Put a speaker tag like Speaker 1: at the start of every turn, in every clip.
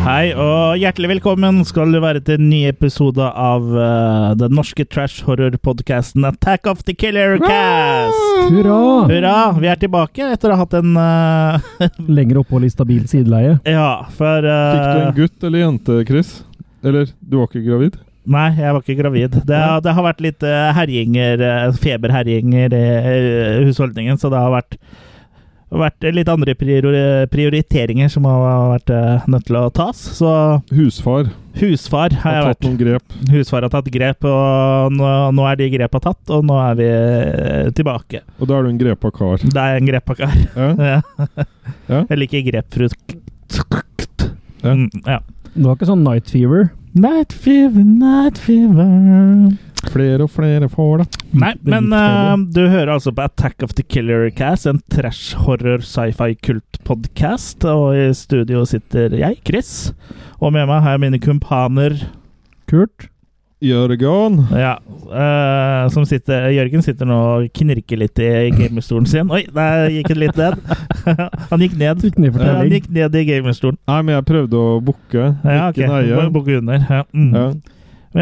Speaker 1: Hei og hjertelig velkommen skal du være til en ny episode av eh, den norske trash horror-podkasten Attack of the Killer Cast!
Speaker 2: Hurra!
Speaker 1: Hurra! Vi er tilbake etter å ha hatt en eh,
Speaker 2: Lenger opphold i stabil sideleie.
Speaker 1: Ja, for eh,
Speaker 3: Fikk du en gutt eller jente, Chris? Eller, du var ikke gravid?
Speaker 1: Nei, jeg var ikke gravid. Det, har- det har vært litt eh, herjinger, eh, feberherjinger i eh, husholdningen, så det har vært, vært litt andre priori prioriteringer som har vært eh, nødt til å tas. Så
Speaker 3: Husfar
Speaker 1: husfar har jeg
Speaker 3: har
Speaker 1: vært.
Speaker 3: tatt noen grep.
Speaker 1: Husfar har tatt grep, og nå, nå er de grepa tatt, og nå er vi eh, tilbake.
Speaker 3: Og da er du en grepa kar.
Speaker 1: Det er en greppakar.
Speaker 3: Ja.
Speaker 1: Ja.
Speaker 3: Ja.
Speaker 1: Jeg liker grepfrukt.
Speaker 3: Ja.
Speaker 1: Mm, Ja.
Speaker 2: Det var ikke sånn night fever.
Speaker 1: Night fever, night fever
Speaker 3: Flere og flere får det.
Speaker 1: Nei,
Speaker 2: Det er
Speaker 1: men
Speaker 2: litt
Speaker 1: eh,
Speaker 2: feber.
Speaker 1: du hører altså på Attack of the Killer Cast, en trash horror sci-fi kult-podkast. Og i studio sitter jeg, Chris, og med meg har jeg mine kumpaner
Speaker 2: Kult.
Speaker 3: Jørgen.
Speaker 1: Ja, eh, som sitter, Jørgen sitter nå og knirker litt i gamerstolen sin. Oi, der gikk han litt ned. han gikk ned.
Speaker 2: Fikk
Speaker 1: Ja,
Speaker 2: ny
Speaker 1: han
Speaker 2: fortelling.
Speaker 1: gikk ned i gamerstolen.
Speaker 3: Nei, men jeg prøvde å bukke.
Speaker 1: Ja, ok.
Speaker 3: Ikke neie.
Speaker 1: Bare bukke under. Ja. Mm.
Speaker 3: Ja.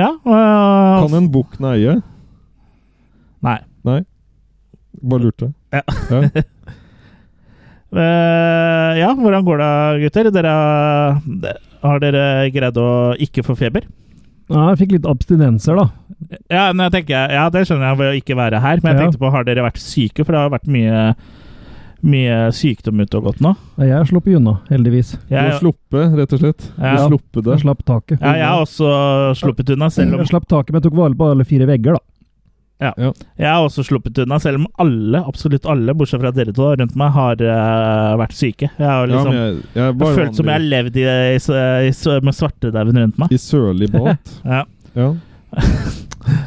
Speaker 1: ja eh,
Speaker 3: Kan en bukk neie?
Speaker 1: Nei.
Speaker 3: Bare lurte.
Speaker 1: Ja.
Speaker 3: Ja.
Speaker 1: Eh, ja, hvordan går det, gutter? Dere, har dere greid å ikke få feber?
Speaker 2: Ja, jeg fikk litt abstinenser, da.
Speaker 1: Ja, men jeg tenker, ja, det skjønner jeg ved å ikke være her, men jeg
Speaker 2: Ja.
Speaker 1: tenkte på har dere vært syke? For det har vært mye, mye sykdom ute og gått nå.
Speaker 2: Nei, Jeg er sluppet unna, heldigvis.
Speaker 3: Du har sluppet, rett og slett. Du har
Speaker 1: Ja.
Speaker 3: sluppet det.
Speaker 2: Jeg slapp taket.
Speaker 1: Ja, jeg har også sluppet unna, selv om
Speaker 3: Mm.
Speaker 2: Jeg slapp taket, men jeg tok vare på alle fire vegger, da.
Speaker 1: Jeg har også sluppet unna, selv om alle, absolutt alle, bortsett fra dere to rundt meg, har eh, vært syke. Jeg har
Speaker 3: Ja,
Speaker 1: liksom
Speaker 3: men jeg, jeg
Speaker 1: jeg har
Speaker 3: var
Speaker 1: følt som jeg har
Speaker 3: vanlig
Speaker 1: levd i, i, i, med svartedauden rundt meg.
Speaker 3: i sølibat.
Speaker 1: Ja.
Speaker 3: Ja.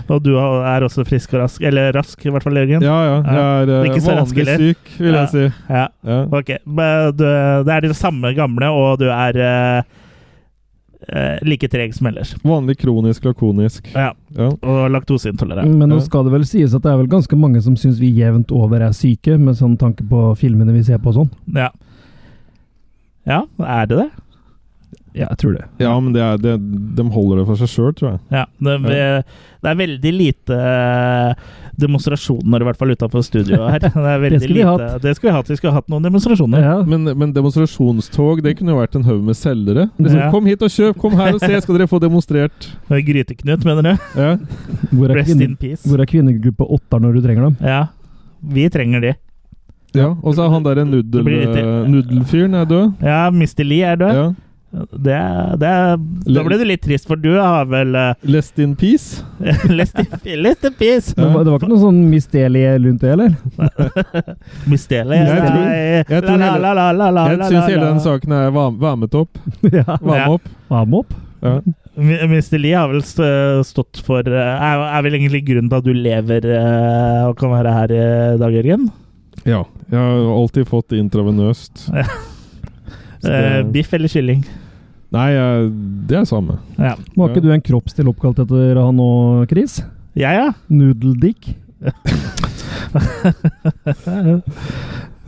Speaker 1: Og du er også frisk og rask. Eller rask, i hvert fall, Jørgen.
Speaker 3: ja, ja. Jeg er eh,
Speaker 1: Ikke så rask
Speaker 3: vanlig
Speaker 1: heller.
Speaker 3: syk, vil
Speaker 1: Ja.
Speaker 3: jeg si.
Speaker 1: Ja,
Speaker 3: Ja.
Speaker 1: ok. Men du, det er det samme gamle, og du er eh, eh, like treg som ellers.
Speaker 3: Vanlig kronisk lakonisk.
Speaker 1: Ja,
Speaker 3: Ja.
Speaker 1: Og laktoseintolerant.
Speaker 2: Men nå
Speaker 3: Ja.
Speaker 2: skal det vel sies at det er vel ganske mange som syns vi jevnt over er syke, med sånn tanke på filmene vi ser på og sånn.
Speaker 1: Ja. ja, er det det?
Speaker 2: Ja, jeg tror det.
Speaker 3: Ja, men det er, det, de holder det for seg sjøl, tror jeg.
Speaker 1: Ja, det, det er veldig lite eh, demonstrasjoner, i hvert fall utenfor studioet her. Det, er veldig
Speaker 2: Det skulle vi
Speaker 1: lite,
Speaker 2: hatt.
Speaker 1: Det skulle vi hatt. Vi skulle hatt noen demonstrasjoner.
Speaker 2: Ja.
Speaker 3: Men, men demonstrasjonstog det kunne jo vært en haug med selgere. Liksom,
Speaker 1: Ja.
Speaker 3: Kom hit og kjøp! Kom her og se, skal dere få demonstrert!
Speaker 1: Gryteknut, mener du?
Speaker 3: Ja.
Speaker 2: Hvor er,
Speaker 1: Rest in
Speaker 2: kvinne,
Speaker 1: peace.
Speaker 2: hvor er kvinnegruppe åtter når du trenger dem?
Speaker 1: Ja. Vi trenger de.
Speaker 3: ja. Og så er han derre
Speaker 1: Det
Speaker 3: nudel,
Speaker 1: blir litt-
Speaker 3: nudelfyren eh, er død.
Speaker 1: Ja, Mr. Lee er død.
Speaker 3: Ja.
Speaker 1: Det, det, da ble du litt trist, for du har vel uh,
Speaker 3: Lest in peace.
Speaker 1: Lest in lest in peace!
Speaker 3: Ja.
Speaker 2: Men hva- Det var ikke noe sånn mistelie rundt det, eller?
Speaker 1: Mistele.
Speaker 3: Jeg tror- jeg tror hele- Jeg syns hele den
Speaker 1: saken
Speaker 3: saken er varm- varmet opp.
Speaker 2: ja.
Speaker 3: Varme
Speaker 1: Ja.
Speaker 3: opp.
Speaker 2: Varme opp.
Speaker 3: Ja.
Speaker 1: Mr. Lee har vel stå- stått for eh, Er er vel egentlig grunnen til at du lever eh, og kan være her i dag, Jørgen?
Speaker 3: ja. Jeg har alltid fått intravenøst.
Speaker 1: Ja.
Speaker 3: Så det-
Speaker 1: Eh, biff eller kylling?
Speaker 3: Nei, jeg, det er samme.
Speaker 1: Ja.
Speaker 2: Var ikke
Speaker 3: Ja.
Speaker 2: du en kroppsdel oppkalt etter han nå, Chris?
Speaker 1: Jeg, ja.
Speaker 2: Nudeldick?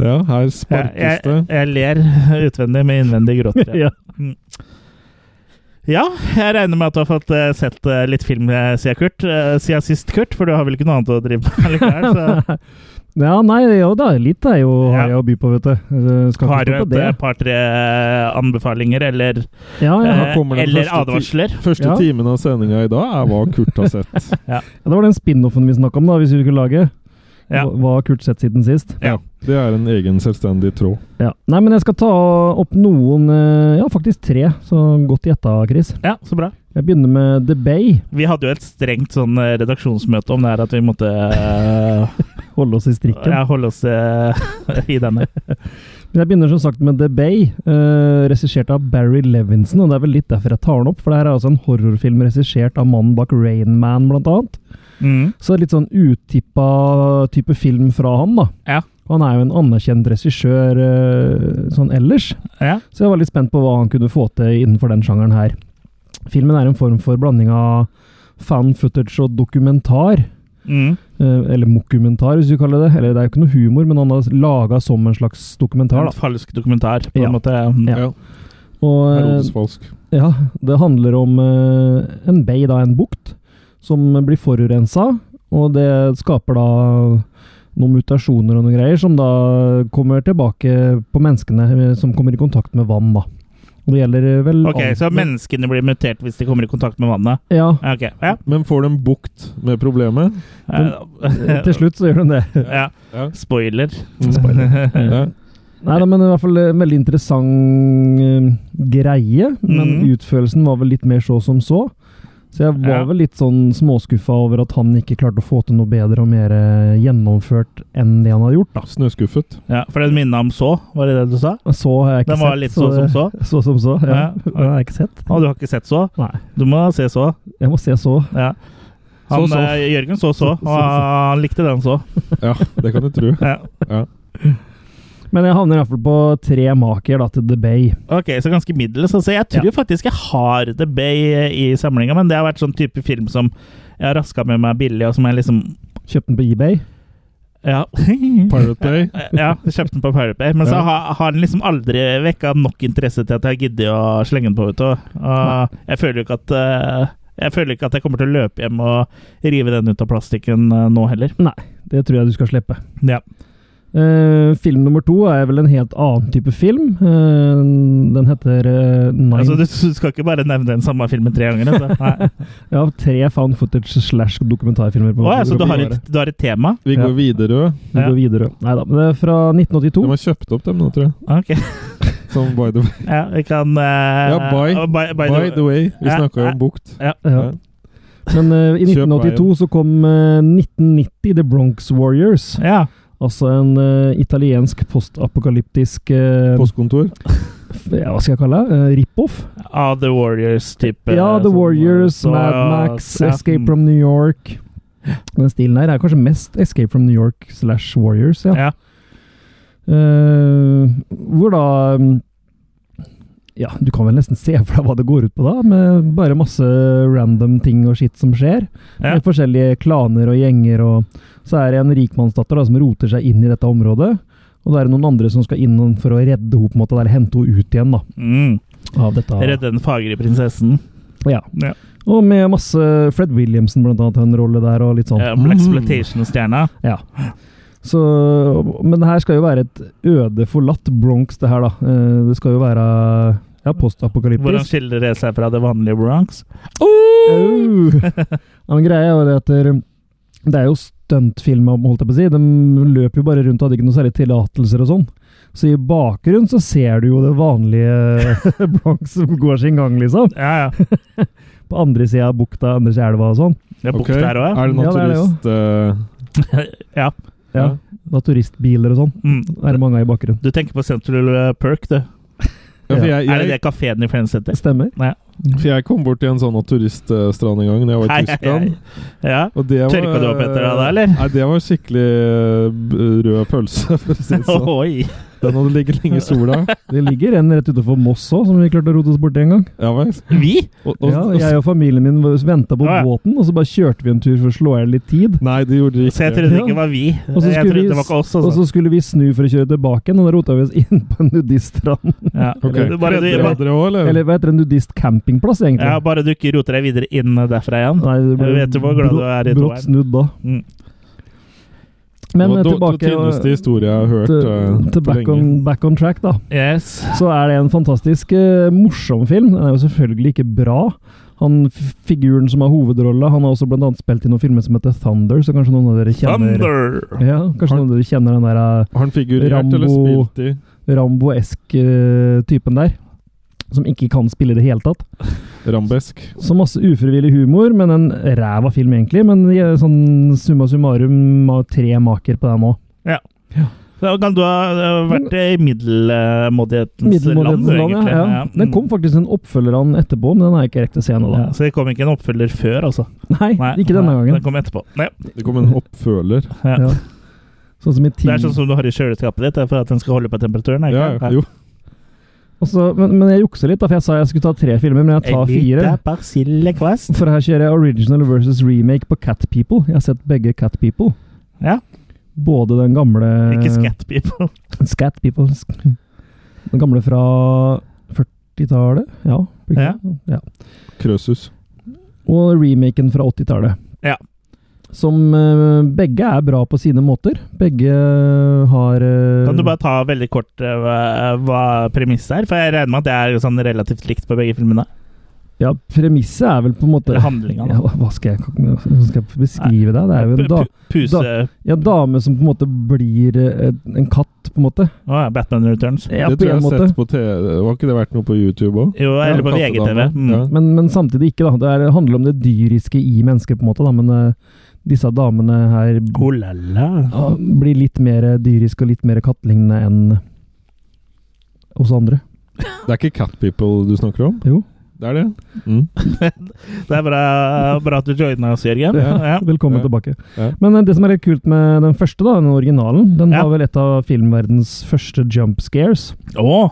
Speaker 3: Ja, her
Speaker 1: Jeg,
Speaker 3: sparkes det.
Speaker 1: jeg, jeg ler utvendig med innvendig gråter. jeg.
Speaker 2: ja.
Speaker 1: ja, jeg regner med at du har fått eh, sett eh, litt film eh, siden Kurt. eh, siden sist, Kurt, for du har vel ikke noe annet å drive med likevel? Så
Speaker 2: ja, nei, jo da. Litt er jo, har jeg å by på, vet du. Eh, Skal
Speaker 1: har du
Speaker 2: ikke stå på
Speaker 1: et
Speaker 2: det.
Speaker 1: eh, par-tre anbefalinger eller,
Speaker 2: Ah, Ja, ja.
Speaker 3: her
Speaker 1: eh,
Speaker 3: kommer den
Speaker 1: eller
Speaker 3: første ti-
Speaker 1: advarsler?
Speaker 3: Første
Speaker 2: Ja.
Speaker 3: timen av sendinga i dag er hva Kurt har sett.
Speaker 2: ja, det var den spin-offen vi snakka om, da, hvis vi skulle lage.
Speaker 1: Ja.
Speaker 2: Hva- Hva har Kurt sett siden sist?
Speaker 1: Ja.
Speaker 3: Det er en egen selvstendig tråd.
Speaker 2: Ja. Nei, men jeg skal ta opp noen eh, Ja, faktisk tre. Så godt gjetta, Chris.
Speaker 1: Ja, så bra.
Speaker 2: Jeg begynner med The Bay.
Speaker 1: Vi hadde jo et strengt sånn eh, redaksjonsmøte om det her, at vi måtte eh,
Speaker 2: Holde oss i strikken.
Speaker 1: ja, holde oss eh, i denne.
Speaker 2: Men jeg begynner som sagt med The Bay, uh, regissert av Barry Levinson. Og det er vel litt derfor jeg tar den opp, for det her er altså en horrorfilm regissert av mannen bak Rain Man, blant annet.
Speaker 1: Mm.
Speaker 2: Så litt sånn utippa type film fra han, da.
Speaker 1: Ja.
Speaker 2: Han er jo en anerkjent regissør eh, sånn ellers,
Speaker 1: Ja.
Speaker 2: så jeg var litt spent på hva han kunne få til innenfor den sjangeren her. Filmen er en form for blanding av fan footage og dokumentar.
Speaker 1: Mm.
Speaker 2: eh, Eller mokumentar, hvis vi kaller det. Eller det er jo ikke noe humor, men han har laga som en slags dokumentar. da.
Speaker 1: En falsk dokumentar, på
Speaker 2: Ja.
Speaker 1: en måte. Mm.
Speaker 2: Ja. Og eh,
Speaker 3: Parodisk-falsk.
Speaker 2: ja, det handler om eh, en bay, da, en bukt, som blir forurensa. Og det skaper da noen mutasjoner og noen greier som da kommer tilbake på menneskene eh, som kommer i kontakt med vann, da. Og det gjelder eh, vel
Speaker 1: Ok,
Speaker 2: alt-
Speaker 1: Så menneskene blir mutert hvis de kommer i kontakt med vannet?
Speaker 2: Ja.
Speaker 1: Ok, ja.
Speaker 3: Men får de bukt med problemet?
Speaker 1: Eh,
Speaker 2: Til slutt Mm. så gjør den det.
Speaker 1: ja.
Speaker 3: Ja.
Speaker 1: Spoiler.
Speaker 3: Ja.
Speaker 2: Nei da, men i hvert fall en veldig interessant eh, greie. Men
Speaker 1: Mhm.
Speaker 2: utførelsen var vel litt mer så som så. Så jeg var
Speaker 1: Ja.
Speaker 2: vel litt sånn småskuffa over at han ikke klarte å få til noe bedre og mer eh, gjennomført enn det han hadde gjort. da.
Speaker 3: Snøskuffet.
Speaker 1: Ja, for den minna om så, var det det du sa?
Speaker 2: Så har jeg ikke
Speaker 1: Den
Speaker 2: sett.
Speaker 1: var litt så som så.
Speaker 2: Så som så, ja.
Speaker 1: Ja.
Speaker 2: Den har jeg ikke sett.
Speaker 1: Å, du har ikke sett så?
Speaker 2: Nei.
Speaker 1: Du må se så.
Speaker 2: Jeg må se så.
Speaker 1: Ja. Han,
Speaker 3: Så, så.
Speaker 1: eh, Jørgen så så, og
Speaker 2: Så, så.
Speaker 1: han likte den så.
Speaker 3: Ja, det kan du tro.
Speaker 1: Ja.
Speaker 3: Ja.
Speaker 2: Men jeg havner i hvert fall på tre maker da, til The Bay.
Speaker 1: Ok, så ganske middels. Altså, jeg tror
Speaker 2: Ja.
Speaker 1: faktisk jeg har The Bay eh, i samlinga, men det har vært sånn type film som jeg har raska med meg billig, og som jeg liksom
Speaker 2: Kjøpte den på eBay.
Speaker 1: Ja.
Speaker 3: Pirate Bay.
Speaker 1: ja, jeg kjøpte den på Pirate Bay, men så
Speaker 3: Ja.
Speaker 1: har, har den liksom aldri vekka nok interesse til at jeg har giddet å slenge den på. Vet du. Og jeg føler jo ikke at eh, jeg føler ikke at jeg kommer til å løpe hjem og rive den ut av plastikken eh, nå heller.
Speaker 2: Det tror jeg du skal slippe.
Speaker 1: Ja.
Speaker 2: Eh, film nummer to er vel en helt annen type film. Eh, den heter eh, Nine
Speaker 1: Altså, du, du skal ikke bare nevne den samme filmen tre ganger. Altså. Nei.
Speaker 2: Jeg har tre found footage slash dokumentarfilmer. på
Speaker 1: Å, ja, så du
Speaker 2: Videre.
Speaker 1: har, et, du har et tema?
Speaker 3: Vi går
Speaker 2: Ja.
Speaker 3: videre.
Speaker 2: Vi går videre. Nei da, men det er fra
Speaker 3: De
Speaker 2: 1982.
Speaker 3: har kjøpt opp dem nå, tror jeg.
Speaker 1: Ok.
Speaker 3: Som by the way.
Speaker 1: Ja, vi kan eh,
Speaker 3: Ja, by-
Speaker 1: oh, by, by
Speaker 3: By the way. Vi
Speaker 1: Ja,
Speaker 3: snakka jo
Speaker 1: ja.
Speaker 3: om bukt.
Speaker 2: Ja. Men eh, i
Speaker 3: Kjøp
Speaker 2: 1982 så kom eh, 1990 The Bronx Warriors.
Speaker 1: Ja.
Speaker 2: Altså en eh, italiensk postapokalyptisk eh,
Speaker 3: Postkontor.
Speaker 2: f- ja, Hva skal jeg kalle det? Eh, Rip-off?
Speaker 1: Av The Warriors-type.
Speaker 2: Ja, The
Speaker 1: sånn,
Speaker 2: Warriors,
Speaker 1: så-
Speaker 2: Mad Max,
Speaker 1: ja. mm.
Speaker 2: Escape from New York. Den stilen her er kanskje mest Escape from New York slash Warriors, ja.
Speaker 1: Ja.
Speaker 2: Eh, hvor da mm, Ja, du kan vel nesten se for deg hva det går ut på, da. Med bare masse random ting og skitt som skjer.
Speaker 1: Ja.
Speaker 2: Med forskjellige klaner og gjenger og Så er det en rikmannsdatter da, som roter seg inn i dette området. Og da er det noen andre som skal inn for å redde henne, på en måte, eller hente henne ut igjen da,
Speaker 1: Mm.
Speaker 2: av dette.
Speaker 1: Redde den fagre prinsessen.
Speaker 3: Mm.
Speaker 2: Ja.
Speaker 1: Ja.
Speaker 2: Og med masse Fred Williamson, blant annet, har en rolle der, og litt sånn.
Speaker 1: Ja, Eh, Black Exploitation-stjerna.
Speaker 2: Ja. Så, men det her skal jo være et øde, forlatt Bronx, det her, da. Eh, Det skal jo være ja,
Speaker 1: Hvordan
Speaker 2: postapokalyptisk.
Speaker 1: skiller det seg fra det vanlige Bronx?
Speaker 2: Au! Ja, men greia er jo det at det- det er jo stuntfilmer, holdt jeg på å si. De løper jo bare rundt og hadde ikke noe særlig tillatelser og sånn. Så i bakgrunnen så ser du jo det vanlige Bronx som går sin gang, liksom.
Speaker 1: Ja, ja.
Speaker 2: På andre sida av bukta, andre sida av elva og sånn.
Speaker 1: Det er bukt
Speaker 3: Ok.
Speaker 1: der òg,
Speaker 3: Er det
Speaker 2: Ja, det er det jo.
Speaker 3: naturist... eh,
Speaker 1: ja. ja.
Speaker 2: Ja. Da turistbiler og sånn.
Speaker 1: Mm.
Speaker 2: Da Er det mange i bakgrunnen.
Speaker 1: Du tenker på Central eh, Perk, du.
Speaker 3: Ja, for jeg,
Speaker 1: Er det det
Speaker 3: jeg,
Speaker 1: kafeen i Friends heter?
Speaker 2: Det stemmer.
Speaker 3: for jeg kom bort til en sånn turiststrand en gang da jeg var i
Speaker 1: Hei,
Speaker 3: Tyskland.
Speaker 1: hei, hei. Ja.
Speaker 3: Og det var-
Speaker 1: Tørka du opp etter deg da, eller?
Speaker 3: Nei, det var skikkelig eh, b- rød pølse, for å si det sånn.
Speaker 1: Oi.
Speaker 3: Den hadde ligget lenge i sola.
Speaker 2: Det ligger en rett utenfor Moss òg, som vi klarte å rote oss borti en gang.
Speaker 3: Ja vel.
Speaker 1: Vi?
Speaker 3: Og, og,
Speaker 2: Ja, jeg og familien min venta på
Speaker 1: Ja, ja.
Speaker 2: båten, og så bare kjørte vi en tur for å slå i hjel litt tid.
Speaker 3: Nei, det gjorde det
Speaker 1: Så jeg
Speaker 3: ikke.
Speaker 1: trodde det ikke var vi.
Speaker 2: Og så
Speaker 1: Jeg
Speaker 2: skulle
Speaker 1: trodde
Speaker 2: vi-
Speaker 1: det var ikke oss.
Speaker 2: Og
Speaker 1: Altså.
Speaker 2: så skulle vi snu for å kjøre tilbake igjen, og da rota vi oss inn på en nudiststrand.
Speaker 1: Ja.
Speaker 3: Ok.
Speaker 1: Du Bare, du,
Speaker 3: Kledde
Speaker 1: bare,
Speaker 3: dere også, eller?
Speaker 2: Eller hva heter det, en nudistcampingplass, egentlig?
Speaker 1: ja, bare du ikke roter deg videre inn derfra igjen.
Speaker 2: Nei, det
Speaker 1: Jeg vet jo hvor glad du er i
Speaker 2: brått
Speaker 1: toeren.
Speaker 2: snudd da.
Speaker 1: Mm.
Speaker 2: Men eh,
Speaker 3: det var
Speaker 2: tilbake
Speaker 3: den tynneste historien jeg har hørt
Speaker 2: til,
Speaker 3: eh,
Speaker 2: til
Speaker 3: på
Speaker 2: back,
Speaker 3: lenge.
Speaker 2: on, back on track, da.
Speaker 1: Yes.
Speaker 2: Så er det en fantastisk eh, morsom film. Den er jo selvfølgelig ikke bra. Han f- Figuren som har hovedrolla, han har også blant annet spilt i noen filmer som heter Thunder, så kanskje noen av dere kjenner
Speaker 1: Thunder!
Speaker 2: ja, Kanskje noen av dere kjenner den der eh,
Speaker 3: Har han figurert
Speaker 2: Rambo-
Speaker 3: eller spilt i?
Speaker 2: Rambo-esk eh, typen der. Som ikke kan spille i det hele tatt.
Speaker 3: Rambesk.
Speaker 2: Så masse ufrivillig humor, men en ræva film, egentlig. Men eh, sånn summa summarum av tre maker på den òg.
Speaker 1: Da kan du ha eh, vært i middelmådighetens land,
Speaker 2: Middelmådighetens
Speaker 1: du,
Speaker 2: land,
Speaker 1: egentlig. Mm.
Speaker 2: ja. ja. Den kom faktisk en oppfølger av den etterpå, men den er ikke riktig å se ennå, da.
Speaker 1: Ja, så det kom ikke en oppfølger før, altså?
Speaker 2: Nei,
Speaker 1: Nei,
Speaker 2: ikke denne
Speaker 1: nei, Den
Speaker 2: gangen.
Speaker 1: kom etterpå. Nei,
Speaker 3: Det kom en oppføler.
Speaker 1: ja.
Speaker 2: Ja. Sånn som i
Speaker 1: Det
Speaker 2: Team
Speaker 1: er sånn som du har i kjøleskapet ditt, det er for at den skal holde på temperaturen? er
Speaker 3: Ja,
Speaker 1: ikke det?
Speaker 3: jo.
Speaker 2: Også, men, men jeg jukser litt, da, for jeg sa jeg skulle ta tre filmer, men jeg tar
Speaker 1: En
Speaker 2: fire.
Speaker 1: liten persille kvast.
Speaker 2: For her kjører jeg original versus remake på Cat People. Jeg har sett begge Cat People.
Speaker 1: Ja.
Speaker 2: Både den gamle
Speaker 1: Ikke scat people.
Speaker 2: Scat People. Sk- Den gamle fra 40-tallet. Ja, blir ikke det? ja.
Speaker 3: Krøsus.
Speaker 2: Og remaken fra 80-tallet.
Speaker 1: Ja.
Speaker 2: Som eh, begge er bra på sine måter. Begge har eh,
Speaker 1: Kan du bare ta veldig kort eh, hva, hva premisset er? For jeg regner med at det er jo sånn relativt likt på begge filmene.
Speaker 2: Ja, premisset er vel på en måte
Speaker 1: Eller handlinga, da.
Speaker 2: ja, Hva skal jeg, hvordan skal jeg beskrive det? Det er jo en da,
Speaker 1: Pu- Puse Å
Speaker 2: ja, dame som på en måte blir eh, en katt, på en måte.
Speaker 1: ja, Batman Returns.
Speaker 2: Ja,
Speaker 3: det
Speaker 2: på
Speaker 3: tror jeg
Speaker 2: en
Speaker 3: jeg har
Speaker 2: måte.
Speaker 3: sett på TV. Har ikke det vært noe på YouTube òg?
Speaker 1: Jo, eller på VGTV. Mm.
Speaker 3: Ja.
Speaker 2: Men, men samtidig ikke, da. Det er, handler om det dyriske i mennesket, på en måte. Da. Men eh, disse damene her
Speaker 1: Oh la la.
Speaker 2: ja, blir litt mer dyriske og litt mer kattlignende enn oss andre.
Speaker 3: Det er ikke Cat People du snakker om?
Speaker 2: Jo.
Speaker 3: Det er det? Mm.
Speaker 1: Det er bra, bra at du joina oss, Jørgen. Ja.
Speaker 2: Ja, velkommen
Speaker 3: Ja.
Speaker 2: tilbake.
Speaker 3: Ja.
Speaker 2: Men eh, det som er litt kult med den første, da, den originalen, den
Speaker 1: Ja.
Speaker 2: var vel et av filmverdens første jump scares.
Speaker 1: Å!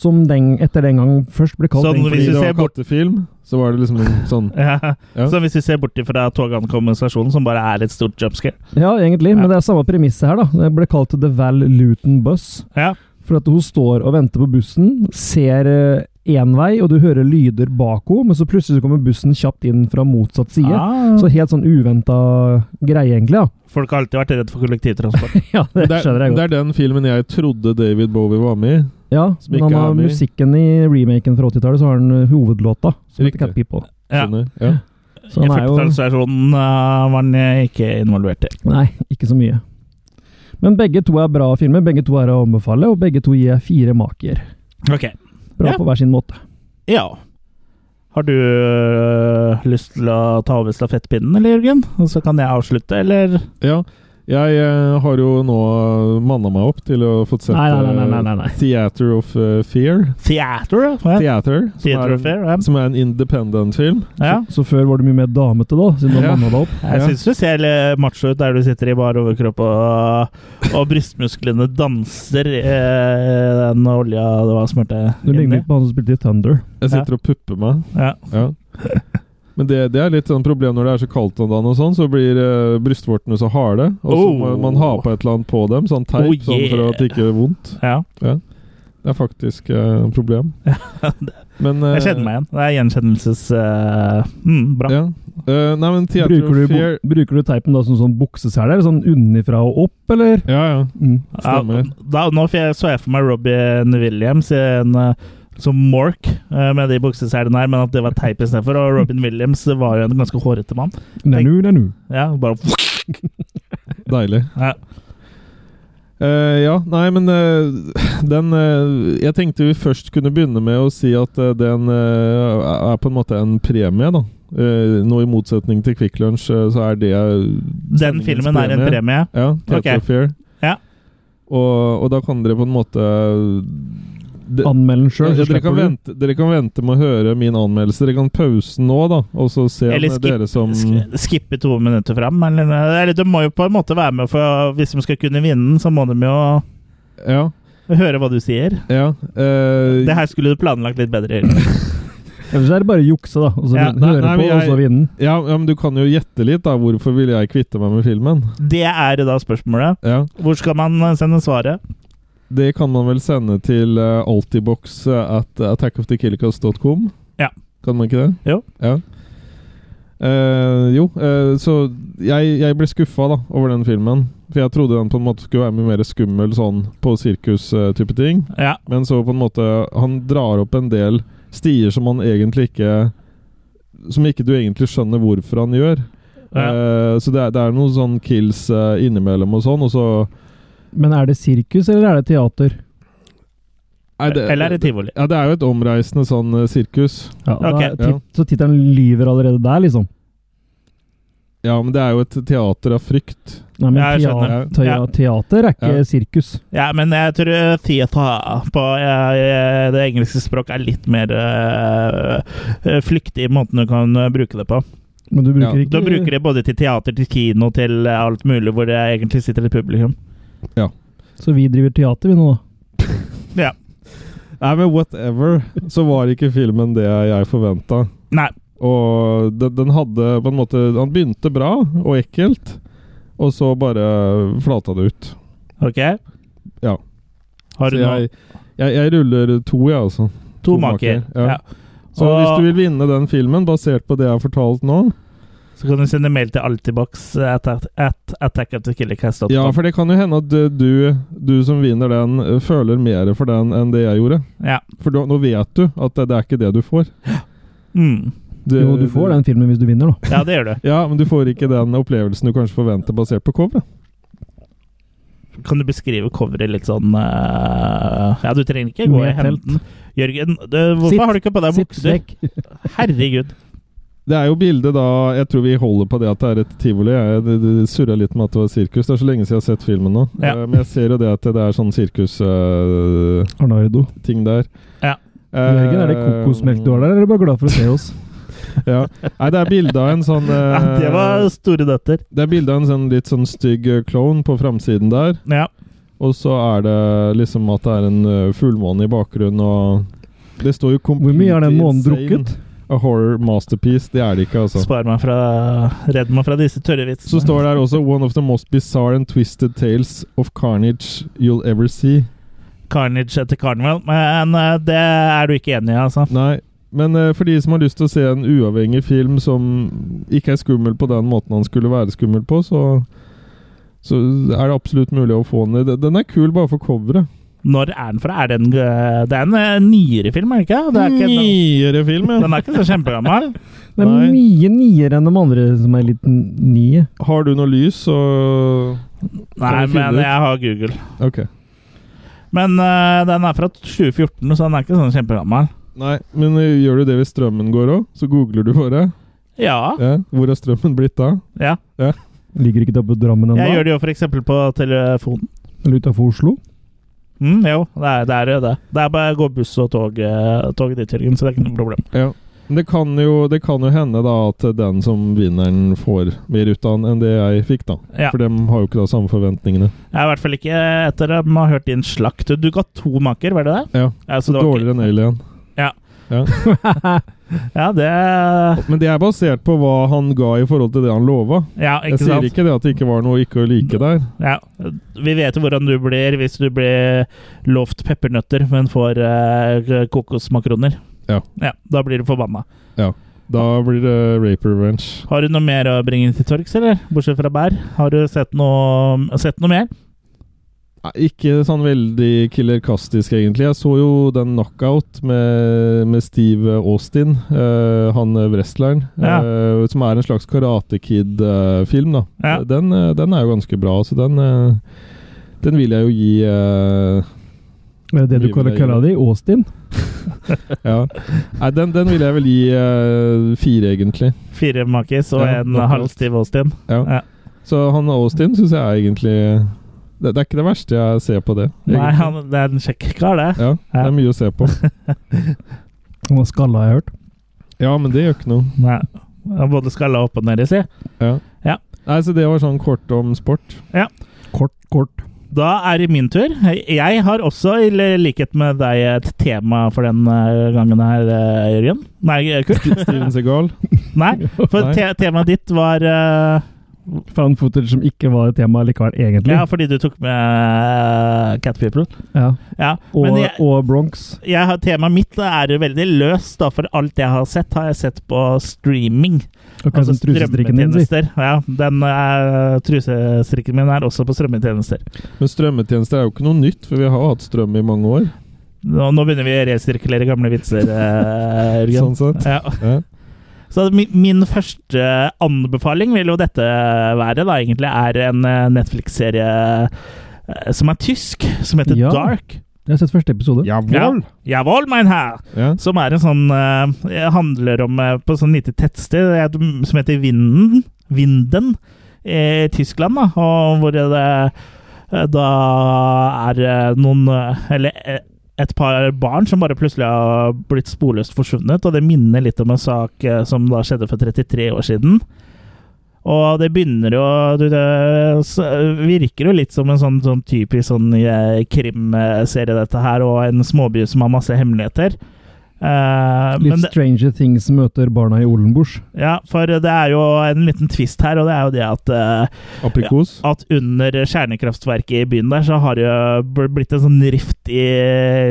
Speaker 2: Som den, etter den gang først ble kalt
Speaker 1: Sånn
Speaker 2: den-
Speaker 1: hvis
Speaker 3: Fordi
Speaker 1: du
Speaker 3: det
Speaker 1: ser
Speaker 3: var
Speaker 1: bort-
Speaker 3: kattefilm, så var det liksom en sånn
Speaker 1: Ja.
Speaker 3: Ja.
Speaker 1: Så hvis vi ser bort ifra togankommunikasjonen, som bare er et stort jumpscare
Speaker 2: Ja,
Speaker 1: Ja.
Speaker 2: egentlig, men det er samme premisset her, da. Det ble kalt The Val Luton Bus.
Speaker 1: ja.
Speaker 2: For at hun står og venter på bussen, ser én vei, og du hører lyder bak henne, men så plutselig så kommer bussen kjapt inn fra motsatt side.
Speaker 1: Ah.
Speaker 2: Så helt sånn uventa greie, egentlig. da.
Speaker 1: Folk har alltid vært redd for kollektivtransport.
Speaker 2: Ja, det
Speaker 3: det, er,
Speaker 2: skjønner jeg
Speaker 3: det
Speaker 2: godt.
Speaker 3: er den filmen jeg trodde David Bowie var med i.
Speaker 2: Ja,
Speaker 3: som
Speaker 2: men
Speaker 3: ikke
Speaker 2: han har
Speaker 3: er med i-
Speaker 2: musikken i remaken fra 80-tallet, så har han eh, hovedlåta, som heter
Speaker 3: Riktig.
Speaker 2: Cat People.
Speaker 1: Ja.
Speaker 3: Skjønner? Ja.
Speaker 2: Så han
Speaker 1: I
Speaker 2: Sånn er jo
Speaker 1: 40-tallsversjonen uh, var den eh, ikke involvert i.
Speaker 2: Nei, ikke så mye. Men begge to er bra filmer, begge to er å anbefale, og begge to gir jeg fire makier.
Speaker 1: Ok,
Speaker 2: Bra
Speaker 1: Ja.
Speaker 2: på hver sin måte.
Speaker 1: ja. Har du eh, lyst til å ta over stafettpinnen, eller, Jørgen? Og så kan jeg avslutte, eller?
Speaker 3: ja. Jeg eh, har jo nå manna meg opp til å få sett
Speaker 2: Nei, nei, nei, nei, nei, nei.
Speaker 3: eh, Theater of eh, Fear.
Speaker 1: Theater? Ja.
Speaker 3: Theater, som,
Speaker 1: Theater
Speaker 3: er,
Speaker 1: of Fair, ja.
Speaker 3: som er en independent film.
Speaker 1: ja.
Speaker 2: Så før var du mye mer damete, da, siden du
Speaker 3: Ja.
Speaker 2: manna deg opp.
Speaker 1: Jeg
Speaker 3: Ja.
Speaker 1: syns du ser litt macho ut der du sitter i bar overkropp og, og brystmusklene danser i eh, den olja det var smurt
Speaker 2: Du
Speaker 1: inn i.
Speaker 2: ligner litt på han som spilte i Thunder.
Speaker 3: Jeg sitter og pupper meg.
Speaker 1: Ja.
Speaker 3: Ja. Men det, det er litt sånn problem når det er så kaldt om dagen, og sånn, så blir eh, brystvortene så harde. Og så må
Speaker 1: Oh.
Speaker 3: man ha på et eller annet på dem, sånn
Speaker 1: Oh,
Speaker 3: teip, sånn for
Speaker 1: yeah.
Speaker 3: at det ikke gjør vondt.
Speaker 1: ja.
Speaker 3: Det er faktisk eh, et problem. Men, eh,
Speaker 1: Jeg kjenner meg igjen. Det er gjenkjennelses... eh, mm, bra.
Speaker 3: Ja. Eh, nei, men Theater
Speaker 2: Bruker
Speaker 3: of
Speaker 2: du,
Speaker 3: Fear
Speaker 2: bu- bruker du teipen da som sånn bukseseler? eller Sånn unnifra og opp, eller?
Speaker 3: Ja, ja.
Speaker 2: Mm.
Speaker 1: Ja,
Speaker 3: Stemmer.
Speaker 1: da, nå f- jeg- så jeg for meg Robin Williams i en, eh, som Mork eh, med de bukseselene her, men at det var teip istedenfor. Og Robin Williams var jo en ganske hårete mann.
Speaker 2: Nei, nu, nei, nu.
Speaker 1: Ja, bare
Speaker 3: Deilig.
Speaker 1: Ja.
Speaker 3: Eh, ja, nei, men eh, den eh, Jeg tenkte vi først kunne begynne med å si at eh, den eh, er på en måte en premie, da. Eh, nå i motsetning til Quick Lunch, eh, så er det
Speaker 1: Den filmen er en premie.
Speaker 3: Ja, Theater
Speaker 1: Ok.
Speaker 3: of Fear.
Speaker 1: Ja.
Speaker 3: Og, og da kan dere på en måte eh, det,
Speaker 2: Anmeld den sjøl, så
Speaker 3: ja, dere, kan
Speaker 2: slipper du.
Speaker 3: vente, dere kan vente med å høre min anmeldelse. Dere kan pause den nå, da, og så se
Speaker 1: Eller
Speaker 3: om
Speaker 1: skip-
Speaker 3: dere som
Speaker 1: Sk- Skippe to minutter fram, eller, eller de må jo på en måte være med, for hvis de skal kunne vinne den, så må de jo
Speaker 3: Ja.
Speaker 1: høre hva du sier.
Speaker 3: ja eh,
Speaker 1: Det her skulle du planlagt litt bedre. Jørgen.
Speaker 2: Ellers er det bare å jukse, da. Og så
Speaker 1: Ja,
Speaker 2: vin-
Speaker 3: nei,
Speaker 2: høre
Speaker 3: nei,
Speaker 2: på,
Speaker 3: men
Speaker 2: og så
Speaker 3: jeg-
Speaker 2: vinne.
Speaker 3: ja, ja, men du kan jo gjette litt, da. Hvorfor ville jeg kvitte meg med filmen?
Speaker 1: Det er da spørsmålet.
Speaker 3: Ja,
Speaker 1: Hvor skal man eh, sende svaret?
Speaker 3: Det kan man vel sende til uh, altibox eh, at attackofthekillercast.com.
Speaker 1: Ja.
Speaker 3: Kan man ikke det?
Speaker 1: Jo.
Speaker 3: Ja. Eh, jo, eh, så jeg, jeg ble skuffa da, over den filmen. For jeg trodde den på en måte skulle være mye mer skummel sånn på sirkus-type ting.
Speaker 1: Ja.
Speaker 3: Men så på en måte Han drar opp en del stier som han egentlig ikke Som ikke du egentlig skjønner hvorfor han gjør.
Speaker 1: ja.
Speaker 3: Eh, så det er, det er noen sånn kills eh, innimellom og sånn, og så
Speaker 2: Men er det sirkus, eller er det teater?
Speaker 3: Nei, det-
Speaker 1: Eller er det tivoli?
Speaker 3: Ja, det er jo et omreisende sånn eh, sirkus.
Speaker 2: Ja, da
Speaker 1: Ok.
Speaker 2: er tit- Så tittelen lyver allerede der, liksom.
Speaker 3: Ja, men det er jo et teater av frykt.
Speaker 2: Nei, men
Speaker 1: Ja, jeg
Speaker 2: tea-
Speaker 3: skjønner.
Speaker 2: te-
Speaker 1: Ja.
Speaker 2: teater er ikke
Speaker 3: Ja.
Speaker 2: sirkus.
Speaker 1: Ja, men jeg tror eh, theater på eh, det engelske språk er litt mer eh, flyktig i måten du kan eh, bruke det på.
Speaker 2: Men du bruker
Speaker 3: Ja.
Speaker 2: ikke
Speaker 1: Da bruker det både til teater, til kino, til eh, alt mulig hvor det egentlig sitter et publikum.
Speaker 2: Så vi driver teater, vi nå, da.
Speaker 3: Nei, men whatever, så var ikke filmen det jeg forventa.
Speaker 1: Nei.
Speaker 3: Og den, den hadde på en måte Han begynte bra og ekkelt, og så bare flata det ut.
Speaker 1: OK?
Speaker 3: Ja.
Speaker 1: Har
Speaker 3: Så
Speaker 1: du noe?
Speaker 3: jeg, jeg, jeg ruller to, jeg, altså.
Speaker 1: To
Speaker 3: To
Speaker 1: maker.
Speaker 3: maker, ja.
Speaker 1: Ja.
Speaker 3: Så
Speaker 1: Og-
Speaker 3: hvis du vil vinne den filmen, basert på det jeg har fortalt nå
Speaker 1: Så kan du sende mail til altibox at, at, at attack of the killer cast.
Speaker 3: Ja, for det kan jo hende at eh, du, du som vinner den, eh, føler mer for den enn det jeg gjorde.
Speaker 1: ja.
Speaker 3: For da, nå vet du at det, det er ikke det du får.
Speaker 1: Mm.
Speaker 3: Du,
Speaker 2: Jo, du får den filmen hvis du vinner, da.
Speaker 1: ja, det gjør du.
Speaker 3: Ja, men du får ikke den opplevelsen du kanskje forventer basert på coveret.
Speaker 1: Kan du beskrive coveret litt sånn eh, Ja, du trenger ikke gå i
Speaker 2: Med telt.
Speaker 1: henten. Jørgen, du, hvorfor
Speaker 2: Sitt.
Speaker 1: har du ikke på deg bukser?
Speaker 2: Sittdekk.
Speaker 1: Herregud.
Speaker 3: Det er jo bildet da Jeg tror vi holder på det at det er et tivoli. Jeg det- det surra litt med at det var sirkus. Det er så lenge siden jeg har sett filmen nå.
Speaker 1: Ja.
Speaker 3: Eh, Men jeg ser jo det at det er sånn sirkusting
Speaker 2: Arnardo.
Speaker 3: der. Eh,
Speaker 1: Ja.
Speaker 2: Jørgen, er
Speaker 1: Eh,
Speaker 2: det kokosmelk du har der, eller er du bare glad for å se oss?
Speaker 3: Ja. Nei, det er bilde av en sånn
Speaker 1: Ja,
Speaker 3: eh,
Speaker 1: det var store døtter.
Speaker 3: Det er bilde av en sånn litt sånn stygg eh, klovn på framsiden der.
Speaker 1: Ja.
Speaker 3: Og så er det liksom at det er en eh, fullmåne i bakgrunnen, og det står jo
Speaker 2: Hvor mye har den månen
Speaker 3: completely insane.
Speaker 2: drukket?
Speaker 3: A horror masterpiece. Det er det ikke, altså.
Speaker 1: Spar meg fra Redd meg fra disse tørre
Speaker 3: Så
Speaker 1: vitsene.
Speaker 3: står det her også 'One of the most bizarre and twisted tales of carnage you'll ever see'.
Speaker 1: Carnage etter Carnival. Men eh, det er du ikke enig i, altså.
Speaker 3: Nei, men eh, for de som har lyst til å se en uavhengig film som ikke er skummel på den måten han skulle være skummel på, så, så er det absolutt mulig å få den. Den er kul bare for coveret.
Speaker 1: Når er den fra? Er det en, eh, det er en eh, nyere film, er det ikke? Det er ikke den,
Speaker 3: Nyere film, ja.
Speaker 1: den er ikke så kjempegammel.
Speaker 2: Det er
Speaker 3: Nei.
Speaker 2: mye nier enn de andre som er litt n- nie.
Speaker 3: Har du noe lys, så
Speaker 1: Nei,
Speaker 3: Kan vi finne
Speaker 1: men
Speaker 3: ut?
Speaker 1: jeg har Google.
Speaker 3: Ok.
Speaker 1: Men eh, den er fra 2014, så den er ikke sånn kjempegammel.
Speaker 3: Nei, men eh, gjør du det hvis strømmen går òg? Så googler du bare.
Speaker 1: Ja.
Speaker 3: Ja. Hvor er strømmen blitt da?
Speaker 1: ja.
Speaker 2: Ligger ikke det oppe i Drammen
Speaker 1: Jeg
Speaker 2: ennå?
Speaker 1: gjør det jo f.eks. på telefonen.
Speaker 2: Eller utafor Oslo?
Speaker 1: Mm, jo, det er det. Er jo det. det er bare å gå buss og tog, eh, tog dit, Jørgen, så det er ikke noe problem.
Speaker 3: Ja. Men det kan, jo, det kan jo hende da at den som vinneren får mer ut av den enn det jeg fikk, da.
Speaker 1: Ja.
Speaker 3: For dem har jo ikke da samme forventningene.
Speaker 1: Jeg er i hvert fall ikke etter at man har hørt din slakt. Du ga to maker, var det det?
Speaker 3: Ja.
Speaker 1: Altså, det var ikke-
Speaker 3: Dårligere enn Alien.
Speaker 1: Ja, det
Speaker 3: Men det er basert på hva han ga i forhold til det han lova.
Speaker 1: Ja, ikke
Speaker 3: Jeg sier
Speaker 1: sant?
Speaker 3: ikke det at det ikke var noe ikke å like der.
Speaker 1: Ja. Vi vet jo hvordan du blir hvis du blir lovt peppernøtter, men får eh, kokosmakroner.
Speaker 3: Ja.
Speaker 1: Da blir du forbanna.
Speaker 3: Da blir det rape revenge.
Speaker 1: Har du noe mer å bringe til torgs, eller? Bortsett fra bær. Har du sett noe, sett noe mer?
Speaker 3: Nei, Ikke sånn veldig killerkastisk, egentlig. Jeg så jo den knockout med, med Steve Austin, eh, han eh, wrestleren,
Speaker 1: Ja.
Speaker 3: eh, som er en slags Karate Kid-film, da.
Speaker 1: Ja.
Speaker 3: Den, eh, den er jo ganske bra, så den, eh, den vil jeg jo gi eh,
Speaker 2: Er det det du kaller kaller det? Austin?
Speaker 3: Ja. Nei, den, den vil jeg vel gi eh, fire, egentlig.
Speaker 1: Fire makis og
Speaker 3: Ja,
Speaker 1: en
Speaker 3: knockout.
Speaker 1: halvstiv Austin.
Speaker 3: Ja.
Speaker 1: Ja.
Speaker 3: Så han Austin syns jeg er egentlig det, det er ikke det verste jeg ser på det.
Speaker 1: Nei,
Speaker 3: egentlig.
Speaker 1: han, det er en kjekk kar, det.
Speaker 3: ja, det er mye å se på.
Speaker 2: Han var skalla, har jeg hørt.
Speaker 3: Ja, men det gjør ikke noe.
Speaker 1: Nei. Han er Både skalla opp og ned i si.
Speaker 3: Ja.
Speaker 1: Ja.
Speaker 3: Nei, Så det var sånn kort om sport.
Speaker 2: Kort, kort.
Speaker 1: Da er det min tur. Jeg har også, i likhet med deg, et tema for den eh, gangen her, eh, Jørgen. Nei, Kurt.
Speaker 3: Steven Segal.
Speaker 1: Nei, for
Speaker 3: Nei.
Speaker 1: te temaet ditt var eh,
Speaker 2: Found footage som ikke var et tema likevel, egentlig.
Speaker 1: Ja, fordi du tok med eh, Cat People.
Speaker 2: Ja.
Speaker 1: Ja,
Speaker 2: Og,
Speaker 1: men jeg,
Speaker 2: og Bronx.
Speaker 1: jeg, har- temaet mitt er veldig løst, da, for alt jeg har sett, har jeg sett på streaming. Altså
Speaker 2: Akkurat som trusestrikken din sier.
Speaker 1: strømmetjenester. Ja, den eh, trusestrikken min er også på strømmetjenester.
Speaker 3: Men strømmetjenester er jo ikke noe nytt, for vi har hatt strøm i mange år.
Speaker 1: Nå, nå begynner vi å resirkulere gamle vitser, eh, Jørgen.
Speaker 3: Sånn sett.
Speaker 1: Ja.
Speaker 3: Ja.
Speaker 1: Så min, min første anbefaling vil jo dette være, da, egentlig, er en eh, Netflix-serie eh, som er tysk, som heter
Speaker 2: Ja.
Speaker 1: Dark.
Speaker 2: Jeg har sett første episode.
Speaker 3: Jawohl.
Speaker 1: Jawohl, mein Herr!
Speaker 3: Ja.
Speaker 1: Som er en sånn eh, handler om eh, på sånn lite tettsted eh, som heter Vinden, Vinden eh, i Tyskland, da, og hvor det eh, da er eh, noen eh, Eller eh, et par barn som bare plutselig har blitt sporløst forsvunnet, og det minner litt om en sak eh, som da skjedde for 33 år siden. Og det begynner jo du, Det s- virker jo litt som en sånn, sånn typisk sånn eh, krimserie, dette her, og en småby som har masse hemmeligheter. Eh,
Speaker 2: Litt
Speaker 1: men det,
Speaker 2: Stranger Things møter barna i Olenbusch.
Speaker 1: ja, for det er jo en liten twist her, og det er jo det at eh,
Speaker 3: Aprikos.
Speaker 1: at under kjernekraftverket i byen der, så har det jo bl- blitt en sånn rift i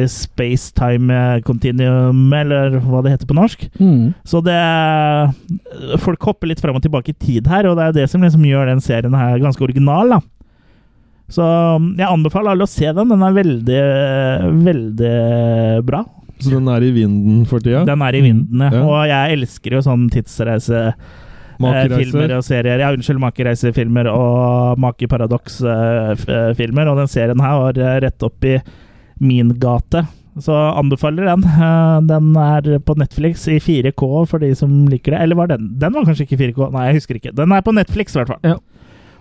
Speaker 1: space-time continuum, eller hva det heter på norsk.
Speaker 2: Mm.
Speaker 1: Så det Folk hopper litt fram og tilbake i tid her, og det er jo det som liksom gjør den serien her ganske original, da. Så jeg anbefaler alle å se den. Den er veldig, veldig bra.
Speaker 3: Så den er i vinden for tida?
Speaker 1: Den er i vinden, ja.
Speaker 3: Ja.
Speaker 1: Og jeg elsker jo sånn tidsreise eh, filmer
Speaker 3: Makereiser?
Speaker 1: og serier. Ja, unnskyld, makereisefilmer og eh, makeparadoks-filmer. Og den serien her var eh, rett opp i min gate. Så anbefaler den. Eh, Den er på Netflix i 4K for de som liker det. Eller var den Den var kanskje ikke 4K? Nei, jeg husker ikke. Den er på Netflix, i hvert fall.
Speaker 2: Ja.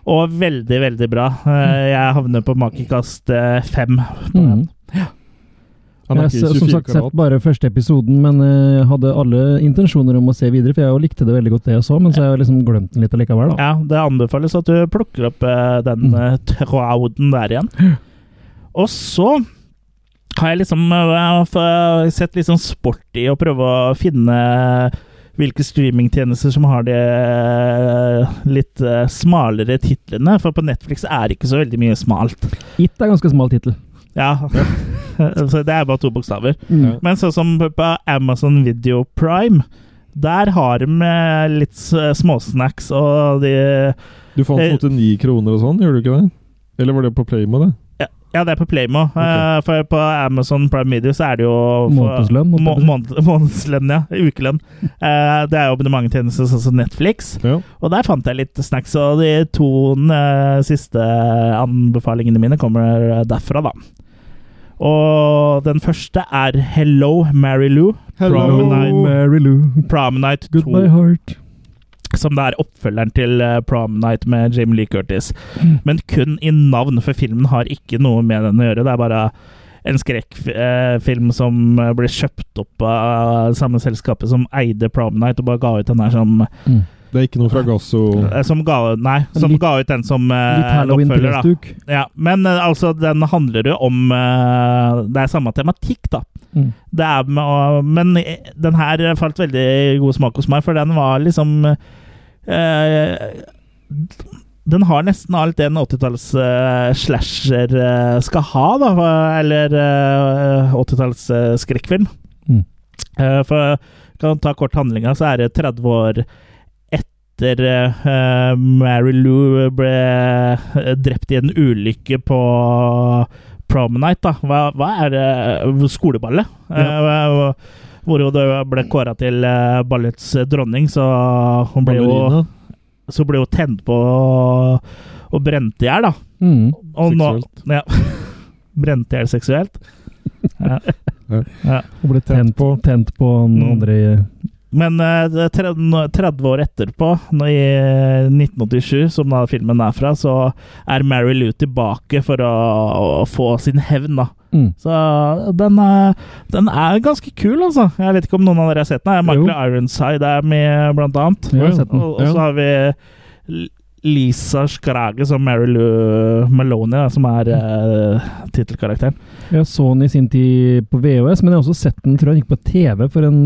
Speaker 1: Og veldig, veldig bra. Eh, Jeg havner på makekast eh, fem. på den.
Speaker 2: Mm.
Speaker 3: Han er
Speaker 2: jeg
Speaker 3: ikke
Speaker 2: har som
Speaker 3: 24
Speaker 2: sagt sett
Speaker 3: karat.
Speaker 2: bare første episoden, men eh, jeg hadde alle intensjoner om å se videre, for jeg jo likte det veldig godt, det jeg så, men så har jeg liksom glemt den litt allikevel. Da.
Speaker 1: Ja, det anbefales at du plukker opp eh, den
Speaker 2: Mm.
Speaker 1: uh, trauden der igjen. Og så har jeg liksom eh, f- sett litt sånn sport i å prøve å finne hvilke streamingtjenester som har de eh, litt eh, smalere titlene. For på Netflix er det ikke så veldig mye smalt.
Speaker 2: It er ganske smal tittel.
Speaker 1: Ja, så Det er bare to bokstaver.
Speaker 2: Mm.
Speaker 1: Men sånn som på- på Amazon Video Prime, der har de eh, litt s- småsnacks, og de
Speaker 3: Du fant
Speaker 1: Eh,
Speaker 3: mot til ni kroner og sånn, gjorde du ikke det? Eller var det på Playmo, det?
Speaker 1: Ja, det er på Playmo.
Speaker 3: Ok.
Speaker 1: Eh, for på Amazon Prime Video så er det jo for-
Speaker 2: Månedslønn, måtte jeg
Speaker 1: Må,
Speaker 2: si.
Speaker 1: måned- månedslønn, ja. Ukelønn. Eh, det er jo abonnementtjenester sånn som Netflix.
Speaker 3: Ja.
Speaker 1: Og der fant jeg litt snacks, og de to eh, siste anbefalingene mine kommer eh, derfra, da. Og den første er Hello Mary Lou. Hello,
Speaker 2: Mary Lou,
Speaker 1: Prom Night 2.
Speaker 2: good my heart.
Speaker 1: Som det er oppfølgeren til eh, Prom Night med Jamie Lee Curtis.
Speaker 2: Mm.
Speaker 1: Men kun i navn, for filmen har ikke noe med den å gjøre. Det er bare en skrekkfilm som eh, ble kjøpt opp av samme selskapet som eide Prom Night, og bare ga ut den her som
Speaker 2: Mm.
Speaker 3: Det er ikke noe fra Gasso
Speaker 1: eh, Som ga, nei, som
Speaker 2: Oh. Litt-
Speaker 1: ga ut den som eh,
Speaker 2: Litt Halloween
Speaker 1: oppfølger, da.
Speaker 2: pressduk.
Speaker 1: Ja, men eh, altså, den handler jo om eh, Det er samme tematikk, da.
Speaker 2: Mm.
Speaker 1: Det er med, å- men eh, den her falt veldig i god smak hos meg, for den var liksom eh, Den har nesten alt det en 80-talls eh, slasher eh, skal ha, da. Eller eh, 80-talls eh, skrekkfilm.
Speaker 2: Mm.
Speaker 1: Eh, for kan ta kort handlinga, så er det 30 år etter eh, Mary Lou ble eh, drept i en ulykke på Prom Night, da. Hva, hva er det? Skoleballet? Eh, hvor hun da ble kåra til eh, ballets dronning, så hun ble jo,
Speaker 3: ballerina.
Speaker 1: så ble hun tent på og, og brent i hjel, da.
Speaker 2: Mm.
Speaker 1: Og nå,
Speaker 3: Seksuelt.
Speaker 1: ja. Brent i hjel seksuelt. Ja.
Speaker 2: Og ble tent på, tent på
Speaker 1: Mm.
Speaker 2: noen andre i
Speaker 1: Men eh, det er tre- nå- 30 år etterpå, nå i 1987, som da filmen er fra, så er Mary Lou tilbake for å, å få sin hevn, da.
Speaker 2: mm.
Speaker 1: Så den er, den er ganske kul, altså. Jeg vet ikke om noen av dere har sett den. Det er Michael Ironside er med, blant annet.
Speaker 2: Jeg har sett den.
Speaker 1: Og, og så har vi L- Lisa Skrage som Mary Lou Maloney, da, som er uh, tittelkarakteren.
Speaker 2: Jeg så den i sin tid på VHS, men jeg har også sett den tror jeg den gikk på TV for en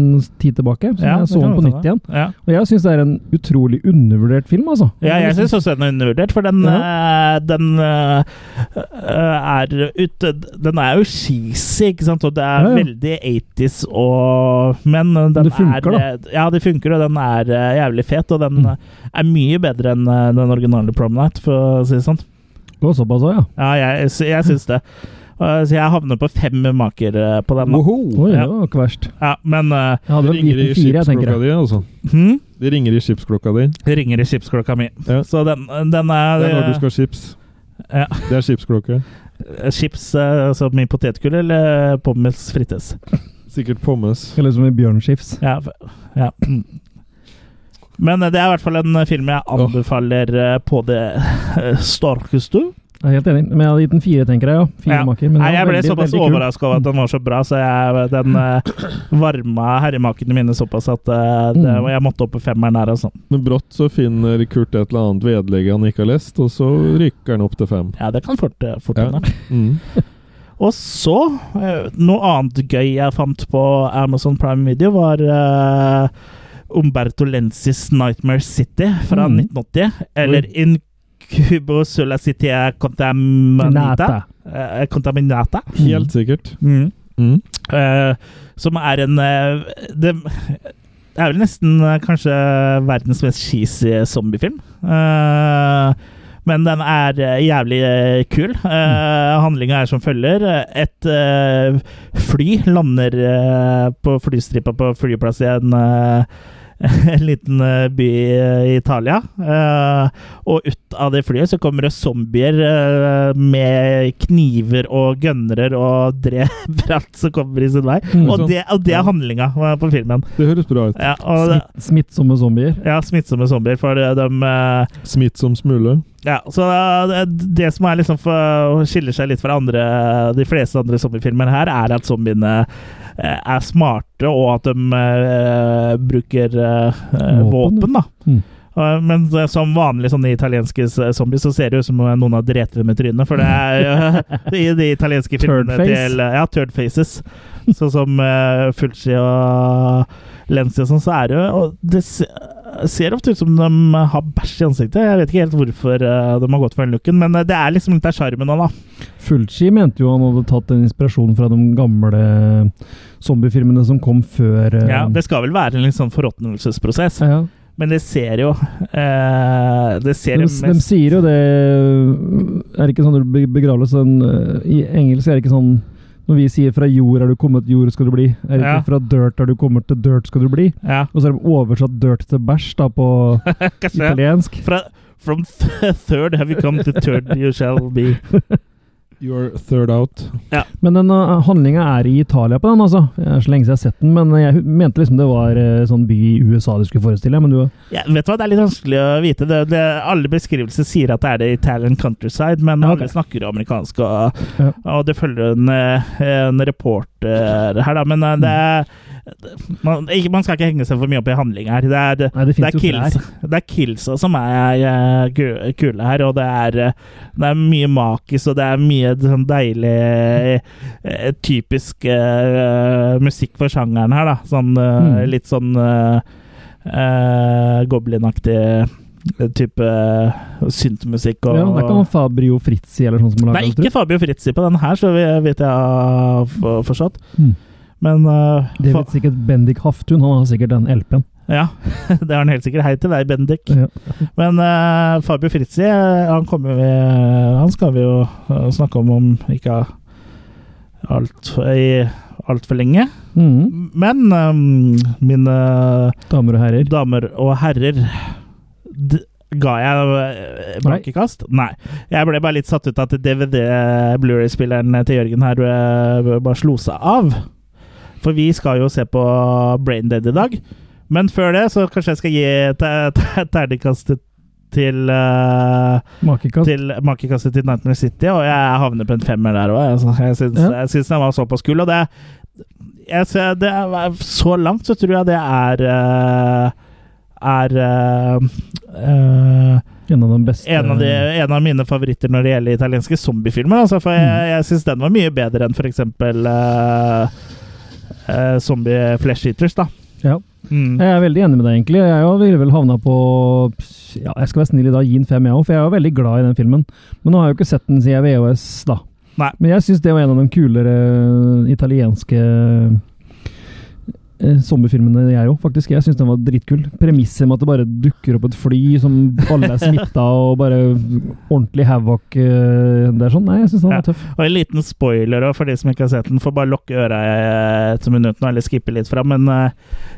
Speaker 2: tid tilbake. Så
Speaker 1: Ja, det
Speaker 2: jeg så
Speaker 1: kan
Speaker 2: den på
Speaker 1: godt
Speaker 2: nytt
Speaker 1: hende.
Speaker 2: igjen.
Speaker 1: Ja.
Speaker 2: Og jeg syns det er en utrolig undervurdert film, altså.
Speaker 1: Ja, jeg syns også den er undervurdert, for den, eh, den eh, er ut, Den er jo cheesy, ikke sant, og det er
Speaker 2: Ja, ja.
Speaker 1: veldig 80s og Men den
Speaker 2: Det funker,
Speaker 1: er da. Ja, det funker, og den er eh, jævlig fet, og den
Speaker 2: Mm.
Speaker 1: eh, er mye bedre enn eh, den originale Prom Night, for å si det sånn.
Speaker 2: Det var såpass også, ja.
Speaker 1: Ja, jeg, sy- jeg syns det. Eh, Så jeg havner på fem maker eh, på den.
Speaker 3: Oh.
Speaker 1: da.
Speaker 2: Oi,
Speaker 1: Ja.
Speaker 2: det var ikke verst.
Speaker 1: Ja, men eh,
Speaker 2: Jeg hadde
Speaker 3: Det
Speaker 2: vel
Speaker 3: ringer i
Speaker 2: liten fire, jeg tenker.
Speaker 3: skipsklokka di, altså.
Speaker 1: hm?
Speaker 3: Det ringer i skipsklokka di.
Speaker 1: Det ringer i skipsklokka mi.
Speaker 3: Ja.
Speaker 1: Så den, den er,
Speaker 3: Det er når du skal ha chips.
Speaker 1: Ja.
Speaker 3: Det er skipsklokke.
Speaker 1: eh, chips eh, som i potetgull eller pommes frites.
Speaker 3: Sikkert pommes.
Speaker 2: Eller som i Bjørnskifs.
Speaker 1: Ja, f- ja. Mm. Men eh, det er i hvert fall en eh, film jeg anbefaler eh, på det eh, sterkeste.
Speaker 2: Jeg er helt enig. Men jeg hadde gitt den fire, tenker jeg. ja. Fire
Speaker 1: Ja.
Speaker 2: maker. Men
Speaker 1: Nei,
Speaker 2: den
Speaker 1: jeg
Speaker 2: var
Speaker 1: ble
Speaker 2: veldig,
Speaker 1: såpass
Speaker 2: veldig kul.
Speaker 1: overraska over at den var så bra, så jeg, den eh, varma herremakene mine såpass at eh, det,
Speaker 2: Mm.
Speaker 1: jeg måtte opp på femmeren her. Altså.
Speaker 3: Men brått så finner Kurt et eller annet vedlegg han ikke har lest, og så rykker han opp til fem.
Speaker 1: Ja, det kan eh, fort, fort
Speaker 3: Ja.
Speaker 1: hende.
Speaker 3: Mm.
Speaker 1: Og så eh, Noe annet gøy jeg fant på Amazon Prime Video, var eh, Umberto Lenzis 'Nightmare City' fra
Speaker 2: Mm.
Speaker 1: 1980. Eller
Speaker 2: Oi.
Speaker 1: 'In Cubo sulla citia contaminata'.
Speaker 2: Nata.
Speaker 1: Eh, contaminata.
Speaker 3: Helt sikkert.
Speaker 1: Mm.
Speaker 3: Mm.
Speaker 1: Eh, som er en eh, Det er vel nesten eh, kanskje verdens mest cheesy zombiefilm. Eh, men den er eh, jævlig eh, kul. Uh, Handlinga er som følger. Et eh, fly lander eh, på flystripa på flyplass i en eh, en liten eh, by eh, i Italia. Eh, og ut av det flyet så kommer det zombier eh, med kniver og gønnere og dreper alt som kommer i sin vei.
Speaker 2: Mm.
Speaker 3: Sånn.
Speaker 1: Og det, og det er handlinga eh, på filmen.
Speaker 3: Det høres bra ut.
Speaker 1: Ja, og,
Speaker 2: Smitt, smittsomme zombier.
Speaker 1: ja, smittsomme zombier, for eh, de eh,
Speaker 3: Smittsom smule.
Speaker 1: ja, så det, det som er liksom for, skiller seg litt fra andre, de fleste andre zombiefilmer her, er at zombiene eh, er smarte, og at de eh, bruker eh, eh,
Speaker 2: Våpen,
Speaker 1: våpen. da.
Speaker 2: Mm.
Speaker 1: Eh, Men eh, som vanlig sånne italienske s- zombier så ser det ut som om noen har drept dem i trynet. For det er jo i de italienske filmene
Speaker 2: Turdface.
Speaker 1: til eh, Ja, turd faces. Sånn som uh, Fulci og Lenzi og sånn, så er det jo og Det se- ser ofte ut som de har bæsj i ansiktet. Jeg vet ikke helt hvorfor eh, de har gått for den looken, men eh, det er liksom litt av sjarmen nå, da.
Speaker 2: Fulci mente jo han hadde tatt den inspirasjonen fra de gamle eh, zombiefilmene som kom før eh,
Speaker 1: Ja, det skal vel være en litt sånn forråtnelsesprosess,
Speaker 2: ja.
Speaker 1: men det ser jo eh, Det ser
Speaker 2: De,
Speaker 1: jo
Speaker 2: de
Speaker 1: mest
Speaker 2: sier jo det Er det ikke sånn når du be- begraves sånn, eh, I engelsk er det ikke sånn Når vi sier 'fra jord er du kommet, jord skal du bli'. Er det ikke
Speaker 1: Ja.
Speaker 2: 'fra dirt er du kommet, til dirt skal du bli'?
Speaker 1: ja,
Speaker 2: Og så er det oversatt 'dirt' til bæsj da på
Speaker 1: kanskje.
Speaker 2: italiensk.
Speaker 1: Fra, from th third have you come to third you shall be.
Speaker 3: You're third out.
Speaker 2: Men den handlinga er i Italia på den, altså. Det er så lenge siden jeg har sett den, men jeg hu- mente liksom det var eh, sånn by i USA du skulle forestille. Men du
Speaker 1: Ja, vet du hva, Det er litt vanskelig å vite. Det, det, alle beskrivelser sier at det er det Italian countryside, men
Speaker 2: Ja, ok.
Speaker 1: alle snakker jo amerikansk, og,
Speaker 2: Ja.
Speaker 1: og det følger en, eh, en reporter her, da. Men eh, det er- man, ikke, man skal ikke henge seg for mye opp i handling her. Det er,
Speaker 2: Nei,
Speaker 1: det
Speaker 2: det fins
Speaker 1: er,
Speaker 2: jo
Speaker 1: kills,
Speaker 2: klær.
Speaker 1: det er killsa som er eh, gu- kule her, og det er, eh, det er mye makis, og det er mye sånn deilig eh, typisk eh, musikk for sjangeren her, da. Sånn eh,
Speaker 2: Mm.
Speaker 1: litt sånn eh, eh, goblinaktig eh, type syntmusikk og
Speaker 2: Ja, det er ikke han Fabrio Fritzi eller sånn som har
Speaker 1: Nei,
Speaker 2: laget den,
Speaker 1: ikke Fabio Fritzi på den her, så vi- vet jeg har f- forstått.
Speaker 2: Mm.
Speaker 1: Men eh,
Speaker 2: tror jeg. Det
Speaker 1: fa
Speaker 2: vet sikkert Bendik Haftun, han har sikkert den LP-en.
Speaker 1: ja, det har han helt sikkert. Hei til deg, Bendik.
Speaker 2: Ja.
Speaker 1: Men eh, Fabio Fritzi, eh, han kommer vi Han skal vi jo eh, snakke om om ikke altfor alt for lenge.
Speaker 2: Mhm.
Speaker 1: Men eh, mine
Speaker 2: Damer og herrer.
Speaker 1: damer og herrer d Ga jeg eh, bankekast? Nei. Jeg ble bare litt satt ut at DVD-Blueray-spilleren til Jørgen her eh, bare slo seg av. For vi skal jo se på Braindead i dag. Men før det så kanskje jeg skal gi te- te- terningkastet til eh,
Speaker 2: Makekast.
Speaker 1: til makekastet til Nightmare City, og jeg havner på en femmer der òg. Altså. Jeg syns
Speaker 2: Ja.
Speaker 1: jeg syns den var såpass kul. Og det, jeg, ser- det er, Så langt så tror jeg det er eh, er eh, eh,
Speaker 2: En av de beste
Speaker 1: en, av de,
Speaker 2: Eh.
Speaker 1: en av mine favoritter når det gjelder italienske zombiefilmer. Altså, for jeg,
Speaker 2: Mm.
Speaker 1: jeg syns den var mye bedre enn f.eks. Uh, zombie Flesh Eaters. Da.
Speaker 2: Ja.
Speaker 1: Mm.
Speaker 2: Jeg er veldig enig med deg, egentlig. Jeg jo ville vel havna på ja, Jeg skal være snill i dag, gi den fem, jeg òg, for jeg er jo veldig glad i den filmen. Men nå har jeg jo ikke sett den siden VHS, da.
Speaker 1: Nei.
Speaker 2: Men jeg syns det var en av de kulere italienske eh, zombiefilmene, jeg òg, faktisk. Jeg syns den var dritkul. Premisset med at det bare dukker opp et fly som alle er smitta, og bare ordentlig havoc eh, det er sånn. Nei, jeg syns den
Speaker 1: Ja.
Speaker 2: var tøff.
Speaker 1: Og en liten spoiler også, for de som ikke har sett den. Får bare lukke øra eh, etter minuttene, eller skippe litt fram. Men eh,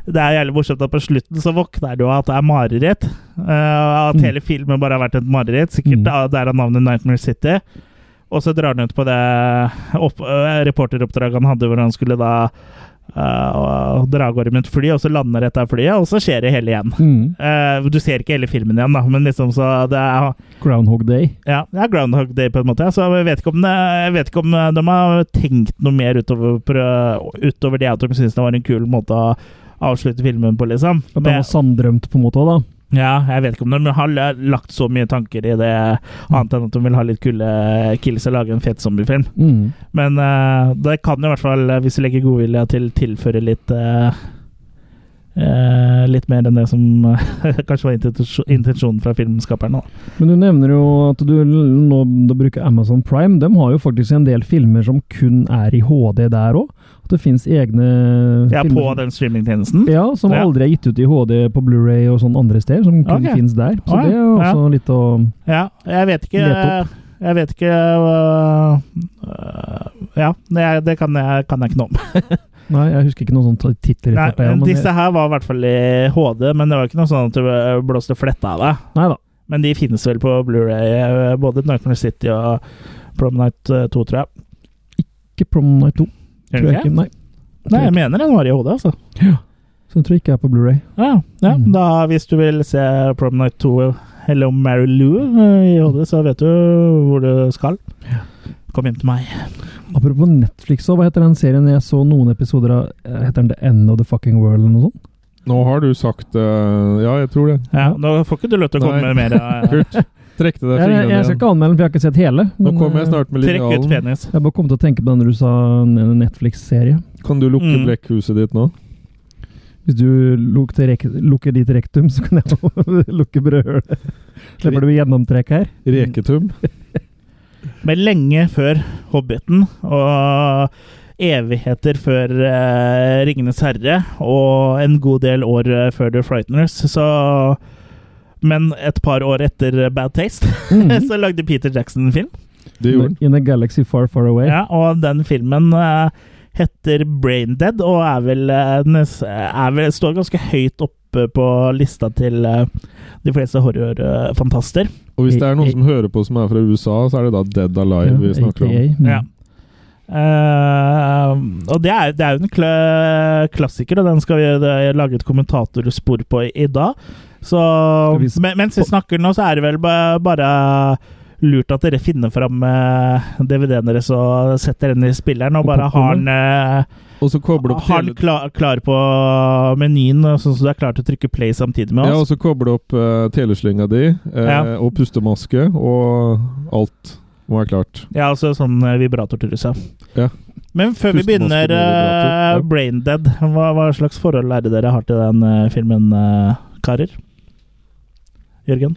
Speaker 1: det er jævlig morsomt at på slutten så våkner du av at det er mareritt. eh, og at
Speaker 2: Mm.
Speaker 1: hele filmen bare har vært et mareritt. Sikkert
Speaker 2: Mm.
Speaker 1: av- derav navnet Nightmare City. Og så drar han ut på det opp, eh, reporteroppdraget han hadde, hvor han skulle da eh, dra av gårde med et fly, og så lander dette flyet, og så skjer det hele igjen.
Speaker 2: Mm.
Speaker 1: Eh, du ser ikke hele filmen igjen, da, men liksom så det er
Speaker 2: Groundhog Day.
Speaker 1: ja, det er Groundhog Day på en måte. ja. Så jeg vet ikke om, det, jeg vet ikke om eh, de har tenkt noe mer utover, prø- utover det at de synes det var en kul måte å avslutte filmen på, liksom.
Speaker 2: At den var
Speaker 1: Det,
Speaker 2: sanndrømt, på en måte òg, da.
Speaker 1: Ja, jeg vet ikke om de har la- lagt så mye tanker i det, annet enn at de vil ha litt kule kills og lage en fet zombiefilm.
Speaker 2: Mm.
Speaker 1: Men eh, det kan jo i hvert fall, eh, hvis du legger godvilje til, tilføre litt eh, eh, Litt mer enn det som eh, kanskje var intensjon- intensjonen fra filmskaperne. da.
Speaker 2: Men du nevner jo at du l- nå da bruker Amazon Prime. De har jo faktisk en del filmer som kun er i HD der òg. At det fins egne
Speaker 1: Ja,
Speaker 2: filmer
Speaker 1: på
Speaker 2: som-
Speaker 1: den streamingtjenesten.
Speaker 2: Ja, som
Speaker 1: Ja.
Speaker 2: aldri er gitt ut i HD på Blu-ray og sånn andre steder. Som kun
Speaker 1: Ok.
Speaker 2: finnes der. Så
Speaker 1: Ah, ja.
Speaker 2: det er jo
Speaker 1: Ja.
Speaker 2: også litt å
Speaker 1: Ja, jeg vet ikke
Speaker 2: Lete
Speaker 1: Jeg vet ikke øh, øh, Ja, det, det kan, jeg, kan jeg ikke noe om.
Speaker 2: Nei, jeg husker ikke noen sånne titler i
Speaker 1: Nei,
Speaker 2: farta. ja, men
Speaker 1: disse
Speaker 2: jeg-
Speaker 1: her var i hvert fall i HD, men det var ikke noe sånn at du blåste fletta av deg.
Speaker 2: Nei da.
Speaker 1: Men de finnes vel på Blu-ray, øh, både Nightmare City og Promenite øh, 2, tror jeg.
Speaker 2: Ikke Prom Night 2.
Speaker 1: Gjør
Speaker 2: Tror
Speaker 1: det
Speaker 2: jeg ikke. Nei.
Speaker 1: Nei, jeg mener den var i HD, altså.
Speaker 2: Så jeg tror ikke jeg er på Blu-ray.
Speaker 1: Ja, ja.
Speaker 2: Mm.
Speaker 1: Da, hvis du vil se Promenite 2 eller om Mary Lou øh, i HD, så vet du hvor du skal. Kom hjem til meg.
Speaker 2: Apropos Netflix, og hva heter den serien jeg så noen episoder av? eh, Heter den The End of the Fucking World eller noe sånt?
Speaker 3: Nå har du sagt eh, Ja, jeg tror det.
Speaker 1: Ja, nå får ikke du lov til å komme
Speaker 3: Nei.
Speaker 1: med mer. øh,
Speaker 3: Kurt, trekk til deg
Speaker 2: Jeg, jeg, skal
Speaker 3: fingrene igjen.
Speaker 2: ikke anmelde den, for jeg har ikke sett hele.
Speaker 3: Nå
Speaker 2: men,
Speaker 3: kommer jeg
Speaker 2: eh,
Speaker 3: snart med
Speaker 1: Trekk ut
Speaker 3: linjalen.
Speaker 1: penis.
Speaker 2: Jeg bare kom til å tenke på den du sa, en Netflix-serie.
Speaker 3: Kan du lukke
Speaker 1: Mm.
Speaker 3: blekkhuset ditt nå?
Speaker 2: Hvis du lukter, rek- lukker ditt rektum, så kan jeg jo lukke brødhølet. Slipper du gjennomtrekk her?
Speaker 3: Reketum?
Speaker 1: Men lenge før Hobbiten og evigheter før eh, Ringenes herre og en god del år eh, før The Frighteners, så Men et par år etter Bad Taste,
Speaker 2: Mhm.
Speaker 1: så lagde Peter Jackson en film.
Speaker 3: Det gjorde han.
Speaker 2: Mm. In a galaxy far, far away.
Speaker 1: Ja, og den filmen eh, heter Braindead og er vel, eh, den s- er vel Står ganske høyt oppe på lista til eh, de fleste horrorfantaster.
Speaker 3: Og hvis det er
Speaker 2: I-
Speaker 3: noen
Speaker 2: i-
Speaker 3: som hører på som er fra USA, så er det da Dead Alive
Speaker 2: Ja,
Speaker 3: vi snakker om.
Speaker 2: AKA. Mm.
Speaker 1: Ja. Eh, og det er, det er jo en kla- klassiker, og den skal vi det er lage et kommentatorspor på i, i dag. Så
Speaker 2: Skal vi sp-
Speaker 1: men, mens vi snakker nå, så er det vel ba, bare lurt at dere finner fram eh, DVD-en deres og setter den i spilleren, og
Speaker 2: Og
Speaker 1: bare har
Speaker 2: popcornen.
Speaker 1: den, eh,
Speaker 3: Og så koble opp
Speaker 1: har den
Speaker 3: tele-
Speaker 1: klar, klar på menyen, sånn at du er klar til å trykke play samtidig med
Speaker 3: Ja, og
Speaker 1: oss.
Speaker 3: så koble opp eh, teleslynga di, eh,
Speaker 1: Ja.
Speaker 3: og pustemaske, og alt må være klart.
Speaker 1: Ja, altså sånn eh, vibrator til rusa.
Speaker 3: Ja.
Speaker 1: Men før vi
Speaker 3: Pustemaske
Speaker 1: begynner,
Speaker 3: med vibrator, ja.
Speaker 1: eh, Braindead, hva, hva slags forhold er det dere har til den eh, filmen, eh, karer? Jørgen?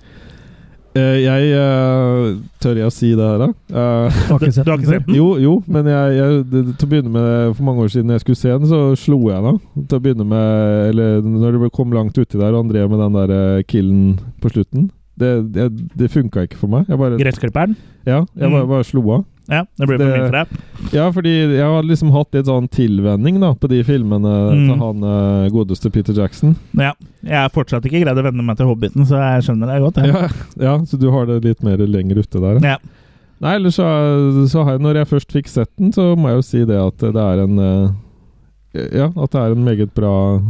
Speaker 3: Eh, jeg eh, Tør jeg å si det her, da? Eh,
Speaker 2: Du har ikke sett
Speaker 1: Du har ikke
Speaker 2: den?
Speaker 1: sett den?
Speaker 3: jo, jo, men jeg, jeg det, Til å begynne med, for mange år siden jeg skulle se den, så slo jeg den. av. Til å begynne med Eller når det kom langt uti der, og han drev med den der eh, killen på slutten. Det, det, det funka ikke for meg. Jeg bare,
Speaker 1: Gressklipperen?
Speaker 3: ja, jeg bare,
Speaker 1: Mm.
Speaker 3: bare slo av.
Speaker 1: Ja, det blir for
Speaker 3: Det-
Speaker 1: mye for deg.
Speaker 3: Ja, fordi jeg har liksom hatt litt sånn tilvenning da, på de filmene
Speaker 1: Mm.
Speaker 3: til han eh, godeste Peter Jackson.
Speaker 1: Ja, jeg har fortsatt ikke greid å venne meg til Hobbiten, så jeg skjønner deg godt. jeg.
Speaker 3: Ja, ja, så du har det litt mer lenger ute der.
Speaker 1: Ja.
Speaker 3: Nei, ellers så, så har jeg, når jeg først fikk sett den, så må jeg jo si det at det er en eh, Ja, at det er en meget bra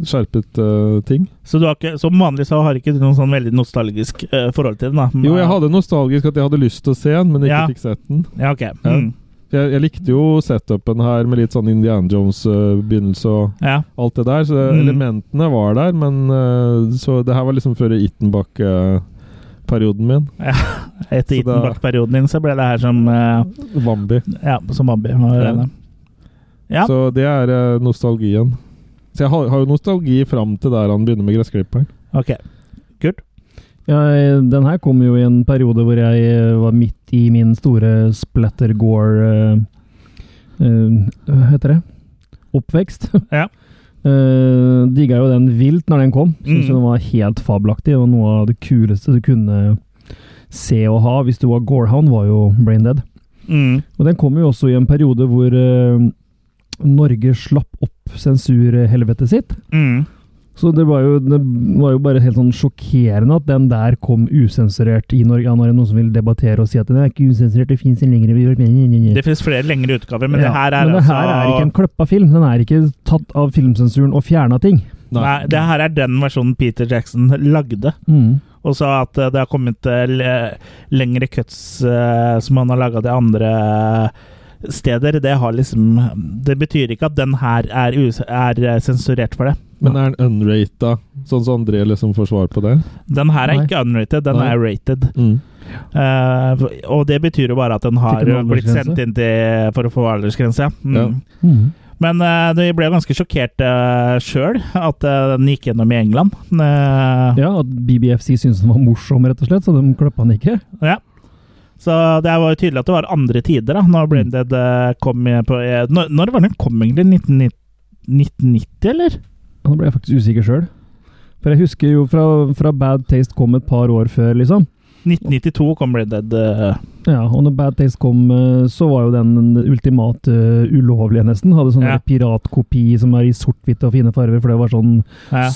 Speaker 3: skjerpet eh, ting.
Speaker 1: Så du har ikke, som vanlig så har ikke du noen sånn veldig nostalgisk eh, forhold til den, da?
Speaker 3: Jo, jeg hadde nostalgisk at jeg hadde lyst til å se den, men ikke
Speaker 1: Ja.
Speaker 3: fikk sett den.
Speaker 1: Ja, ok. Mm.
Speaker 3: Jeg, jeg likte jo setupen her med litt sånn Indiana Jones-begynnelse og
Speaker 1: Ja.
Speaker 3: alt det der. Så
Speaker 1: Mm.
Speaker 3: elementene var der, men eh, Så det her var liksom før Ittenbakk-perioden min.
Speaker 1: Etter
Speaker 3: Så da-
Speaker 1: Itenbakk-perioden din så ble det her som eh,
Speaker 3: Bambi.
Speaker 1: Ja, som Bambi. må jeg
Speaker 3: Ja.
Speaker 1: regne. Ja.
Speaker 3: Så det er eh, nostalgien. Så jeg har, har jo nostalgi fram til der han begynner med gressklipperen.
Speaker 1: Ok.
Speaker 2: Ja, eh, den her kom jo i en periode hvor jeg eh, var midt i min store splatter-gore eh, eh, Hva heter det? Oppvekst.
Speaker 1: Ja.
Speaker 2: Eh, Digga jo den vilt når den kom. Syns jo
Speaker 1: Mm.
Speaker 2: den var helt fabelaktig, og noe av det kuleste du kunne se og ha hvis du var gorehound, var jo Brain Dead.
Speaker 1: Mm.
Speaker 2: Og den kom jo også i en periode hvor eh, Norge slapp opp sensurhelvetet sitt.
Speaker 1: Mm.
Speaker 2: Så det var, jo, det var jo bare helt sånn sjokkerende at den der kom usensurert i Norge. Ja, nå er det noen som vil debattere og si at den er ikke usensurert, det fins en lengre video.
Speaker 1: Det fins flere lengre utgaver, men
Speaker 2: Mm. Ja,
Speaker 1: det her er
Speaker 2: men det
Speaker 1: altså
Speaker 2: her er ikke en kløppa film. Den er ikke tatt av filmsensuren og fjerna ting.
Speaker 1: Nei, det her er den versjonen Peter Jackson lagde.
Speaker 2: Mm.
Speaker 1: Og så at eh, det har kommet eh, le- lengre cuts eh, som han har laga til andre steder, det har liksom Det betyr ikke at den her er, us- er eh, sensurert for det.
Speaker 3: Men er den unrata, sånn som André liksom får svar på det?
Speaker 1: Den her er
Speaker 2: Nei.
Speaker 1: ikke unrated, den
Speaker 3: Nei.
Speaker 1: er rated.
Speaker 3: Mm.
Speaker 1: Eh, og det betyr jo bare at den har
Speaker 2: Fikk en
Speaker 1: blitt sendt
Speaker 2: aldersgrense?
Speaker 1: inn til, for å få aldersgrense. Mm.
Speaker 3: Ja.
Speaker 2: Mhm.
Speaker 1: Men eh, de ble ganske sjokkert uh, sjøl at eh, den gikk gjennom i England. Eh,
Speaker 2: Ja, at BBFC syntes den var morsom, rett og slett, så de kløppa den ikke.
Speaker 1: ja. Så det var jo tydelig at det var andre tider da når
Speaker 2: Mm.
Speaker 1: Blended eh, kom i- på eh, Når, når var den kom egentlig? 1990, 1990 eller?
Speaker 2: Ja, Nå ble jeg faktisk usikker sjøl. For jeg husker jo fra, fra Bad Taste kom et par år før, liksom.
Speaker 1: 1992 kom Blended. eh,
Speaker 2: Ja, Og når Bad Taste kom, eh, så var jo den den ultimat eh, ulovlige, nesten. Hadde sånn
Speaker 1: Ja.
Speaker 2: der piratkopi som er i sort-hvitt og fine farger, for det var sånn
Speaker 1: ja,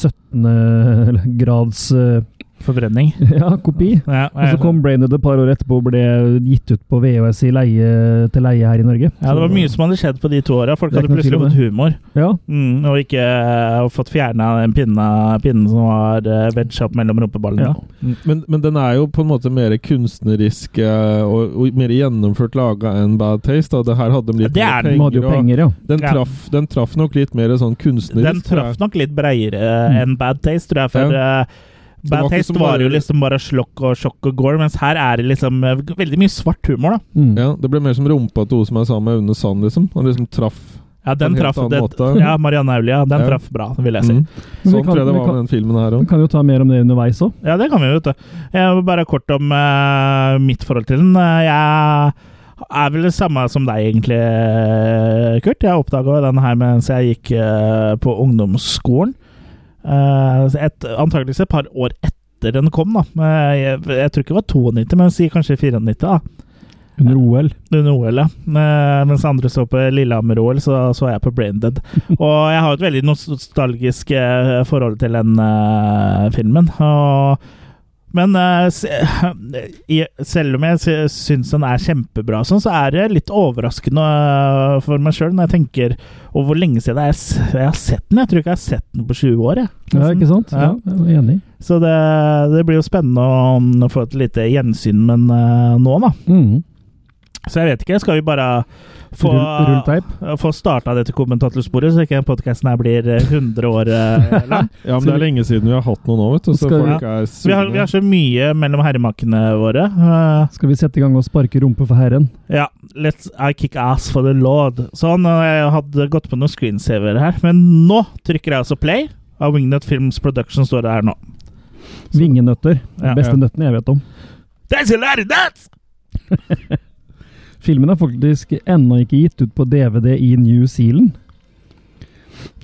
Speaker 2: 17. grads eh,
Speaker 1: forbrenning.
Speaker 2: ja, kopi.
Speaker 1: Ja,
Speaker 2: Og så kom Brained et par år etterpå og ble gitt ut på VHS i leie, til leie her i Norge.
Speaker 1: ja, det var mye som hadde skjedd på de to åra. Folk
Speaker 2: Det
Speaker 1: hadde
Speaker 2: er ikke noe
Speaker 1: plutselig
Speaker 2: tvil om
Speaker 1: fått humor.
Speaker 2: Ja,
Speaker 1: Mm, og ikke eh, og fått fjerna den pinna, pinnen som var uh, wedga opp mellom rumpeballene.
Speaker 2: Ja.
Speaker 3: Men, men den er jo på en måte mer kunstnerisk eh, og, og mer gjennomført laga enn Bad Taste. Da. Det her hadde de litt
Speaker 1: Det er
Speaker 3: mer
Speaker 1: den,
Speaker 2: de hadde jo
Speaker 3: og-
Speaker 2: penger, ja.
Speaker 3: Den,
Speaker 1: Ja.
Speaker 3: traff, den traff nok litt mer sånn kunstnerisk.
Speaker 1: Den traff nok litt breiere eh, enn Bad Taste, tror jeg. For eh,
Speaker 3: det
Speaker 1: Bad
Speaker 3: var ikke
Speaker 1: Taste
Speaker 3: Mm. så
Speaker 1: var
Speaker 3: bare-
Speaker 1: jo liksom bare slokk og sjokk og gore, mens her er det liksom eh, veldig mye svart humor, da.
Speaker 2: Mm.
Speaker 3: Ja, Det ble mer som rumpa til hun som er sammen med Aune Sand, liksom. Han liksom traff.
Speaker 1: Ja, den
Speaker 3: På en helt
Speaker 1: traff
Speaker 3: annen
Speaker 1: det,
Speaker 3: måte.
Speaker 1: Ja, Marianne Aulia. Den
Speaker 3: Ja.
Speaker 1: traff bra, vil jeg si.
Speaker 3: Mm.
Speaker 2: Men vi
Speaker 3: Sånn
Speaker 2: kan-
Speaker 3: tror jeg det
Speaker 2: vi
Speaker 3: var
Speaker 2: kan-
Speaker 3: med den filmen her
Speaker 2: Vi
Speaker 3: òg.
Speaker 2: kan jo ta mer om det underveis òg.
Speaker 1: Ja, det kan vi jo, vet du. Jeg vil bare kort om eh, mitt forhold til den. Eh, Jeg er vel det samme som deg, egentlig, eh, Kurt. Jeg oppdaga den her mens jeg gikk eh, på ungdomsskolen. Eh, et, antakeligvis et par år etter den kom, da. Eh, Jeg, jeg tror ikke det var 92, men si kanskje 94, da.
Speaker 2: Under OL.
Speaker 1: Under OL, ja. Eh, Mens andre så på Lillehammer-OL, så så jeg på Braindead. Og jeg har et veldig nostalgisk eh, forhold til den eh, filmen. Og, men eh, se, i, selv om jeg sy- syns den er kjempebra, og sånn, så er det litt overraskende eh, for meg sjøl når jeg tenker over hvor lenge siden det er s- jeg har sett den. Jeg tror ikke jeg har sett den på 20 år. Jeg.
Speaker 2: Ja, ikke sant?
Speaker 1: Ja.
Speaker 2: Ja, jeg er enig.
Speaker 1: Så det, det blir jo spennende å, å få et lite gjensyn med den eh, nå, da.
Speaker 2: Mm.
Speaker 1: Så jeg vet ikke. Skal vi bare få,
Speaker 2: Rull- Rullteip.
Speaker 1: få starta dette kommentatorsporet, så ikke podkasten her blir eh, 100 år eh, lang?
Speaker 3: Ja, men det er lenge siden vi har hatt noen nå, vet du. Så
Speaker 2: Skal vi-
Speaker 3: folk er
Speaker 1: Vi har, vi
Speaker 3: sure.
Speaker 1: har så mye mellom herremakene våre. Eh,
Speaker 2: Skal vi sette i gang og sparke rumpe for herren?
Speaker 1: ja. Let's I kick ass for the lord. Sånn. og Jeg hadde gått på noen screensaver her, men nå trykker jeg altså play. Av Wingnut Films Production står det her nå.
Speaker 2: Vingenøtter.
Speaker 1: Ja,
Speaker 2: Den beste
Speaker 3: ja.
Speaker 2: nøtten jeg vet om.
Speaker 1: That's a lot of nuts!
Speaker 2: Filmen er faktisk ennå ikke gitt ut på DVD i New Zealand.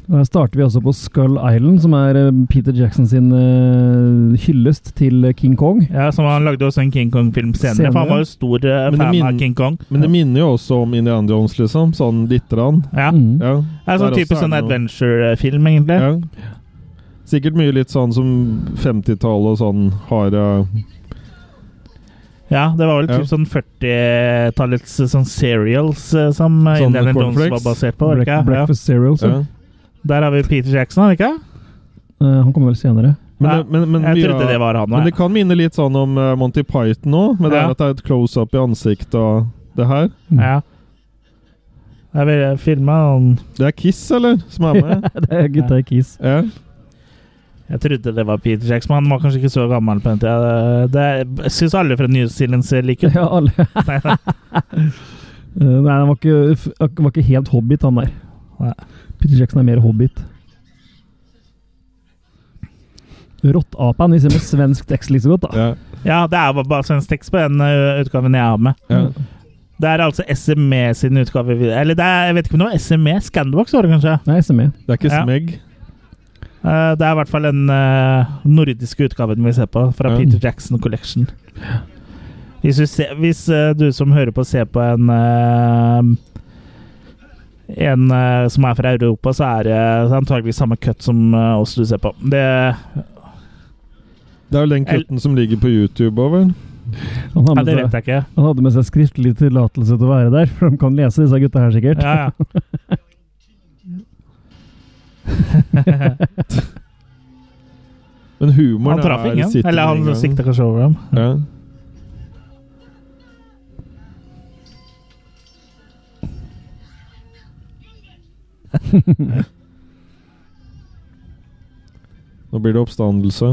Speaker 2: Og Her starter vi også på Skull Island, som er eh, Peter Jackson sin eh, hyllest til eh, King Kong.
Speaker 1: Ja, som Han lagde også en King Kong-film senere,
Speaker 2: Senere.
Speaker 1: for han var jo stor eh,
Speaker 3: Men det
Speaker 1: fan
Speaker 3: min-
Speaker 1: av King Kong.
Speaker 3: Men det minner jo også om Indian Jones, liksom. Sånn lite grann.
Speaker 1: Ja,
Speaker 2: Mm.
Speaker 3: Ja.
Speaker 1: det er sånn
Speaker 3: Der også
Speaker 1: typisk sånn
Speaker 3: det noe-
Speaker 1: adventure-film, egentlig.
Speaker 3: Ja. Sikkert mye litt sånn som 50-tallet og sånn har eh,
Speaker 1: Ja, det var vel
Speaker 3: Ja.
Speaker 1: typ sånn 40-tallets eh, sånn serials eh, som eh,
Speaker 3: Sånn
Speaker 1: Indiana Jones
Speaker 3: cornflakes.
Speaker 1: var basert på. var det
Speaker 2: Break,
Speaker 1: Ikke? Ja.
Speaker 2: breakfast Cereal. så.
Speaker 3: ja.
Speaker 1: Der har vi Peter Jackson, har vi ikke?
Speaker 2: Eh, han kommer vel senere.
Speaker 3: Men,
Speaker 1: Ja,
Speaker 3: det- men, men,
Speaker 1: Jeg
Speaker 3: mye
Speaker 1: trodde
Speaker 3: av-
Speaker 1: det var han
Speaker 3: men
Speaker 1: òg.
Speaker 3: det kan minne litt sånn om eh, Monty Python òg, med det
Speaker 1: Ja.
Speaker 3: er at det er et close-up i ansiktet og det her.
Speaker 2: Mm.
Speaker 1: Ja. Jeg vil eh, filme han
Speaker 3: Det er Kiss, eller? Som er med?
Speaker 2: det er gutta i Kiss.
Speaker 3: ja.
Speaker 1: Jeg trodde det var Peter Jackson, men han var kanskje ikke så gammel på den tida. Det det syns alle fra New Zealand ser like ut.
Speaker 2: Ja, alle.
Speaker 1: Nei, nei.
Speaker 2: Eh, nei, han var ikke, f- var ikke helt hobbit, han der.
Speaker 1: Nei.
Speaker 2: Peter Jackson er mer hobbit. Rottapen, vi ser med svensk tekst like så godt, da.
Speaker 3: Ja.
Speaker 1: Ja, det er jo bare svensk tekst på den eh, utgaven jeg har med.
Speaker 3: Ja.
Speaker 1: Det er altså SME sin utgave. Eller det er, jeg vet ikke om det var SME. Scandox var det kanskje?
Speaker 2: Nei, SME.
Speaker 3: Det er ikke
Speaker 1: Ja.
Speaker 3: smegg.
Speaker 1: Eh, det er i hvert fall den eh, nordiske utgaven vi ser på, fra
Speaker 3: Ja.
Speaker 1: Peter Jackson Collection. Hvis, du, ser, hvis eh, du som hører på, ser på en eh, En eh, som er fra Europa, så er det antageligvis samme cut som eh, oss du ser på. Det,
Speaker 3: Det er vel den
Speaker 1: El-
Speaker 3: kutten som ligger på YouTube òg, vel?
Speaker 2: Han, har
Speaker 1: ja,
Speaker 2: med
Speaker 1: det
Speaker 2: seg-
Speaker 1: vet jeg ikke.
Speaker 2: han hadde med seg skriftlig tillatelse til å være der, for de kan lese disse gutta her, sikkert.
Speaker 1: Ja, ja.
Speaker 3: Men humoren
Speaker 1: Han traff
Speaker 3: er
Speaker 1: ingen.
Speaker 3: sitter
Speaker 1: Eller
Speaker 3: i
Speaker 1: han
Speaker 3: gangen.
Speaker 1: sikta kanskje over ham.
Speaker 3: Ja. Nå blir det oppstandelse.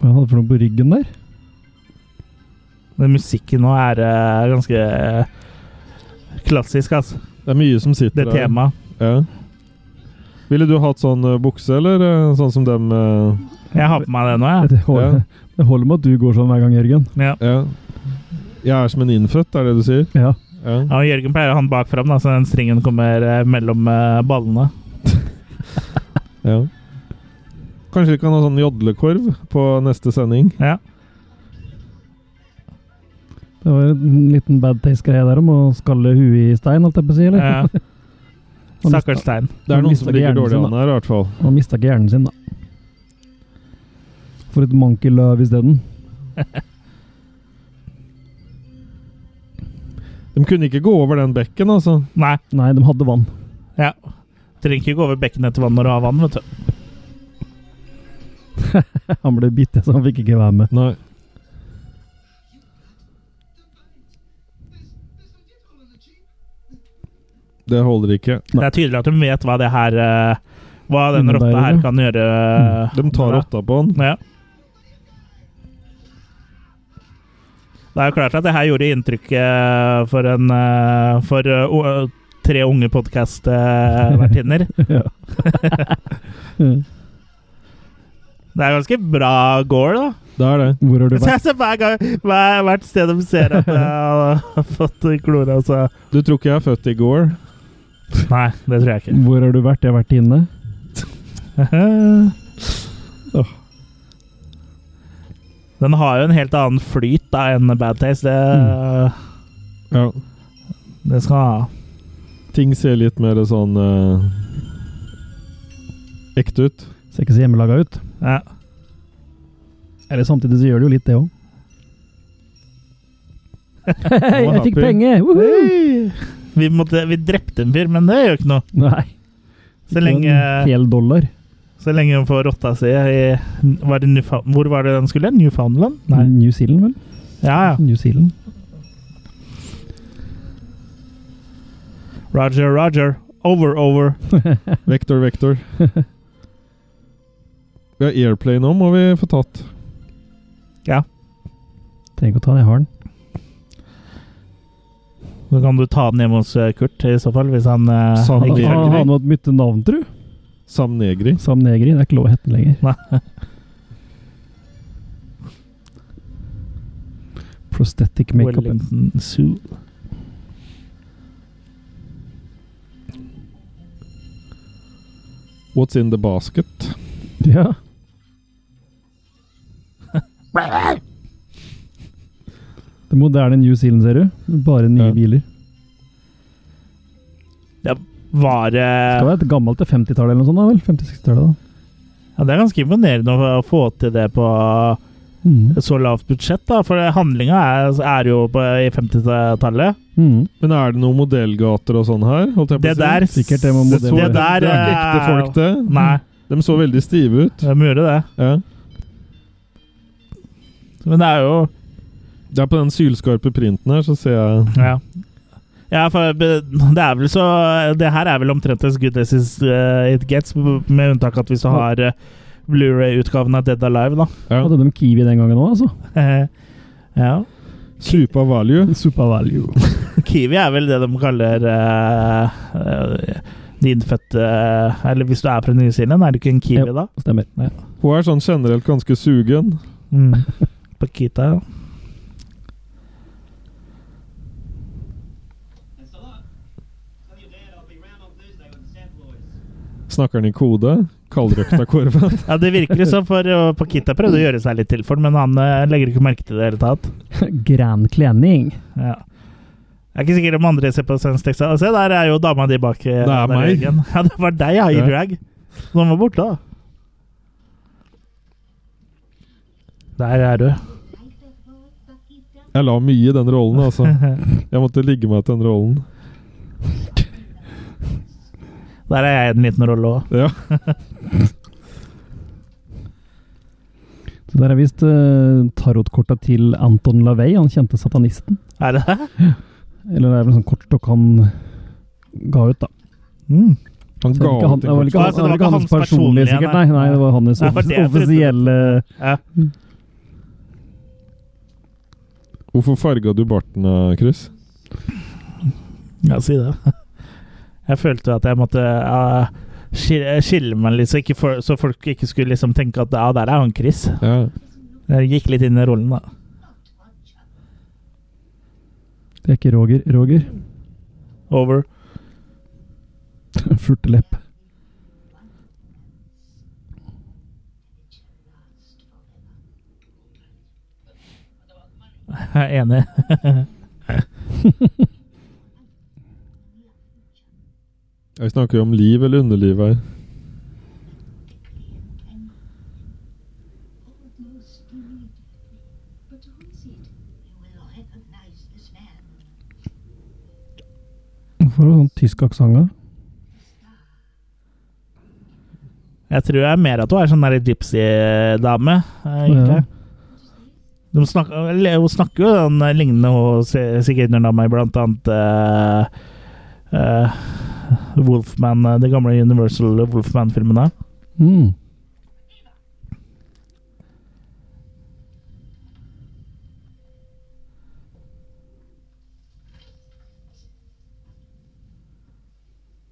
Speaker 2: Hva hadde jeg for noe på ryggen der?
Speaker 1: Den musikken nå er eh, ganske eh, klassisk, altså.
Speaker 3: Det er mye som sitter
Speaker 1: Det temaet.
Speaker 3: Ja. Ville du hatt sånn eh, bukse, eller eh, sånn som dem eh,
Speaker 1: Jeg har på meg det nå, jeg.
Speaker 2: Det holder, det holder med at du går sånn hver gang, Jørgen.
Speaker 1: Ja.
Speaker 3: Ja. Jeg er som en innfødt, er det du sier?
Speaker 2: Ja.
Speaker 3: Ja.
Speaker 1: Ja, og Jørgen pleier å ha den bak fram, da, så den stringen kommer eh, mellom eh, ballene.
Speaker 3: ja. Kanskje vi kan ha sånn jodlekorv på neste sending?
Speaker 1: Ja.
Speaker 2: Det var en liten bad taste-greie der om å skalle huet i stein, holdt jeg på å si. eller?
Speaker 1: Eh, Stakkars Stein.
Speaker 3: Det er
Speaker 2: Du
Speaker 3: noen
Speaker 2: mistet
Speaker 3: som ligger
Speaker 2: hjernen
Speaker 3: dårlig
Speaker 2: sin,
Speaker 3: an her, i hvert fall.
Speaker 2: Han mista ikke hjernen sin, da. For et mankelløv isteden.
Speaker 3: De kunne ikke gå over den bekken, altså.
Speaker 1: Nei,
Speaker 2: Nei, de hadde vann.
Speaker 1: ja. trenger ikke gå over bekken etter vann når du har vann, vet du.
Speaker 2: Han ble bitt, så han fikk ikke være med.
Speaker 3: Nei. Det holder ikke.
Speaker 1: Det er tydelig at hun vet hva det her eh, Hva den
Speaker 2: Innebærer,
Speaker 1: rotta her
Speaker 2: ja. Mm.
Speaker 1: kan gjøre. eh,
Speaker 3: De tar
Speaker 1: med deg.
Speaker 3: åtta på han.
Speaker 1: Ja. Det er jo klart at det her gjorde inntrykk eh, for en eh, For eh, o- tre unge eh, podkastvertinner.
Speaker 2: ja.
Speaker 1: Det er ganske bra gård, da.
Speaker 3: Det er det.
Speaker 2: Hvor har du
Speaker 1: Så jeg
Speaker 2: vært?
Speaker 1: ser altså, hver gang, hver, hvert sted de ser at jeg har fått klore, altså.
Speaker 3: Du tror ikke jeg er født i går?
Speaker 1: Nei, det tror jeg ikke.
Speaker 2: Hvor har du vært? Jeg har vært inne.
Speaker 1: Den har jo en helt annen flyt da enn Bad Taste. Det,
Speaker 3: Ja.
Speaker 1: det skal den ha.
Speaker 3: Ting ser litt mer sånn eh, ekte ut.
Speaker 2: Ser ikke så hjemmelaga ut.
Speaker 1: Ja.
Speaker 2: Eller samtidig så gjør det jo litt, det òg. Hei, jeg fikk
Speaker 3: happy.
Speaker 2: penger! Woohoo!
Speaker 1: Vi, måtte, vi drepte en fyr, men det gjør ikke noe.
Speaker 2: Nei.
Speaker 1: Så lenge,
Speaker 2: En hel dollar.
Speaker 1: så lenge hun får rotta si i var det Newfound- Hvor var det den skulle? Newfoundland? Nei.
Speaker 2: New Zealand, vel?
Speaker 1: Ja, ja.
Speaker 2: New Zealand.
Speaker 1: Roger, Roger. Over, over.
Speaker 3: Vektor, vektor. Vi har Airplay nå, må vi få tatt.
Speaker 2: Trenger ikke å ta den, jeg har den.
Speaker 1: Så kan du ta den hjemme hos eh, Kurt, i så fall, hvis han eh,
Speaker 3: Sa
Speaker 1: ikke
Speaker 3: Negri.
Speaker 2: Han har noe mytte navn, tru.
Speaker 3: Sam Negri.
Speaker 2: Sam Negri. Det er ikke lov å hete den lenger. Prosthetic makeup.
Speaker 1: Wellington Zoo.
Speaker 3: What's in the basket?
Speaker 2: Ja. Det moderne New Zealand, ser du. Bare nye
Speaker 3: Ja.
Speaker 2: biler.
Speaker 1: Var eh, det
Speaker 2: Det skal være et gammelt til 50-tallet eller noe sånt, da vel? 50-60-tallet, da.
Speaker 1: ja, Det er ganske imponerende å få til det på
Speaker 2: Mm.
Speaker 1: så lavt budsjett, da. For handlinga er, er jo på, i 50-tallet.
Speaker 2: Mm.
Speaker 3: Men er det noen modellgater og sånn her? Holdt jeg på
Speaker 1: Det
Speaker 3: å si?
Speaker 1: der
Speaker 2: Sikkert det må
Speaker 3: Det, så,
Speaker 1: Det
Speaker 2: modellere.
Speaker 1: der eh,
Speaker 3: det er ikke ekte folk, det.
Speaker 1: Nei,
Speaker 3: De så veldig stive ut.
Speaker 1: de gjorde det.
Speaker 3: Ja.
Speaker 1: Men det er jo
Speaker 3: Det er på den sylskarpe printen her, så ser jeg
Speaker 1: Ja. Ja, for be- det er vel så Det her er vel omtrent as good as is, eh, it gets, med unntak at hvis du har eh, Blu-ray-utgaven av Dead Alive, da.
Speaker 3: ja.
Speaker 2: Hadde de Kiwi den gangen òg, altså?
Speaker 1: ja.
Speaker 3: Super value.
Speaker 2: Super value.
Speaker 1: Kiwi er vel det de kaller eh, eh, de innfødte eh, Eller hvis du er fra New Zealand, er du ikke en kiwi
Speaker 2: Jo.
Speaker 1: da?
Speaker 2: Stemmer.
Speaker 3: Hun er sånn generelt ganske sugen.
Speaker 1: Mm. Pakita, ja.
Speaker 4: Thanks a lot. Tell your dad I'll be round on Thursday with the Sad Boys.
Speaker 3: Snakker han i kode? Kaldrøkta korven.
Speaker 1: ja. Det virker jo sånn, for eh, Pakita prøvde å gjøre seg litt til for den, men han eh, legger ikke merke til det i det hele tatt.
Speaker 2: Grand Klening.
Speaker 1: Ja. Jeg er ikke sikker om andre ser på Svensk Texas. Og Se, der er jo dama di bak. eh,
Speaker 3: Det er
Speaker 1: der,
Speaker 3: meg.
Speaker 1: Jørgen. Ja, det var deg, ja, i
Speaker 3: Ja.
Speaker 1: drag. Som var borte, da. Der er du.
Speaker 3: Jeg la mye i den rollen, altså. Jeg måtte ligge meg til den rollen.
Speaker 1: Der er jeg i en liten rolle òg.
Speaker 3: Ja.
Speaker 2: Så der er visst uh, tarotkorta til Anton LaVey, han kjente satanisten.
Speaker 1: Er det det?
Speaker 2: Eller det er vel en sånn kortstokk han ga ut, da.
Speaker 1: Mm.
Speaker 2: Så
Speaker 3: Han
Speaker 2: det
Speaker 3: ga
Speaker 2: var ikke han-
Speaker 3: ut
Speaker 2: det var
Speaker 3: en
Speaker 2: ikke han-
Speaker 3: kort.
Speaker 1: kort. Så det var
Speaker 2: det var ikke
Speaker 1: ikke
Speaker 2: hans
Speaker 1: hans
Speaker 2: personlige,
Speaker 1: personlige,
Speaker 2: sikkert. Nei, nei, det var hans
Speaker 1: Nei, for det-
Speaker 2: offisielle
Speaker 1: Ja.
Speaker 3: Hvorfor farga du barten, eh, Chris?
Speaker 1: Ja, si det. Jeg følte at jeg måtte ja, skille, skille meg litt, så, ikke for, så folk ikke skulle liksom tenke at ja, der er han Chris.
Speaker 3: Ja.
Speaker 1: Jeg gikk litt inn i rollen, da.
Speaker 2: Det er ikke Roger. Roger.
Speaker 1: Over.
Speaker 2: Furtelepp.
Speaker 1: Jeg er enig.
Speaker 3: Jeg snakker jo om liv eller underliv her.
Speaker 5: Almost believe But who is it? You will recognize this man.
Speaker 2: Hvorfor har du sånn tysk aksent? da?
Speaker 1: Jeg tror jeg er mer at hun er sånn der gypsy-dame, eh, egentlig.
Speaker 2: Ja.
Speaker 1: De snakker, eller hun snakker jo den lignende hun si- sikkert under meg, blant annet eh, eh, Wolfman, eh, de gamle Universal Wolfman-filmene.
Speaker 2: Mm.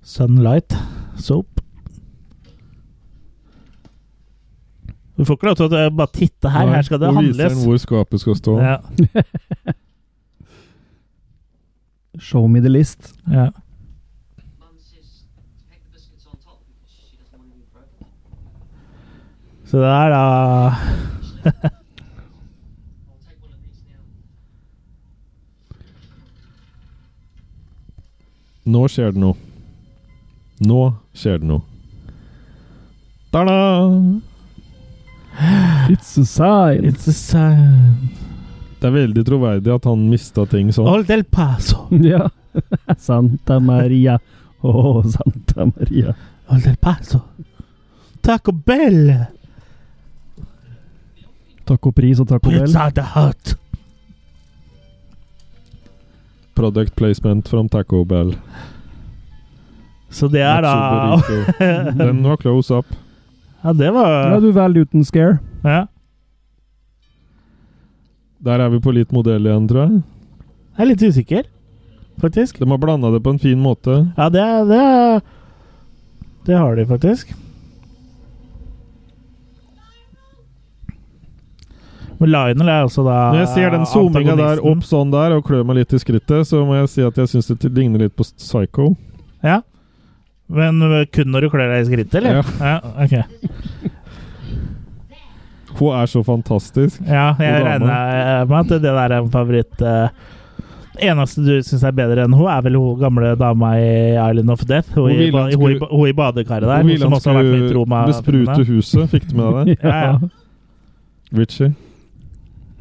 Speaker 1: Sunlight Soap. Du får ikke lov til å eh, bare titte her.
Speaker 3: Nei,
Speaker 1: Her skal det
Speaker 3: og viser
Speaker 1: handles.
Speaker 3: den hvor skapet skal stå.
Speaker 1: Ja,
Speaker 2: Show me the list.
Speaker 1: ja.
Speaker 4: Mum says pack the biscuits on top because she doesn't want any broken.
Speaker 1: Så det er da
Speaker 4: I'll take one of these now.
Speaker 3: Nå skjer det noe. Nå skjer det noe. Ta-da!
Speaker 2: It's a sign.
Speaker 1: It's a sign
Speaker 3: Det er veldig troverdig at han mista ting sånn.
Speaker 1: Old El Paso.
Speaker 2: Ja. Santa Maria. Å, Santa Maria.
Speaker 1: Old El Paso. Taco Bell.
Speaker 2: Taco Pris og Taco Bell.
Speaker 1: Pizza the Hut.
Speaker 3: Product placement from Taco Bell.
Speaker 1: Så det er da
Speaker 3: Nacho burrito. Den var close up.
Speaker 1: Ja, det
Speaker 2: Ja,
Speaker 1: var
Speaker 2: du vel uten scare.
Speaker 1: ja.
Speaker 3: Der er vi på litt modell igjen, tror jeg.
Speaker 1: Jeg er litt usikker, faktisk.
Speaker 3: De har blanda det på en fin måte.
Speaker 1: Ja, det Det, det har de faktisk. Men Lionel er altså da
Speaker 3: Når jeg ser den zoominga der
Speaker 1: antagonisten.
Speaker 3: opp sånn der og klør meg litt i skrittet, så må jeg si at jeg syns det ligner litt på Psycho.
Speaker 1: Ja. Men ø, kun når du klør deg i skrittet, eller? Ja. ok.
Speaker 3: Hun er så fantastisk.
Speaker 1: Ja, jeg
Speaker 3: God dame.
Speaker 1: regner med at det der er en favoritt. ø. eneste du syns er bedre enn hun, er vel hun gamle dama i Island of Death. Hun, i,
Speaker 3: Hun ville han
Speaker 1: ba- hun, i,
Speaker 3: skulle-
Speaker 1: ba- hun i badekaret der,
Speaker 3: Hun ville
Speaker 1: som
Speaker 3: han
Speaker 1: også har vært med i
Speaker 3: skulle
Speaker 1: Troma.
Speaker 3: besprute huset. Fikk du med deg det?
Speaker 1: Ja, ja.
Speaker 3: Richie.
Speaker 5: You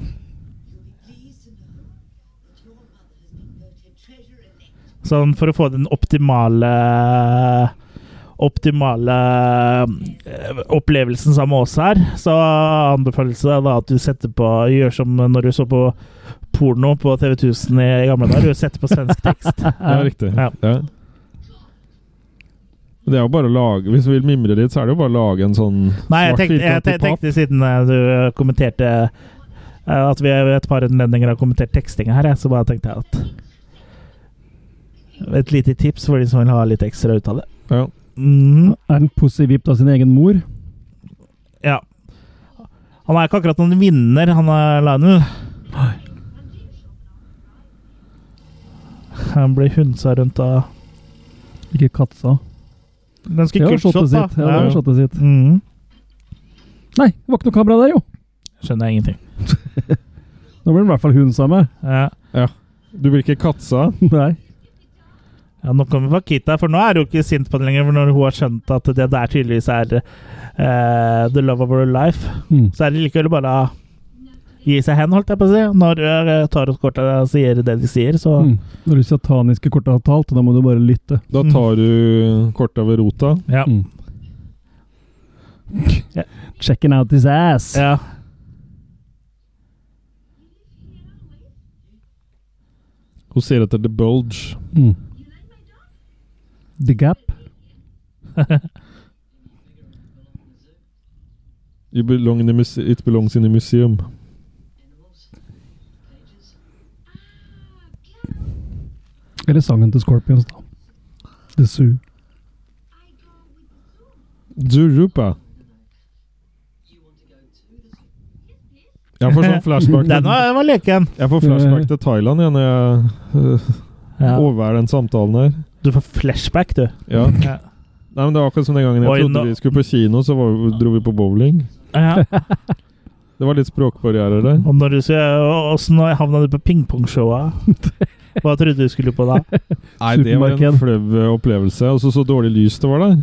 Speaker 5: will be pleased to know that your mother has been voted treasure elect.
Speaker 1: Sånn for å få den optimale Optimale eh, opplevelsen sammen med oss her, så anbefales det da at du setter på Gjør som når du så på porno på TV 1000 i gamle dager. Du setter på svensk tekst.
Speaker 3: Ja, riktig.
Speaker 1: Ja.
Speaker 3: Ja. Det er jo bare å lage Hvis du vil mimre litt, så er det jo bare å lage en sånn
Speaker 1: Nei, jeg
Speaker 3: svart
Speaker 1: tenkte, jeg
Speaker 3: firkantet
Speaker 1: te- tenkte siden eh, du kommenterte eh, at vi ved et par anledninger har kommentert tekstinga her, jeg, så bare tenkte jeg at Et lite tips for de som vil ha litt ekstra ut av det.
Speaker 3: papp. Ja.
Speaker 1: Mm.
Speaker 2: Er han pussy-vipped av sin egen mor?
Speaker 1: Ja. Han er ikke akkurat noen vinner, han er Lionel. Han blir hunsa rundt av
Speaker 2: Ikke katsa.
Speaker 1: Ganske
Speaker 2: Det var
Speaker 1: kult shot,
Speaker 2: shotet
Speaker 1: da.
Speaker 2: sitt. Ja, det var
Speaker 1: Ja.
Speaker 2: shotet sitt.
Speaker 1: Mhm.
Speaker 2: Nei, det var ikke noe kamera der, jo!
Speaker 1: Skjønner jeg ingenting.
Speaker 2: Nå blir han i hvert fall hun sammen.
Speaker 1: Ja.
Speaker 3: Du blir ikke katsa.
Speaker 2: Nei.
Speaker 1: Ja, nå kommer Pakita, for nå er hun ikke sint på det lenger. For når hun har skjønt at det der tydeligvis er eh, the love of her life,
Speaker 2: Mm.
Speaker 1: så er det likevel bare å gi seg hen, holdt jeg på å si. Når eh, tarotkorta sier det de sier, så
Speaker 2: Mm. Når du sataniske kortet har talt, da må du bare lytte.
Speaker 3: Da
Speaker 1: Mm.
Speaker 3: tar du korta ved rota.
Speaker 1: Ja.
Speaker 2: Mm.
Speaker 1: Ja.
Speaker 2: Checking out his ass!
Speaker 1: ja.
Speaker 3: Hun ser etter the bulge.
Speaker 2: Mm. The Gap.
Speaker 3: You belong in the muse it belongs in the museum.
Speaker 4: Animals. Pages.
Speaker 2: Eller sangen til Scorpions, da. The Zoo.
Speaker 3: Zurupa.
Speaker 4: You want to go to the zoo?
Speaker 3: Jeg får sånn flashback
Speaker 1: Den
Speaker 3: til,
Speaker 1: var, var leken.
Speaker 3: jeg får flashback til Thailand igjen når jeg øh,
Speaker 1: Ja.
Speaker 3: overværer den samtalen her.
Speaker 1: Du får flashback, du.
Speaker 3: Ja.
Speaker 1: Ja.
Speaker 3: Nei, men Det var akkurat som den gangen jeg
Speaker 1: Oi,
Speaker 3: trodde
Speaker 1: nå-
Speaker 3: vi skulle på kino, så var, dro vi på bowling.
Speaker 1: Ja.
Speaker 3: Det var litt språkbarrierer der.
Speaker 1: Og når du skal, og- Åssen havna du på pingpongshowet? Hva trodde du skulle på da?
Speaker 3: Nei, det var en
Speaker 2: Supermarked.
Speaker 3: flau øh, opplevelse. Og så så dårlig lys det var der.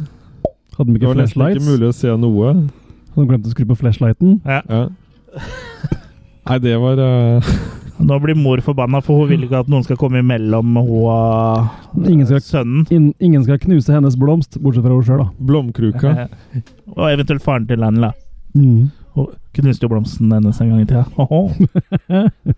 Speaker 2: Hadde de
Speaker 3: Det
Speaker 2: ikke
Speaker 3: var nesten ikke
Speaker 2: flashlights?
Speaker 3: mulig å se noe.
Speaker 2: Hadde de glemt å skru på flashlighten?
Speaker 3: Ja. Nei, det var øh,
Speaker 1: Nå blir mor forbanna, for hun vil ikke at noen skal komme imellom hun og
Speaker 2: Ingen skal-
Speaker 1: sønnen.
Speaker 2: In ingen skal knuse hennes blomst, bortsett fra henne sjøl, da.
Speaker 3: Blomkruka.
Speaker 1: Og eventuelt faren til Lanny, da.
Speaker 2: Mm.
Speaker 1: Hun knuste jo blomsten hennes en gang i tida. Åhå.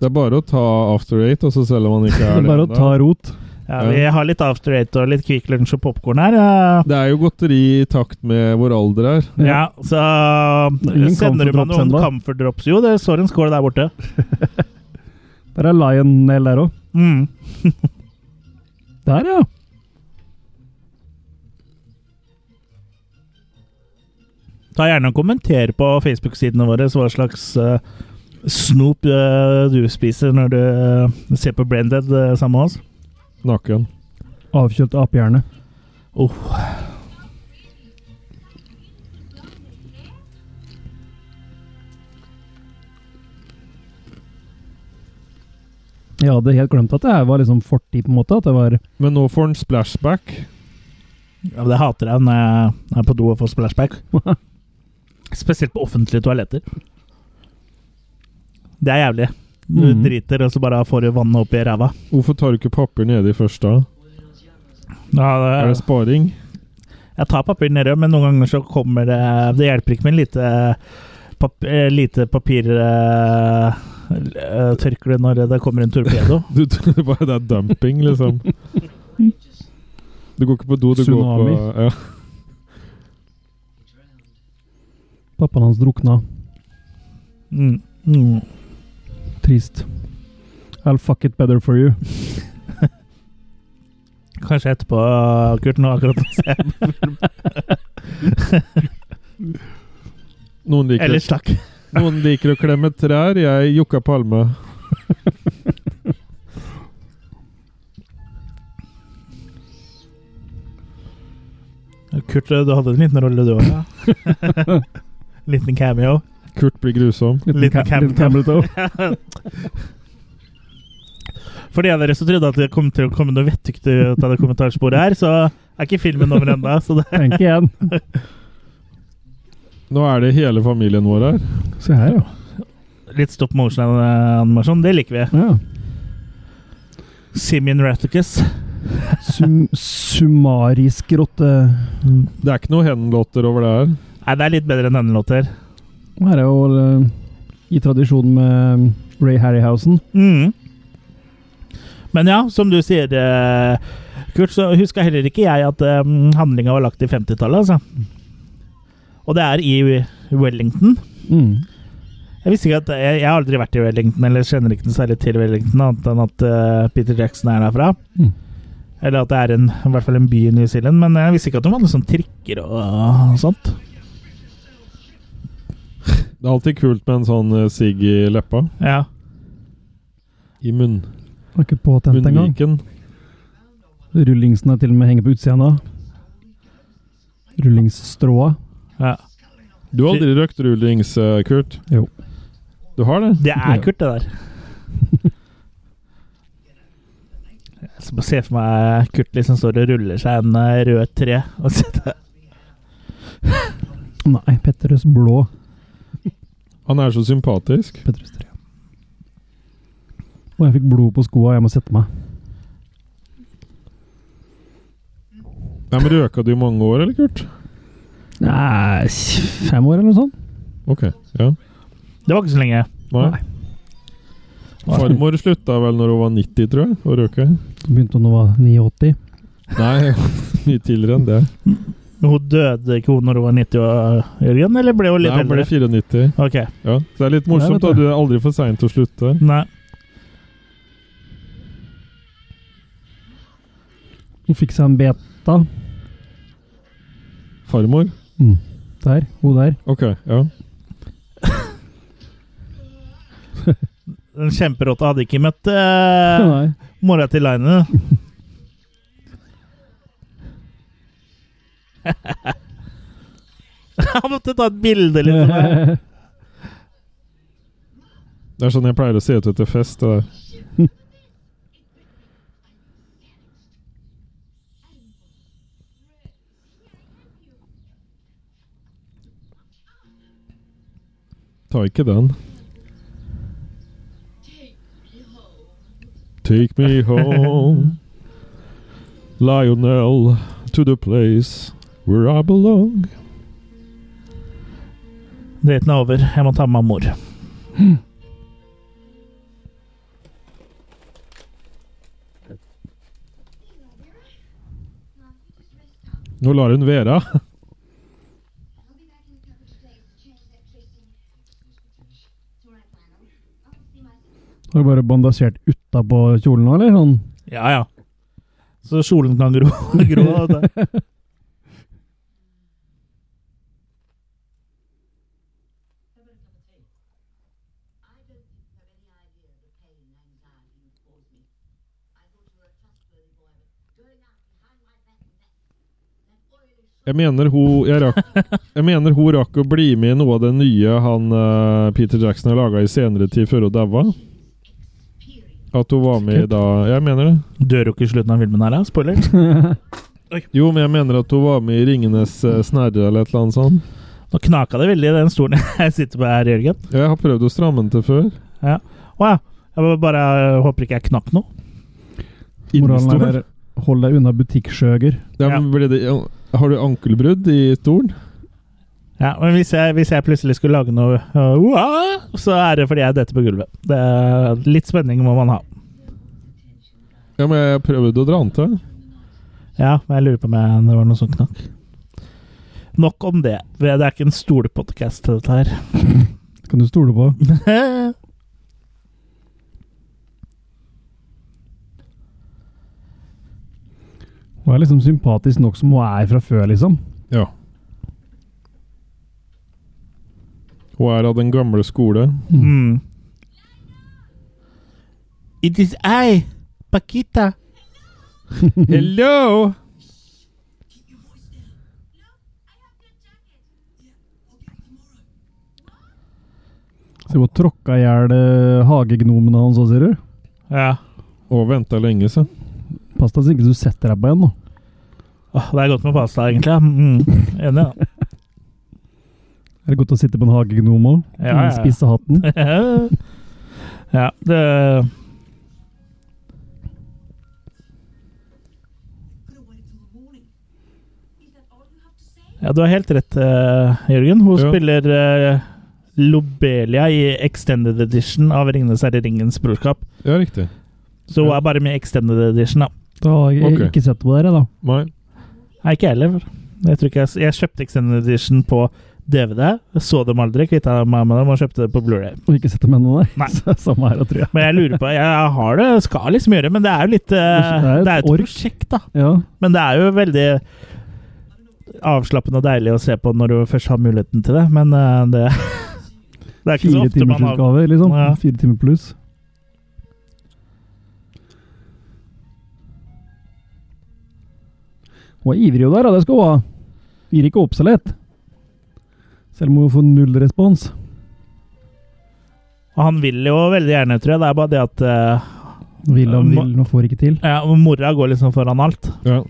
Speaker 3: Det er bare å ta after eight, altså selv om man ikke
Speaker 2: Det
Speaker 3: er
Speaker 2: er
Speaker 3: det.
Speaker 2: bare å
Speaker 3: enda.
Speaker 2: ta rot.
Speaker 1: Ja, vi har litt After Eight og litt Kvikk Lunsj og popkorn her. ja.
Speaker 3: Det er jo godteri i takt med vår alder her.
Speaker 1: Ja, så
Speaker 2: Det er ingen
Speaker 1: sender du
Speaker 2: comfort
Speaker 1: meg
Speaker 2: drops
Speaker 1: noen
Speaker 2: ennå.
Speaker 1: Camphor Drops? Jo, det står en skål der borte.
Speaker 2: Der er Lionel der òg.
Speaker 1: Mm.
Speaker 2: Der, ja.
Speaker 1: Ta gjerne og kommenter på Facebook-sidene våre hva slags eh, snop eh, du spiser når du eh, ser på Branded eh, sammen med oss.
Speaker 3: Naken.
Speaker 2: Avkjølt apehjerne.
Speaker 1: Oh.
Speaker 2: Jeg hadde helt glemt at det her var liksom fortid, på en måte. At det var
Speaker 3: Men nå får han splashback.
Speaker 1: Ja, det hater jeg når jeg er på do og får splashback. Spesielt på offentlige toaletter. Det er jævlig. Du
Speaker 2: Mhm.
Speaker 1: driter, og så bare får du vannet opp i ræva.
Speaker 3: Hvorfor tar du ikke papir nede i først da?
Speaker 1: Ja,
Speaker 3: Er det sparing?
Speaker 1: Jeg tar papir nedi, men noen ganger så kommer det Det hjelper ikke med lite, pap eh, lite papir eh, eh, tørkle når det kommer en torpedo.
Speaker 3: Du, du, bare det er dumping, liksom. Du går ikke på do, du
Speaker 2: Tsunami.
Speaker 3: går på ja.
Speaker 2: Pappaen hans drukna.
Speaker 1: Mm. Mm.
Speaker 2: Trist. I'll fuck it better for you.
Speaker 1: Kanskje etterpå, Kurt. Nå akkurat nå ser jeg.
Speaker 3: Noen liker,
Speaker 1: Ellers takk.
Speaker 3: noen liker å klemme trær, jeg jukka palme.
Speaker 1: Kurt, du hadde en liten rolle, du òg. Ja. liten cameo.
Speaker 3: Kurt blir grusom.
Speaker 1: Liten
Speaker 2: ca-
Speaker 1: camel
Speaker 2: liten camel toe.
Speaker 1: For de av dere som trodde at det kom til å komme noe vettugt ut av det kommentarsporet her, så er ikke filmen over ennå. Så det
Speaker 2: Tenk igjen.
Speaker 3: Nå er det hele familien vår her.
Speaker 2: Se her, ja.
Speaker 1: er litt stop motion-animasjon. Det liker vi.
Speaker 2: ja.
Speaker 1: Simeon Rathicus.
Speaker 2: Sum summarisk rotte.
Speaker 3: Det er ikke noe henlåter over det her.
Speaker 1: Nei, det er litt bedre enn denne låter.
Speaker 2: Her er jo eh, i tradisjon med Ray Harryhausen.
Speaker 1: Mm. Men ja, som du sier, eh, Kurt, så huska heller ikke jeg at handlinga var lagt i 50-tallet, altså. Og det er i Wellington.
Speaker 2: Mm.
Speaker 1: Jeg visste ikke at jeg, jeg har aldri vært i Wellington, eller kjenner ikke noe særlig til Wellington, annet enn at eh, Peter Jackson er derfra.
Speaker 2: Mm.
Speaker 1: Eller at det er en, i hvert fall en by i New Zealand, men jeg visste ikke at de hadde sånn trikker og, og sånt.
Speaker 3: Det er alltid kult med en sånn eh, sigg i leppa.
Speaker 1: Ja.
Speaker 3: I munn.
Speaker 2: Var ikke påtent engang.
Speaker 3: munnviken.
Speaker 2: Rullingsen er til og med henger på utsida nå. Rullingsstråa.
Speaker 1: ja.
Speaker 3: Du har aldri røkt rullings, eh, Kurt?
Speaker 2: Jo.
Speaker 3: Du har det?
Speaker 1: Det er kult, det der. Jeg skal bare se for meg Kurt liksom står og ruller seg en eh, rød tre. Og sitter.
Speaker 2: Nei, Petterøes blå.
Speaker 3: Han er så sympatisk.
Speaker 2: Petterøes tre. Og jeg fikk blod på skoa, jeg må sette meg.
Speaker 3: Nei, men Røka du i mange år, eller, Kurt?
Speaker 2: Nei, fem år eller noe sånt.
Speaker 3: Ok, ja.
Speaker 1: Det var ikke så lenge.
Speaker 3: Nei.
Speaker 2: Nei.
Speaker 3: Farmor slutta vel når hun var 90, tror jeg, å røyke.
Speaker 2: Begynte da hun var 89.
Speaker 3: Nei, mye tidligere enn det.
Speaker 1: Hun døde ikke hun når hun var 90, år, Jørgen? Eller ble hun litt
Speaker 3: Nei, hun ble
Speaker 1: eldre?
Speaker 3: 94.
Speaker 1: Ok,
Speaker 3: Ja. Så det er litt morsomt,
Speaker 2: Nei, vet
Speaker 3: da.
Speaker 2: du.
Speaker 3: Du er aldri for sein til å slutte.
Speaker 1: nei.
Speaker 2: Hun fikk seg en beta.
Speaker 3: Farmor?
Speaker 2: Der. Hun der.
Speaker 3: Ok, ja.
Speaker 1: Den kjemperotta hadde ikke møtt uh,
Speaker 2: Nei.
Speaker 1: mora til Line. Han måtte ta et bilde, liksom.
Speaker 3: Det er sånn jeg pleier å se ut etter fest. Det der. Ta ikke den. Take me home, Lionel, to the place where I belong.
Speaker 1: Daten er over. Jeg må ta med meg mor.
Speaker 3: Nå lar hun være.
Speaker 5: I'll be back in the cupboard today to change that tracing. It's all right, Lionel. I'll see myself.
Speaker 2: Har du bare bandasjert utapå kjolen nå, eller? Sånn.
Speaker 1: Ja, ja. Så kjolen kan gro. gro og det.
Speaker 5: I don't think you have any idea of the pain and anxiety you cause me. I thought you were a trustworthy boy, but going out behind my back and that, that oily
Speaker 3: Jeg mener hun jeg rakk, jeg mener hun rakk å bli med i noe av det nye han eh, Peter Jackson har laga i senere tid, før hun daua. At hun var med i da Jeg mener det.
Speaker 1: Dør jo ikke i slutten av filmen her, da. Spoiler.
Speaker 3: Jo, men jeg mener at hun var med i 'Ringenes eh, snerre' eller et eller annet sånt.
Speaker 1: Nå knaka det veldig i den stolen jeg sitter på her, Jørgen.
Speaker 3: Jeg har prøvd å stramme den til før.
Speaker 1: Å ja. Jeg bare øh, håper ikke jeg knakk noe.
Speaker 2: Moralen er
Speaker 3: Innestol.
Speaker 2: der, hold deg unna butikksjøger.
Speaker 3: Ja, men ble det, har du ankelbrudd i stolen?
Speaker 1: Ja, men hvis jeg, hvis jeg plutselig skulle lage noe øh, «Uah», så er det fordi jeg detter på gulvet. Det er, litt spenning må man ha.
Speaker 3: Ja, men jeg prøvde å dra den til.
Speaker 1: Ja, men jeg lurer på om jeg- det var noe som knakk. Nok om det. Det er ikke en stolpodkast, dette her.
Speaker 2: Kan du stole på? Hun er liksom sympatisk nok som hun er fra før, liksom.
Speaker 3: Ja. Hun er av den gamle skole.
Speaker 1: Mm. It is I, Paquita.
Speaker 3: Hello!
Speaker 2: Så hun tråkka i hjel eh, hagegnomene hans òg, ser du.
Speaker 1: Ja.
Speaker 3: Og venta lenge, så.
Speaker 2: Pass deg så ikke du setter deg på en, nå.
Speaker 1: Åh, det er godt med pasta, egentlig. ja. Mm. Enig, da.
Speaker 2: Er det godt å sitte på en hagegnom òg?
Speaker 1: Ja, ja, ja.
Speaker 2: Spisse hatten?
Speaker 1: ja, det
Speaker 5: could have waited till the morning. Is that all you have to say?
Speaker 1: Ja, du har helt rett, eh, Jørgen. Hun
Speaker 3: Ja.
Speaker 1: spiller eh, Lobelia i Extended Edition av 'Ringenes herre ringens brorskap'.
Speaker 3: Ja, riktig.
Speaker 1: Så hun
Speaker 3: Ja.
Speaker 1: er bare med i Extended Edition, da.
Speaker 2: Da har jeg
Speaker 3: Ok.
Speaker 2: ikke sett på dere, da.
Speaker 3: Nei.
Speaker 1: Nei, ikke jeg heller. Jeg, tror ikke jeg, s- jeg kjøpte Extended Edition på DVD. Jeg så dem aldri, kvitta meg med dem og kjøpte det på Blu-ray.
Speaker 2: Og ikke sett dem ennå, nei.
Speaker 1: Nei.
Speaker 2: Så- Samme her, tror jeg.
Speaker 1: Men jeg lurer på Jeg har det, skal liksom gjøre det, men det er jo litt eh,
Speaker 2: Det er et
Speaker 1: Det er et
Speaker 2: ork.
Speaker 1: prosjekt, da.
Speaker 2: Ja.
Speaker 1: Men det er jo veldig avslappende og deilig å se på når du først har muligheten til det, men eh, det Det er ikke så
Speaker 2: Fire
Speaker 1: ofte man
Speaker 2: timers
Speaker 1: har
Speaker 2: utgave, liksom.
Speaker 1: Ja.
Speaker 2: Fire timer pluss. Hun er ivrig jo der, da. Det skal hun ha. Gir ikke opp så lett. Selv om hun får null respons.
Speaker 1: Og han vil jo veldig gjerne, tror jeg. Det er bare det at eh,
Speaker 2: Vil og
Speaker 1: Ja,
Speaker 2: vil, nå får ikke til.
Speaker 1: ja, mora går liksom foran alt.
Speaker 3: Ja.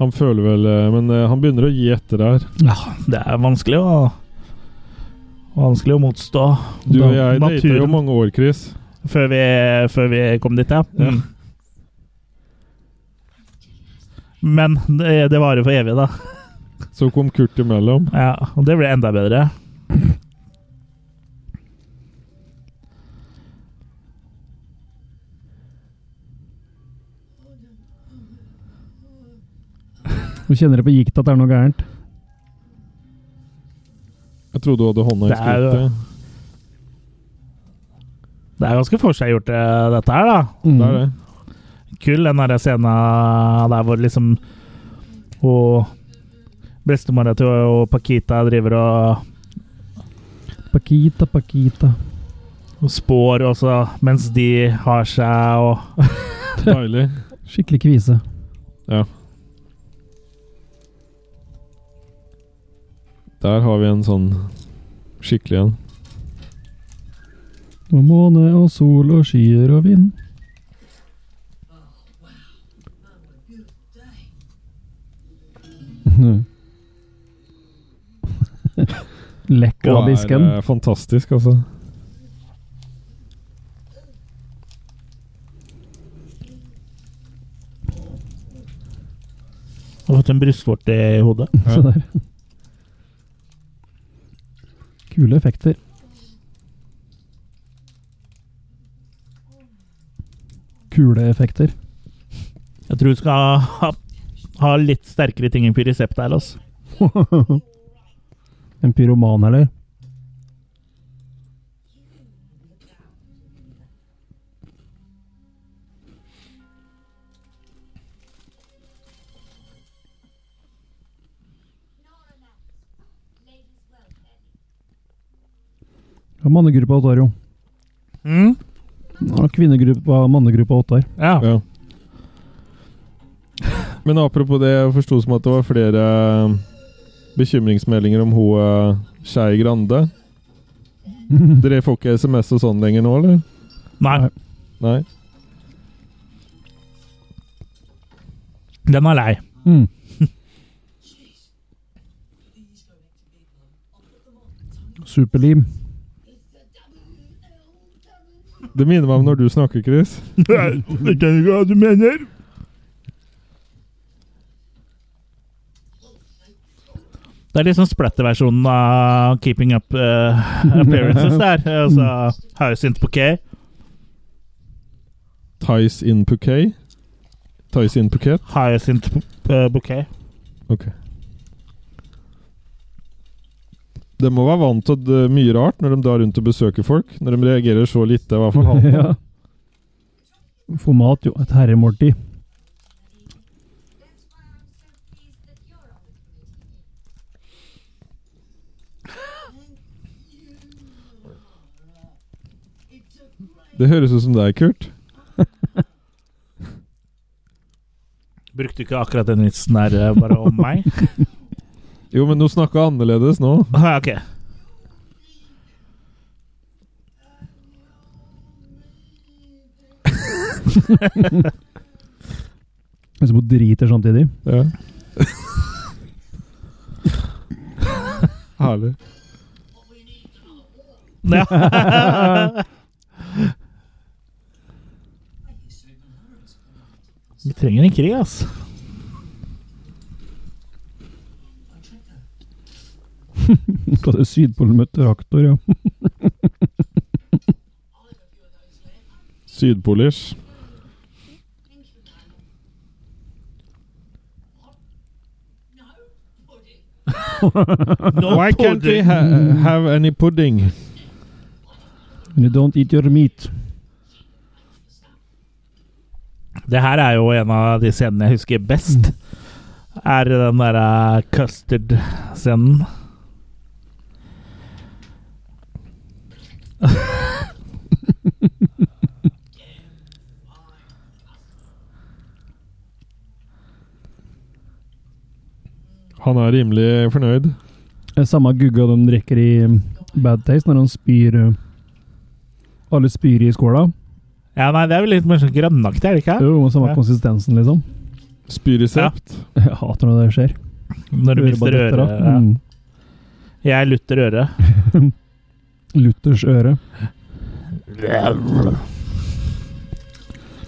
Speaker 3: Han føler vel eh, Men eh, han begynner å gi etter der.
Speaker 1: Ja, det er vanskelig å Vanskelig å motstå
Speaker 3: Du og jeg data jo
Speaker 1: naturen
Speaker 3: mange år, Chris.
Speaker 1: før vi, før vi kom dit, ja. Mm. Men det, det varer for evig, da.
Speaker 3: Så kom Kurt imellom.
Speaker 1: Ja, og det ble enda bedre.
Speaker 2: Nå kjenner jeg på gikt at det er noe gærent.
Speaker 3: Jeg trodde du hadde hånda i
Speaker 1: Det er jo-
Speaker 3: skrittet.
Speaker 1: Det er ganske forseggjort, eh, dette her, da.
Speaker 2: Mm.
Speaker 3: Det er det.
Speaker 1: kul, den der scenen der hvor liksom Og bestemora til og Pakita driver og
Speaker 2: Pakita, pakita.
Speaker 1: spår også, mens de har seg og
Speaker 3: Deilig.
Speaker 2: Skikkelig kvise.
Speaker 3: Ja. Der har vi en sånn skikkelig en.
Speaker 2: Og måne og sol og skyer og vind. Lekk av
Speaker 3: Og er
Speaker 2: disken.
Speaker 3: eh, fantastisk, altså.
Speaker 1: har fått en brystvorte i hodet.
Speaker 2: Se der. Kule effekter. Kule effekter.
Speaker 1: Jeg tror du skal ha, ha litt sterkere ting enn pyrisept der, altså.
Speaker 2: en pyroman, eller? Ja, Mannegruppa Ottar, jo.
Speaker 1: Mm?
Speaker 2: Ja, kvinnegruppa, mannegruppa Ottar.
Speaker 1: Ja.
Speaker 3: Ja. Men apropos det, jeg forsto som at det var flere eh, bekymringsmeldinger om hun eh, Skei Grande. Dere får ikke SMS og sånn lenger nå, eller?
Speaker 1: Nei,
Speaker 3: Nei?
Speaker 1: den er lei.
Speaker 2: Mm. Superlim.
Speaker 3: Det minner meg om når du snakker, Chris.
Speaker 1: Jeg skjønner ikke hva du mener. Det er liksom splatter-versjonen av Keeping Up eh, Appearances der. Altså Hyacinth Bouquet.
Speaker 3: Ties in Phuket. Ties in Phuket.
Speaker 1: Hyacinth eh, Bouquet.
Speaker 3: Ok. De må være vant til eh, mye rart når de drar rundt og besøker folk. Når de reagerer så lite, i hvert fall han.
Speaker 2: ja. Format, jo. Et herremåltid.
Speaker 5: That's why I'm so pleased that you're on the committee.
Speaker 3: Det høres ut som deg, Kurt.
Speaker 1: Brukte ikke akkurat den vitsen der eh, bare om meg?
Speaker 3: Jo, men du snakka annerledes nå.
Speaker 1: Ah, ok.
Speaker 2: Mens hun driter samtidig.
Speaker 3: Ja. Herlig.
Speaker 1: Ja. Vi trenger en krig, ass.
Speaker 2: Fra det Sydpolen møtte reaktor, ja.
Speaker 3: Sydpolish.
Speaker 1: No
Speaker 3: Why can't we
Speaker 1: pudding.
Speaker 3: ha have any pudding?
Speaker 2: And you don't eat your meat.
Speaker 1: Det her er jo en av de scenene jeg husker best. Er den eh, derre custard-scenen.
Speaker 3: Han er rimelig fornøyd.
Speaker 2: Det er samme gugga de drikker i um, Bad Taste når han spyr eh, Alle spyr i skåla.
Speaker 1: Ja, nei, det er vel litt mer sånn grønnaktig, er det ikke?
Speaker 2: Det er jo samme
Speaker 1: Ja.
Speaker 2: konsistensen, liksom.
Speaker 3: Spyresept.
Speaker 2: Jeg hater når det skjer.
Speaker 1: Når du
Speaker 2: Øret
Speaker 1: mister
Speaker 2: bare
Speaker 1: øret.
Speaker 2: detter av.
Speaker 1: Ja.
Speaker 2: Mm.
Speaker 1: Jeg lutter øret.
Speaker 2: Luthers øre.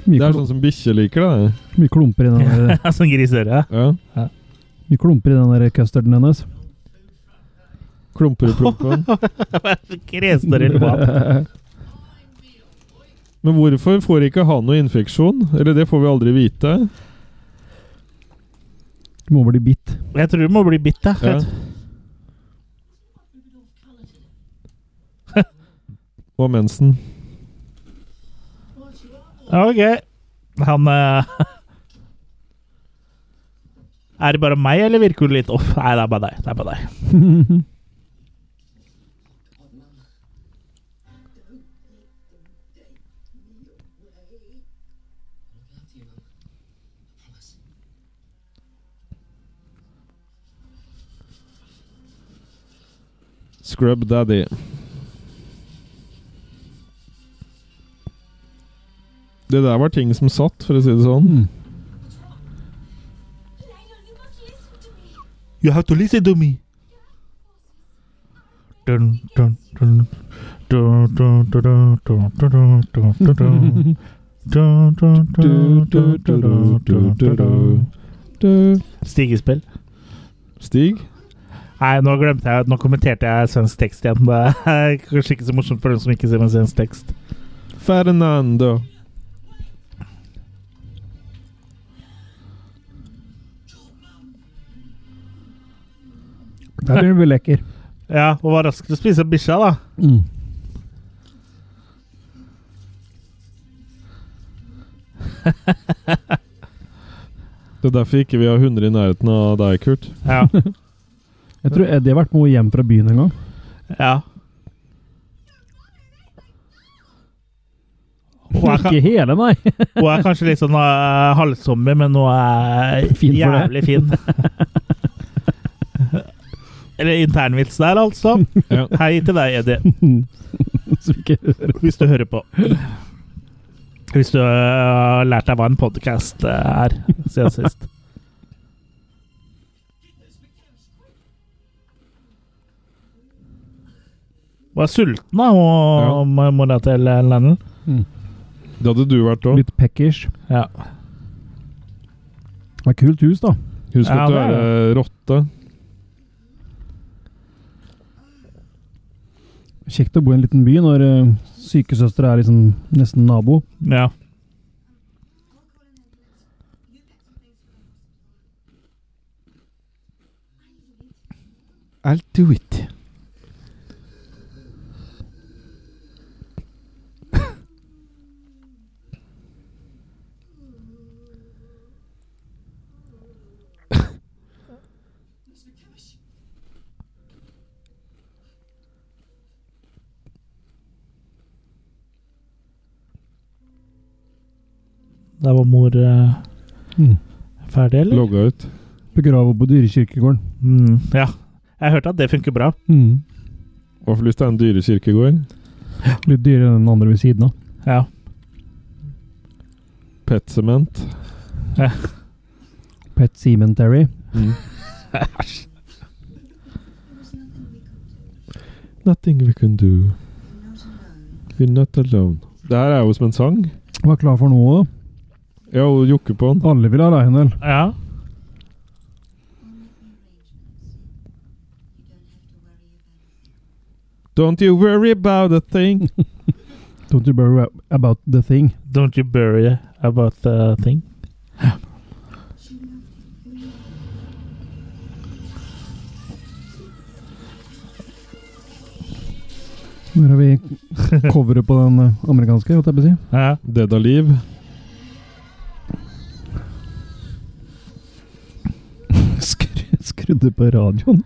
Speaker 2: Mye,
Speaker 3: Det er
Speaker 2: kl
Speaker 3: sånn som bikkjer liker det.
Speaker 2: mye klumper i den der,
Speaker 1: sånn grisøre.
Speaker 3: Ja.
Speaker 2: mye klumper i den der custarden hennes.
Speaker 3: Klumper i proppen.
Speaker 1: Kresdorell mat.
Speaker 3: Men hvorfor får ikke han noe infeksjon? Eller det får vi aldri vite.
Speaker 2: Du må bli bitt.
Speaker 1: Jeg tror du må bli bitt, da.
Speaker 3: Ja. Og mensen.
Speaker 1: Ok. Han eh, Er det bare meg, eller virker du litt off? Nei, det er bare deg. Det er bare deg.
Speaker 3: Scrub Daddy. Det der var ting som satt, for å si det sånn.
Speaker 2: Mm.
Speaker 5: Lionel, you must listen to me.
Speaker 1: You have to listen to me. Dun, dun, dun. Dun, dun, dun, dun, dun, dun, dun, dun, dun. Dun, dun, dun, dun, dun, dun, dun, dun.
Speaker 3: Du.
Speaker 1: Stigespill.
Speaker 3: Stig?
Speaker 1: Nei, nå glemte jeg Nå kommenterte jeg svensk tekst igjen. Det er kanskje ikke så morsomt for dem som ikke ser med svensk tekst.
Speaker 3: Fernando.
Speaker 2: Der blir du lekker.
Speaker 1: Ja, og var rask til å spise bikkja, da.
Speaker 2: Mm.
Speaker 3: Det er derfor ikke vi har hunder i nærheten av deg, Kurt.
Speaker 1: Ja.
Speaker 2: Jeg tror Eddie har vært med hjem fra byen en gang.
Speaker 1: ja. Hun er, ka-
Speaker 2: Ikke hele, nei.
Speaker 1: hun er kanskje litt sånn uh, halvsommer, men hun er
Speaker 2: Fin for det.
Speaker 1: jævlig fin. Eller internvits der, altså.
Speaker 3: Ja.
Speaker 1: Hei til deg, Eddie,
Speaker 2: Så ikke hører.
Speaker 1: hvis du hører på. Hvis du øh, har lært deg hva en podkast er siden sist. Var sulten, da, og ja. mora til Lennon.
Speaker 2: Mm.
Speaker 3: Det hadde du vært òg.
Speaker 2: Litt peckish.
Speaker 1: Ja.
Speaker 2: Det er kult hus, da.
Speaker 3: Husk
Speaker 1: Ja,
Speaker 3: at du
Speaker 1: det
Speaker 3: er
Speaker 1: er
Speaker 3: eh, rotte.
Speaker 2: Kjekt å bo i en liten by når uh, sykesøster er liksom nesten nabo.
Speaker 1: ja.
Speaker 3: I'll do it.
Speaker 1: Der var mor eh,
Speaker 2: Mm.
Speaker 1: ferdig, eller?
Speaker 3: Logga ut.
Speaker 2: Begrava på dyrekirkegården.
Speaker 1: Mm, ja. Jeg hørte at det funker bra.
Speaker 2: Mm.
Speaker 3: Hvorfor lyst til en dyrekirkegård?
Speaker 2: Litt dyrere enn den andre ved siden av.
Speaker 1: Ja.
Speaker 3: Pet cement.
Speaker 2: Pet Cemetery.
Speaker 3: Mm. Nothing we can do. We're not alone. Det her er jo som en sang.
Speaker 2: Var klar for noe.
Speaker 3: Ja, og jokke på den.
Speaker 2: Alle vil ha Lionel.
Speaker 1: ja.
Speaker 3: Don't you worry about a thing.
Speaker 2: Don't you worry about the thing.
Speaker 1: Don't you bury about the thing.
Speaker 2: Når har vi coveret på den eh, amerikanske, holdt jeg på å si.
Speaker 1: Ja.
Speaker 3: Dead Alive.
Speaker 2: Skru, skrudde på radioen.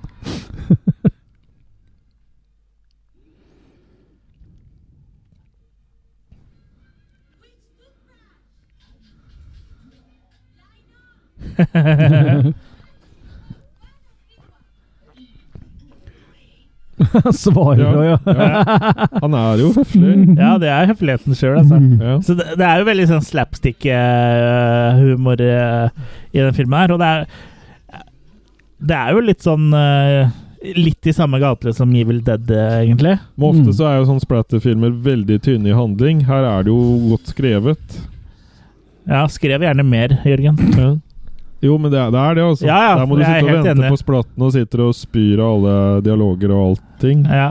Speaker 2: Svarer
Speaker 3: Ja,
Speaker 2: da, ja.
Speaker 3: ja. Han er jo høflig.
Speaker 1: ja, det er høfligheten sjøl, altså.
Speaker 2: Mm.
Speaker 3: Ja.
Speaker 1: Så det, det er jo veldig sånn slapstick-humor eh, i den filmen her. Og det er, det er jo litt sånn eh, Litt i samme gate som Evil Dead, eh, egentlig.
Speaker 3: Men ofte så er jo sånne splatterfilmer veldig tynne i handling. Her er det jo godt skrevet.
Speaker 1: Ja, skrev gjerne mer, Jørgen.
Speaker 3: Ja. Jo, men det er det, er det altså.
Speaker 1: Ja, ja,
Speaker 3: Der må du
Speaker 1: jeg er
Speaker 3: sitte og
Speaker 1: helt
Speaker 3: vente
Speaker 1: enig.
Speaker 3: på splatten og sitter og spyr av alle dialoger og allting.
Speaker 1: Ja.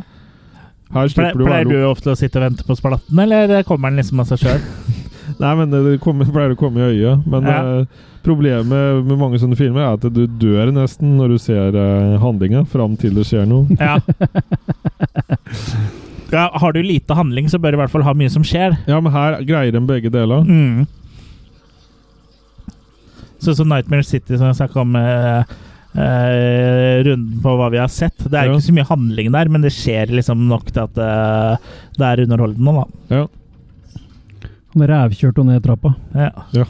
Speaker 3: Her
Speaker 1: Pleier,
Speaker 3: slipper du å
Speaker 1: pleier
Speaker 3: være
Speaker 1: du ofte å sitte og vente på spalatten, eller kommer den liksom av seg sjøl?
Speaker 3: lo- Nei, men det kommer, pleier å komme i øyet. Men
Speaker 1: Ja.
Speaker 3: eh, problemet med mange sånne filmer er at du dør nesten når du ser eh, handlinga, fram til det skjer noe.
Speaker 1: Ja. ja. Har du lite handling, så bør du i hvert fall ha mye som skjer.
Speaker 3: Ja, men her greier de begge deler.
Speaker 1: Mm. Sånn som Nightmare City, som jeg snakka om eh, eh, runden på hva vi har sett. Det er
Speaker 3: Ja.
Speaker 1: ikke så mye handling der, men det skjer liksom nok til at eh, det er underholdende, da.
Speaker 3: Ja.
Speaker 2: Han rævkjørte jo ned trappa.
Speaker 1: Ja.
Speaker 3: Ja.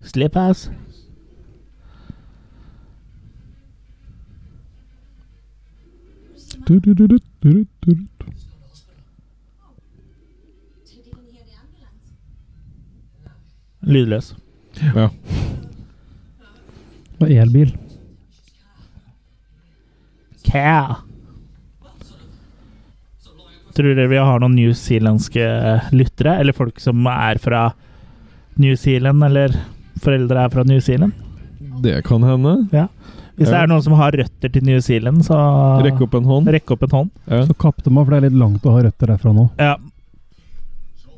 Speaker 1: Slippers.
Speaker 2: Du, du, du, du, du, du, du.
Speaker 5: Did you hear the ambulance?
Speaker 1: Lydløs.
Speaker 3: ja.
Speaker 2: Det var elbil.
Speaker 1: Kæ. Tror dere vi har noen newzealandske lyttere, eller folk som er fra New Zealand, eller foreldre er fra New Zealand?
Speaker 3: Det kan hende.
Speaker 1: Hvis det
Speaker 3: Ja.
Speaker 1: er noen som har røtter til New Zealand, så
Speaker 3: Ah. Rekke opp en hånd.
Speaker 1: Rekk opp en hånd.
Speaker 3: Ja.
Speaker 2: Så kapte meg, for det er litt langt å ha røtter derfra nå.
Speaker 1: Ja.
Speaker 4: So,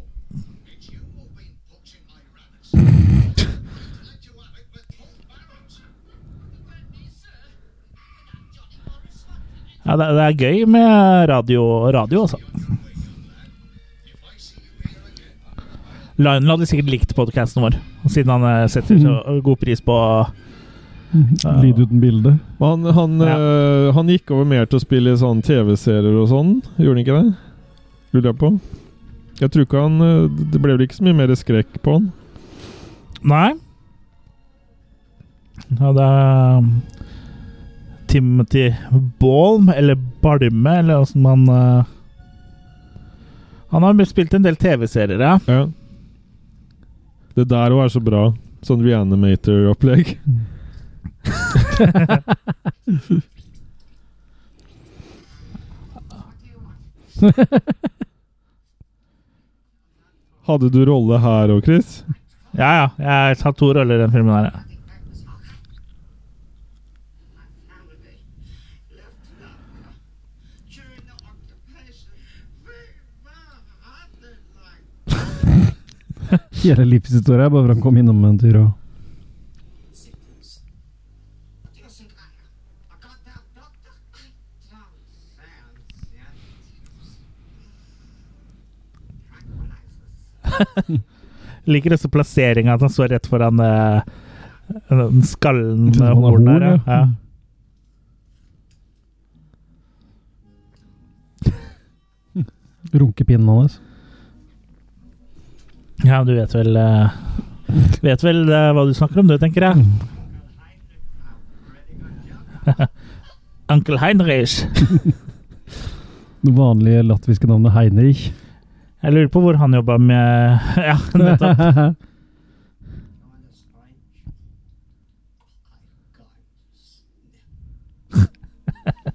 Speaker 4: it's you who've been poaching my rabbits. To let you have it with full barrels. Pardon me, sir, but I'm Johnny Morris.
Speaker 1: ja det, det er gøy med radio, radio altså.
Speaker 4: If I see you here again,
Speaker 1: Lionel hadde sikkert likt podkasten vår, siden han eh, setter så god pris på
Speaker 2: Lyd uten bilde.
Speaker 3: Men han, han, eh, han gikk over mer til å spille i sånne TV-serier og sånn, gjorde han ikke det? Lurer jeg på. Jeg tror ikke han eh, Det ble vel ikke så mye mer skrekk på han.
Speaker 1: Nei. Ja, det er um, Timothy Balm, eller Balme, eller åssen man eh, Han har spilt en del TV-serier, ja.
Speaker 3: Ja. Det der òg er så bra. Sånn reanimator-opplegg. Hadde du rolle her òg, Chris?
Speaker 1: Ja, ja. Jeg har tatt to roller i den filmen her. ja.
Speaker 4: family left Africa during the occupation. Big man, I didn't like
Speaker 2: Hele livshistoria er bare for han kom innom en tur og
Speaker 4: sickness. Do you think I am a goddamn doctor? I don't sound scientific. Tranquilizers.
Speaker 1: Jeg Liker også plasseringa at han står rett foran eh, den skallen
Speaker 2: Han
Speaker 1: med
Speaker 2: har
Speaker 1: horn der.
Speaker 2: horn,
Speaker 1: Ja.
Speaker 2: ja. runkepinnen hans.
Speaker 1: Ja. ja, du vet vel eh, Vet vel eh, hva du snakker om, du, tenker jeg. Onkel Heinrich.
Speaker 2: Det vanlige latviske navnet Heinrich.
Speaker 1: Jeg lurer på hvor han jobba med Ja, nettopp.
Speaker 4: on a strange. I got snip.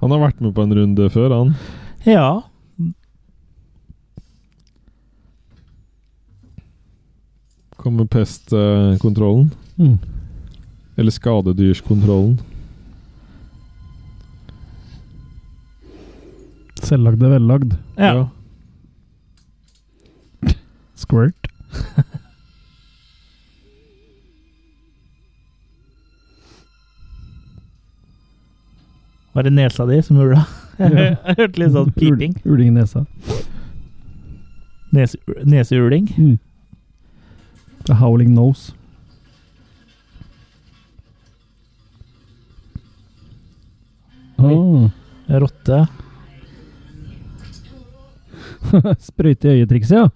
Speaker 3: Han har vært med på en runde før, han.
Speaker 1: Ja.
Speaker 3: Kom med pestkontrollen.
Speaker 2: Mm.
Speaker 3: Eller skadedyrskontrollen.
Speaker 2: Selvlagd er vellagd.
Speaker 1: ja.
Speaker 2: Squirt.
Speaker 1: Var det nesa di som hula? Jeg hørte litt sånn piping.
Speaker 2: Ul- Uling i nesa.
Speaker 1: Nes, Neseuling.
Speaker 2: Mm. The howling nose. Ah,
Speaker 1: Rotte.
Speaker 2: Ah. Sprøyte i øyetrikset, ja.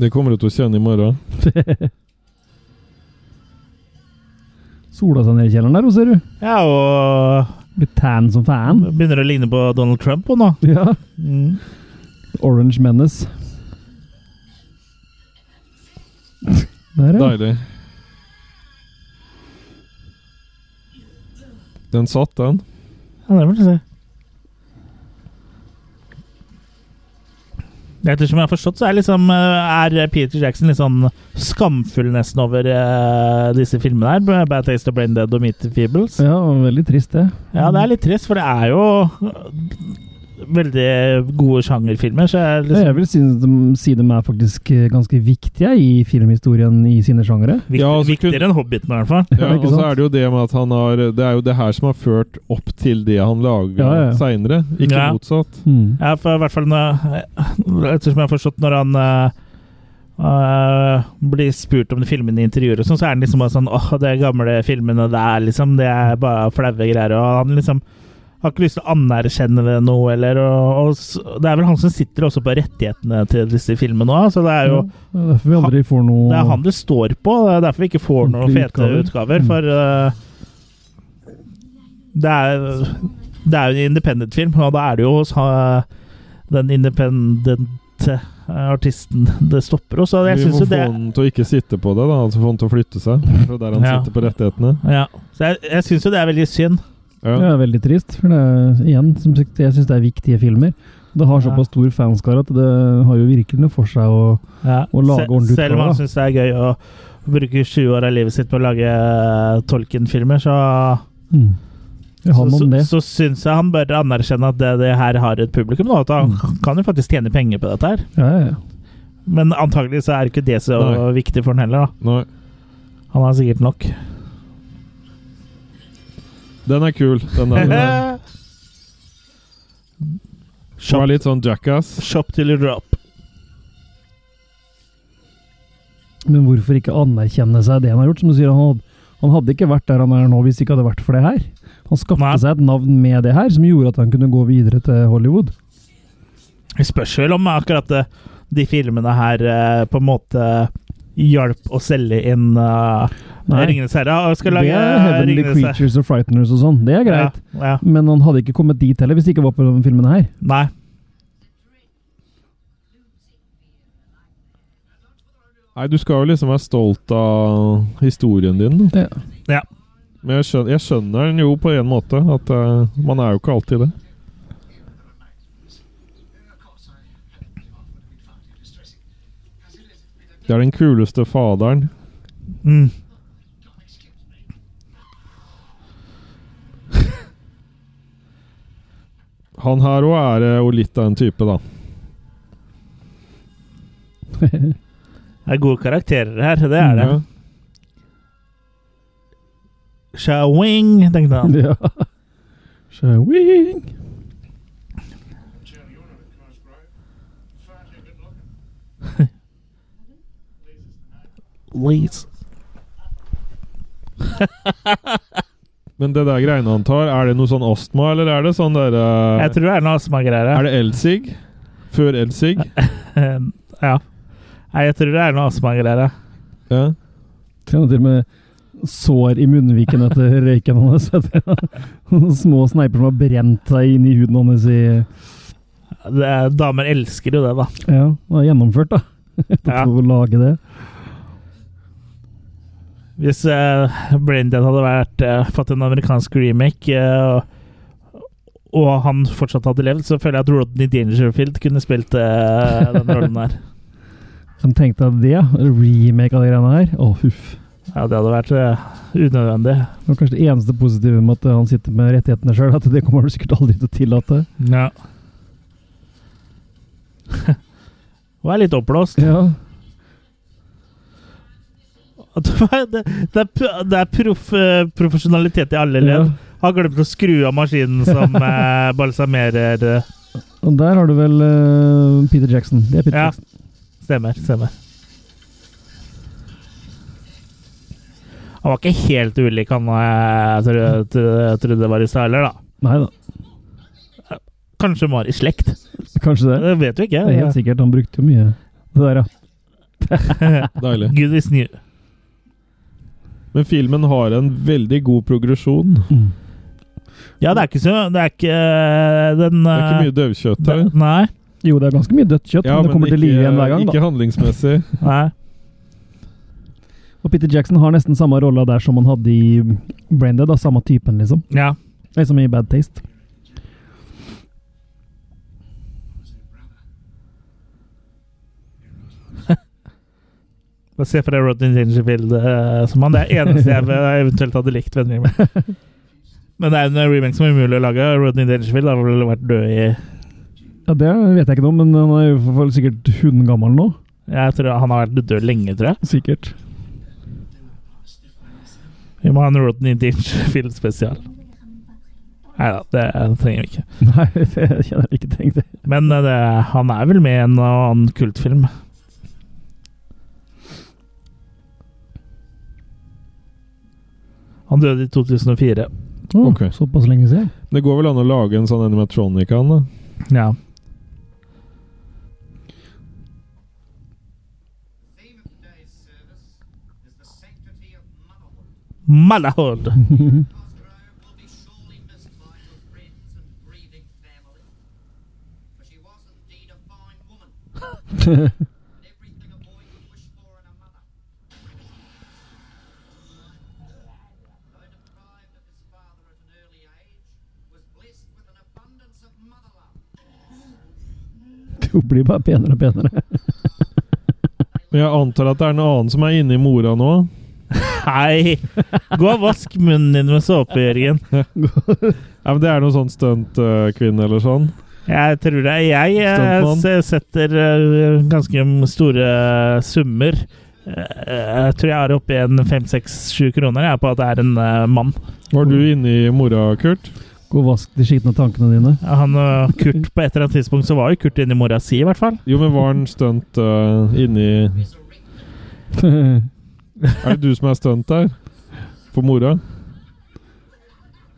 Speaker 3: Det kommer du til å kjenne i morgen.
Speaker 2: Sola seg ned i kjelleren der, og ser du.
Speaker 1: Ja, og
Speaker 2: Blir tan som fan.
Speaker 1: begynner å ligne på Donald Trump hun nå.
Speaker 2: Ja.
Speaker 1: Mm.
Speaker 2: Orange Menace. Der, ja.
Speaker 3: Deilig. Den satt, den.
Speaker 1: Ja, det får du se. Ettersom jeg har forstått, så er, liksom, eh, er Peter Jackson litt sånn skamfull nesten over eh, disse filmene her. Bad Taste of Brain Dead og Meet the Feebles.
Speaker 2: Ja, veldig trist det.
Speaker 1: Ja, det er litt trist, for det er jo eh, veldig gode sjangerfilmer, så jeg er
Speaker 2: Ja,
Speaker 1: liksom
Speaker 2: Jeg vil si, si de er faktisk eh, ganske viktige i filmhistorien i sine sjangere.
Speaker 1: viktig,
Speaker 3: Ja, altså, kun-
Speaker 1: viktigere enn Hobbiten, i hvert fall.
Speaker 3: Ja,
Speaker 2: ikke
Speaker 3: og så
Speaker 2: sant?
Speaker 3: er det jo det med at han har Det er jo det her som har ført opp til det han lager
Speaker 2: Ja, ja.
Speaker 3: seinere, ikke
Speaker 1: Ja.
Speaker 3: motsatt.
Speaker 2: Mm.
Speaker 1: Ja, for i hvert fall når, eh, Ettersom jeg har forstått når han eh, eh, blir spurt om de filmene i intervjuer og sånn, så er han liksom bare sånn åh, de gamle filmene der, liksom. Det er bare flaue greier. Og han liksom har ikke lyst til å anerkjenne det nå, eller og, og s- Det er vel han som sitter også på rettighetene til disse filmene òg, så det er jo
Speaker 2: Ja, det er derfor vi aldri får noe
Speaker 1: Det er han det står på, og det er derfor vi ikke får noen
Speaker 2: Ordentlige
Speaker 1: fete utgaver,
Speaker 2: Mm.
Speaker 1: for eh, det er det er jo en independent-film, og da er det jo hos eh, den independente eh, artisten det stopper hos. Og jeg
Speaker 3: Vi må
Speaker 1: synes
Speaker 3: få
Speaker 1: jo det
Speaker 3: han til å ikke sitte på det, da. Altså få han til å flytte seg fra der han
Speaker 1: Ja.
Speaker 3: sitter på rettighetene.
Speaker 1: ja. Så jeg, jeg syns jo det er veldig synd.
Speaker 3: Ja.
Speaker 2: Ja, Det er veldig trist. For det er, igjen, som sagt, jeg syns det er viktige filmer. Det har såpass stor fanskare at det har jo virkelig noe for seg å
Speaker 1: Ja.
Speaker 2: Og lage ordentlig
Speaker 1: Selv om
Speaker 2: utgave,
Speaker 1: han
Speaker 2: da.
Speaker 1: syns det er gøy å bruke 20 år av livet sitt på å lage eh, Tolkien-filmer, så,
Speaker 2: mm. Jeg
Speaker 1: så,
Speaker 2: har noe om
Speaker 1: så,
Speaker 2: det.
Speaker 1: så syns jeg han bør anerkjenne at det, det her har et publikum, da, at
Speaker 2: Mm.
Speaker 1: han kan jo faktisk tjene penger på dette her.
Speaker 2: Ja, ja, ja.
Speaker 1: Men antagelig så er ikke det så
Speaker 3: Nei.
Speaker 1: viktig for han heller, da.
Speaker 3: Nei.
Speaker 1: Han har sikkert nok.
Speaker 3: Den er kul. Den der. Det var
Speaker 1: shop,
Speaker 3: litt sånn jackass.
Speaker 1: shop till you drop.
Speaker 2: Men hvorfor ikke anerkjenne seg det han har gjort? Som du sier, han hadde, han hadde ikke vært der han er nå hvis det ikke hadde vært for det her. Han skapte
Speaker 1: Nei.
Speaker 2: seg et navn med det her, som gjorde at han kunne gå videre til Hollywood.
Speaker 1: Det spørs vel om akkurat eh, de filmene her eh, på en måte hjalp å selge inn uh,
Speaker 2: Nei.
Speaker 1: Ringenes herre. Og skal
Speaker 2: det
Speaker 1: lage eh,
Speaker 2: er Heavenly
Speaker 1: Ringenes herre.
Speaker 2: Creatures og Frighteners og sånn. Det er greit.
Speaker 1: Ja, ja.
Speaker 2: Men han hadde ikke kommet dit heller hvis det ikke var på denne filmen her.
Speaker 1: Nei.
Speaker 3: Nei, du skal jo liksom være stolt av historien din. da.
Speaker 2: Det,
Speaker 1: Ja.
Speaker 3: Men jeg skjønner, jeg skjønner den jo på en måte. At eh, man er jo ikke alltid det.
Speaker 4: Of course, I hadn't given up would have been far too distressing. Has he let it be that
Speaker 3: Det er den kuleste faderen.
Speaker 1: Mm.
Speaker 4: Tom excuse me?
Speaker 3: Han her òg er eh, jo litt av en type, da.
Speaker 1: Det er gode karakterer her, det er det.
Speaker 3: Mm, Ja.
Speaker 1: Shawing, tenkte han.
Speaker 2: ja. Showing.
Speaker 4: Jim, you're not in Cosgrove. Fairly good looking. Pleases the name.
Speaker 1: Please.
Speaker 3: Men det der greiene han tar, er det noe sånn astma, eller er det sånn derre
Speaker 1: Jeg tror det er noe astmagreier her.
Speaker 3: Er det elsig? Før elsig?
Speaker 1: ja. Nei, jeg tror det er noe astmagreier her.
Speaker 3: Ja.
Speaker 2: Han har til og med sår i munnviken etter røyken hans. Små sneiper som har brent seg inn i huden hans i
Speaker 1: Det er- Damer elsker jo det, da.
Speaker 2: Ja, det er gjennomført, da. Etter
Speaker 1: Ja.
Speaker 2: å lage det.
Speaker 1: Hvis uh, Braindead hadde vært, eh, fått en amerikansk remake, eh, og han fortsatt hadde levd, så føler jeg at Rodney Dangerfield kunne spilt eh, den rollen der.
Speaker 2: Men tenk deg det, remake av de greiene her. Å, huff.
Speaker 1: Ja, det hadde vært eh, unødvendig.
Speaker 2: Det var kanskje det eneste positive med at han sitter med rettighetene sjøl, at det kommer han sikkert aldri til å tillate.
Speaker 1: Ja. Hun er litt oppblåst.
Speaker 2: Ja,
Speaker 1: Det er, det er, pro- det er proff, eh, profesjonalitet i alle ledd. Har glemt å skru av maskinen som eh, balsamerer eh,
Speaker 2: Og der har du vel eh, Peter Jackson. Det er Peter
Speaker 1: Ja.
Speaker 2: Jackson.
Speaker 1: Stemmer. stemmer. Han var ikke helt ulik han eh, jeg trodde, trodde, trodde var i stad heller, da.
Speaker 2: Nei da,
Speaker 1: Kanskje han var i slekt?
Speaker 2: kanskje det.
Speaker 1: Det vet vi ikke.
Speaker 2: Det er helt sikkert. Han brukte jo mye det der, ja.
Speaker 3: Deilig.
Speaker 1: Gud is new.
Speaker 3: Men filmen har en veldig god progresjon.
Speaker 2: Mm.
Speaker 1: Ja, det er ikke så Det er ikke eh, den
Speaker 3: Det er ikke mye døvkjøtt her.
Speaker 1: Nei.
Speaker 2: Jo, det er ganske mye dødt kjøtt,
Speaker 3: Ja,
Speaker 2: men det kommer til live igjen hver gang. da.
Speaker 3: ikke handlingsmessig.
Speaker 1: nei.
Speaker 2: Og Peter Jackson har nesten samme rolla der som han hadde i Braindead. Da, samme typen, liksom.
Speaker 1: Ja.
Speaker 2: Liksom i Bad Taste.
Speaker 4: Was
Speaker 1: Bare se
Speaker 4: her brother.
Speaker 1: for deg Rodney Dangerfield eh, som han. Det er eneste jeg eh, eventuelt hadde likt ved en remake. Men det er en remake som er umulig å lage. Rodney Dangerfield har vel vært død i
Speaker 2: Ja, Det vet jeg ikke noe om, men han er jo for- for sikkert hundegammel nå.
Speaker 1: Jeg tror Han har vært død lenge, tror jeg.
Speaker 2: Sikkert.
Speaker 1: Vi må ha en Rodney Dangerfield spesial. Nei da, det trenger vi ikke.
Speaker 2: Nei, det kjenner jeg ikke tenkt. det.
Speaker 1: Men eh, det, han er vel med i en og annen kultfilm. Han døde i 2004.
Speaker 2: Å,
Speaker 3: Ok.
Speaker 2: Såpass lenge siden.
Speaker 3: Det går vel an å lage en sånn animatronic av den, da?
Speaker 1: Ja.
Speaker 4: Theme of today's service is the sanctity of motherhood.
Speaker 1: Malahord!
Speaker 4: Cosgrove will be sorely missed by her friends and grieving family. For she was indeed a fine woman. and everything a boy could wish for in a mother. Though deprived of his father at an early age, was blessed with an abundance of mother love.
Speaker 2: Hun blir bare penere og penere.
Speaker 3: Men jeg antar at det er en annen som er inni mora nå?
Speaker 1: Hei! Gå og vask munnen din med såpe, Jørgen.
Speaker 3: Ja, men Det er noe sånn stuntkvinne eller sånn?
Speaker 1: Jeg tror det. Jeg eh,
Speaker 3: Stuntmann.
Speaker 1: se- setter eh, ganske m- store summer. Eh, Jeg tror jeg har oppi en fem-seks-sju kroner jeg, på at det er en eh, mann.
Speaker 3: Var du inni mora, Kurt?
Speaker 2: Gå og vask de skitne tankene dine.
Speaker 1: Han og Kurt på et eller annet tidspunkt så var jo Kurt inni mora si, i hvert fall.
Speaker 3: Jo, men var han stunt eh, inni Er det du som er stunt der? For mora?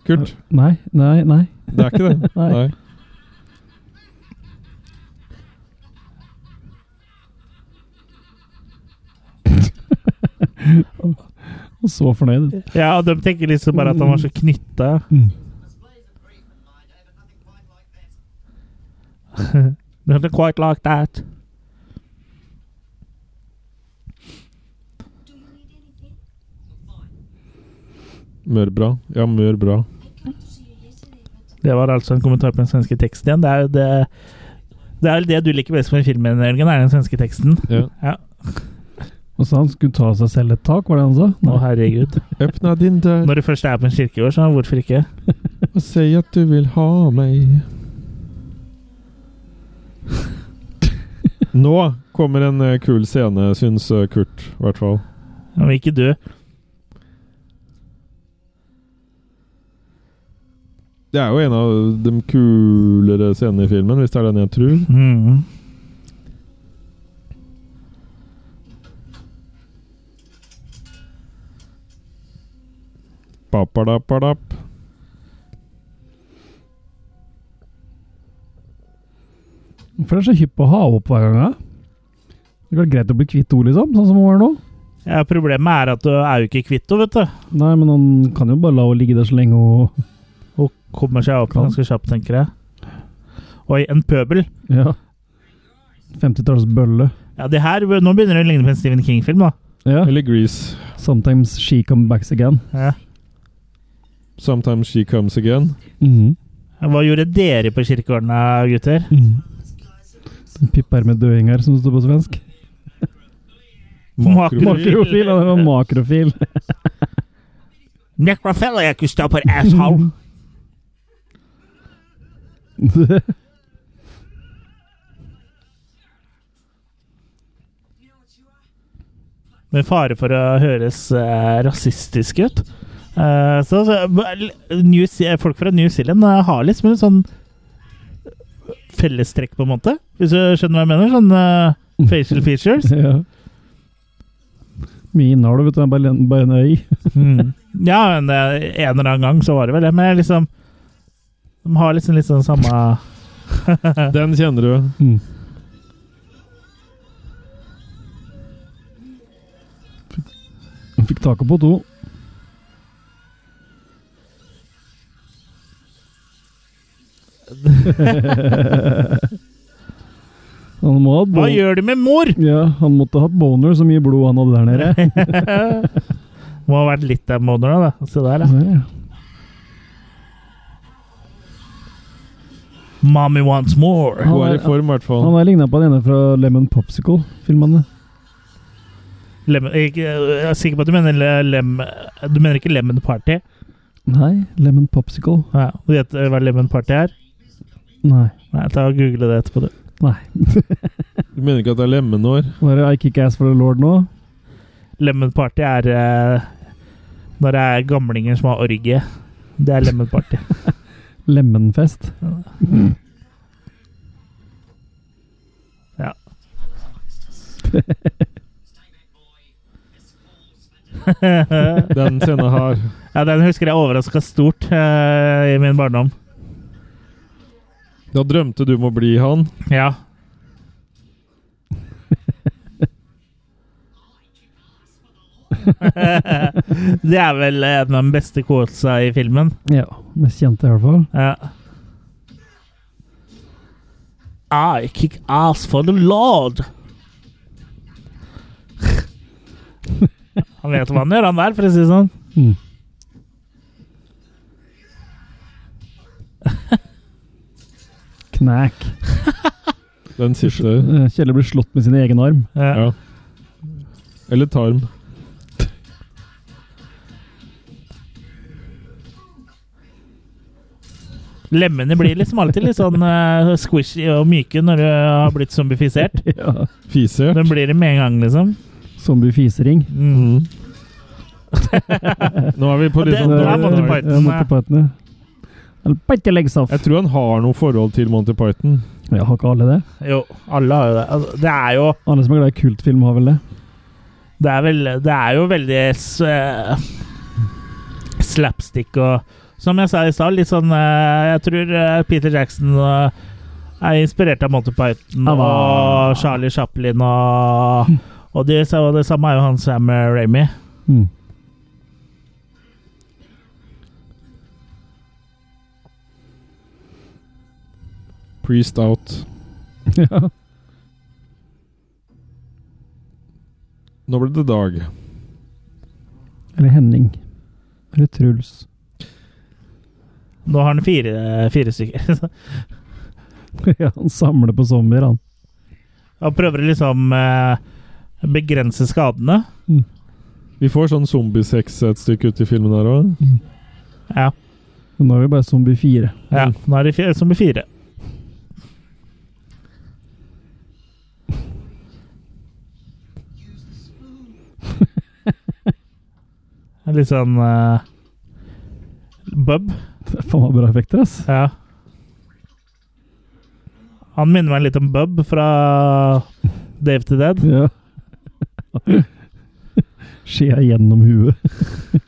Speaker 3: Kurt?
Speaker 2: Nei, nei, nei.
Speaker 3: Det er ikke det?
Speaker 2: Nei. Så fornøyd.
Speaker 1: Ja, og de tenker liksom bare at han var så knytta.
Speaker 2: Mm.
Speaker 4: Displays of grief in my day, but nothing quite like that.
Speaker 1: Nothing quite like that.
Speaker 5: Do you need anything?
Speaker 4: I'm fine.
Speaker 3: Mør bra. Ja, mør bra.
Speaker 5: I came to see you yesterday, but
Speaker 1: Det var altså en kommentar på den svenske teksten igjen. Det er jo det det er vel det du liker best med filmen, Jørgen, er den svenske teksten.
Speaker 3: Ja.
Speaker 1: Ja.
Speaker 2: Og så han skulle ta seg selv et tak, var det han sa?
Speaker 1: Å, herregud.
Speaker 3: Øpna din dør
Speaker 1: Når du først er på en kirkegård, så hvorfor ikke?
Speaker 3: og si at du vil ha meg. Nå kommer en eh, kul scene, syns eh, Kurt, i hvert fall.
Speaker 1: Om ikke du.
Speaker 3: Det er jo en av de kulere scenene i filmen, hvis det er den jeg tror.
Speaker 1: Mhm.
Speaker 3: Papadappadap.
Speaker 2: For det er så hypp å ha opp hver gang. ja. Det er klart greit å bli kvitt henne, liksom, sånn som hun var nå.
Speaker 1: Ja, problemet er at du er jo ikke kvitt henne, vet du.
Speaker 2: Nei, men han kan jo bare la henne ligge der så lenge hun
Speaker 1: Hun kommer seg opp
Speaker 2: Kan.
Speaker 1: ganske kjapt, tenker jeg. Oi, en pøbel.
Speaker 2: Ja. 50-tallsbølle.
Speaker 1: Ja, det her, Nå begynner det å ligne på en Stephen King-film, da.
Speaker 2: Ja.
Speaker 3: Eller Grease.
Speaker 2: Sometimes she comes back again.
Speaker 1: Ja.
Speaker 3: Sometimes she comes again.
Speaker 2: Mhm.
Speaker 1: Hva gjorde dere på kirkegården, da, gutter?
Speaker 2: Mhm. Den Pipper med dødinger, som det står på svensk.
Speaker 1: Makrofil.
Speaker 2: Makrofil! Ja, det var makrofil.
Speaker 1: Necrophilia, Christopher, asshole! Med fare for å høres eh, rasistisk ut. Eh, så, så New, Ze- Folk fra New Zealand eh, har liksom en sånn fellestrekk, på en måte. Hvis du skjønner hva jeg mener? Sånn eh, facial features.
Speaker 2: ja. Mye innhold, vet du. Det er bare, bare en øy.
Speaker 1: Mm. Ja, men eh, en eller annen gang så var det vel det. Men jeg liksom De har liksom litt sånn samme
Speaker 3: Den kjenner du.
Speaker 2: Mhm. Fikk- Fikk taket på to. Han må ha hatt
Speaker 1: Hva
Speaker 2: bon-
Speaker 1: gjør du med mor?!
Speaker 2: Ja, han måtte ha hatt boner, så mye blod han hadde der nede.
Speaker 1: Må ha vært litt av moner, da. da. Se der, ja.
Speaker 2: Der, ja.
Speaker 1: Mommy wants more.
Speaker 2: Han
Speaker 3: Hun er
Speaker 2: er-
Speaker 3: i form, i hvert fall.
Speaker 2: Han har ligna på den ene fra Lemon Popsicle-filmene.
Speaker 1: Lemon, ikke, jeg er sikker på at du mener le- lem... Du mener ikke Lemon Party?
Speaker 2: Nei, Lemon Popsicle.
Speaker 1: Ja, du vet eh, hva Lemon Party er?
Speaker 2: Nei.
Speaker 1: Nei, ta og Google det etterpå, du.
Speaker 2: Nei.
Speaker 3: Du mener ikke at det er lemenår?
Speaker 2: Var det I Kick Ass for the Lord nå?
Speaker 1: Lemon Party er eh, når det er gamlinger som har orgie. Det er Lemon Party.
Speaker 2: Lemonfest.
Speaker 1: Ja.
Speaker 4: Stay back, boy. This falls at
Speaker 1: ja,
Speaker 3: Den scenen her.
Speaker 1: den husker jeg overraska stort eh, i min barndom.
Speaker 3: Da drømte du om å bli han.
Speaker 1: Ja. det er vel en av de beste quotesa i filmen.
Speaker 2: Ja. Mest kjente, i hvert fall.
Speaker 1: Ja. I kick ass for the lord. Han vet hva han gjør, han der, for å si det sånn.
Speaker 2: Mm. Knack.
Speaker 3: Den sitter
Speaker 2: Eh, Kjelle blir slått med sin egen arm.
Speaker 1: Ja.
Speaker 3: Ja. Eller tarm.
Speaker 1: Lemmene blir liksom alltid litt sånn eh, squishy og myke når du har blitt zombiefisert.
Speaker 2: Ja.
Speaker 3: Fiser.
Speaker 1: De blir det med en gang, liksom.
Speaker 2: Zombie-fisering.
Speaker 1: Mm.
Speaker 3: Mhm. Nå er vi på litt
Speaker 1: Det-
Speaker 3: sånn
Speaker 1: det er
Speaker 3: dårlig-
Speaker 1: Monty Python.
Speaker 2: Eh, Ja, Monty Python, ja. Eller bite your legs off.
Speaker 3: Jeg tror han har noe forhold til Monty Python.
Speaker 2: Ja, har ikke alle det?
Speaker 1: Jo, alle har jo det. Altså, det er jo
Speaker 2: Alle som er glad i kultfilm, har vel det?
Speaker 1: Det er, vel, det er jo veldig s- eh, slapstick og Som jeg sa i stad, litt sånn eh, Jeg tror eh, Peter Jackson eh, er inspirert av Monty Python
Speaker 2: Han var-
Speaker 1: og Charlie Chaplin og Og det, og det samme er jo han Sam Ramy.
Speaker 2: Mm.
Speaker 3: Priest out.
Speaker 2: Ja.
Speaker 3: Nå ble det dag.
Speaker 2: Eller Henning. Eller Truls.
Speaker 1: Nå har han fire, fire stykker.
Speaker 2: ja, han samler på zombier, han.
Speaker 1: Han prøver å liksom eh, begrense skadene.
Speaker 2: Mm.
Speaker 3: Vi får sånn zombiesex et stykke ut i filmen her òg.
Speaker 1: Ja.
Speaker 2: Men nå er vi bare zombie fire.
Speaker 1: ja. Mm. Nå er det fi- som i fire. Det er Litt sånn eh, Bub.
Speaker 2: Det er faen meg bra effekter, ass.
Speaker 1: Ja. Han minner meg litt om Bub fra Dave to Dead.
Speaker 2: Ja. Skjea gjennom huet.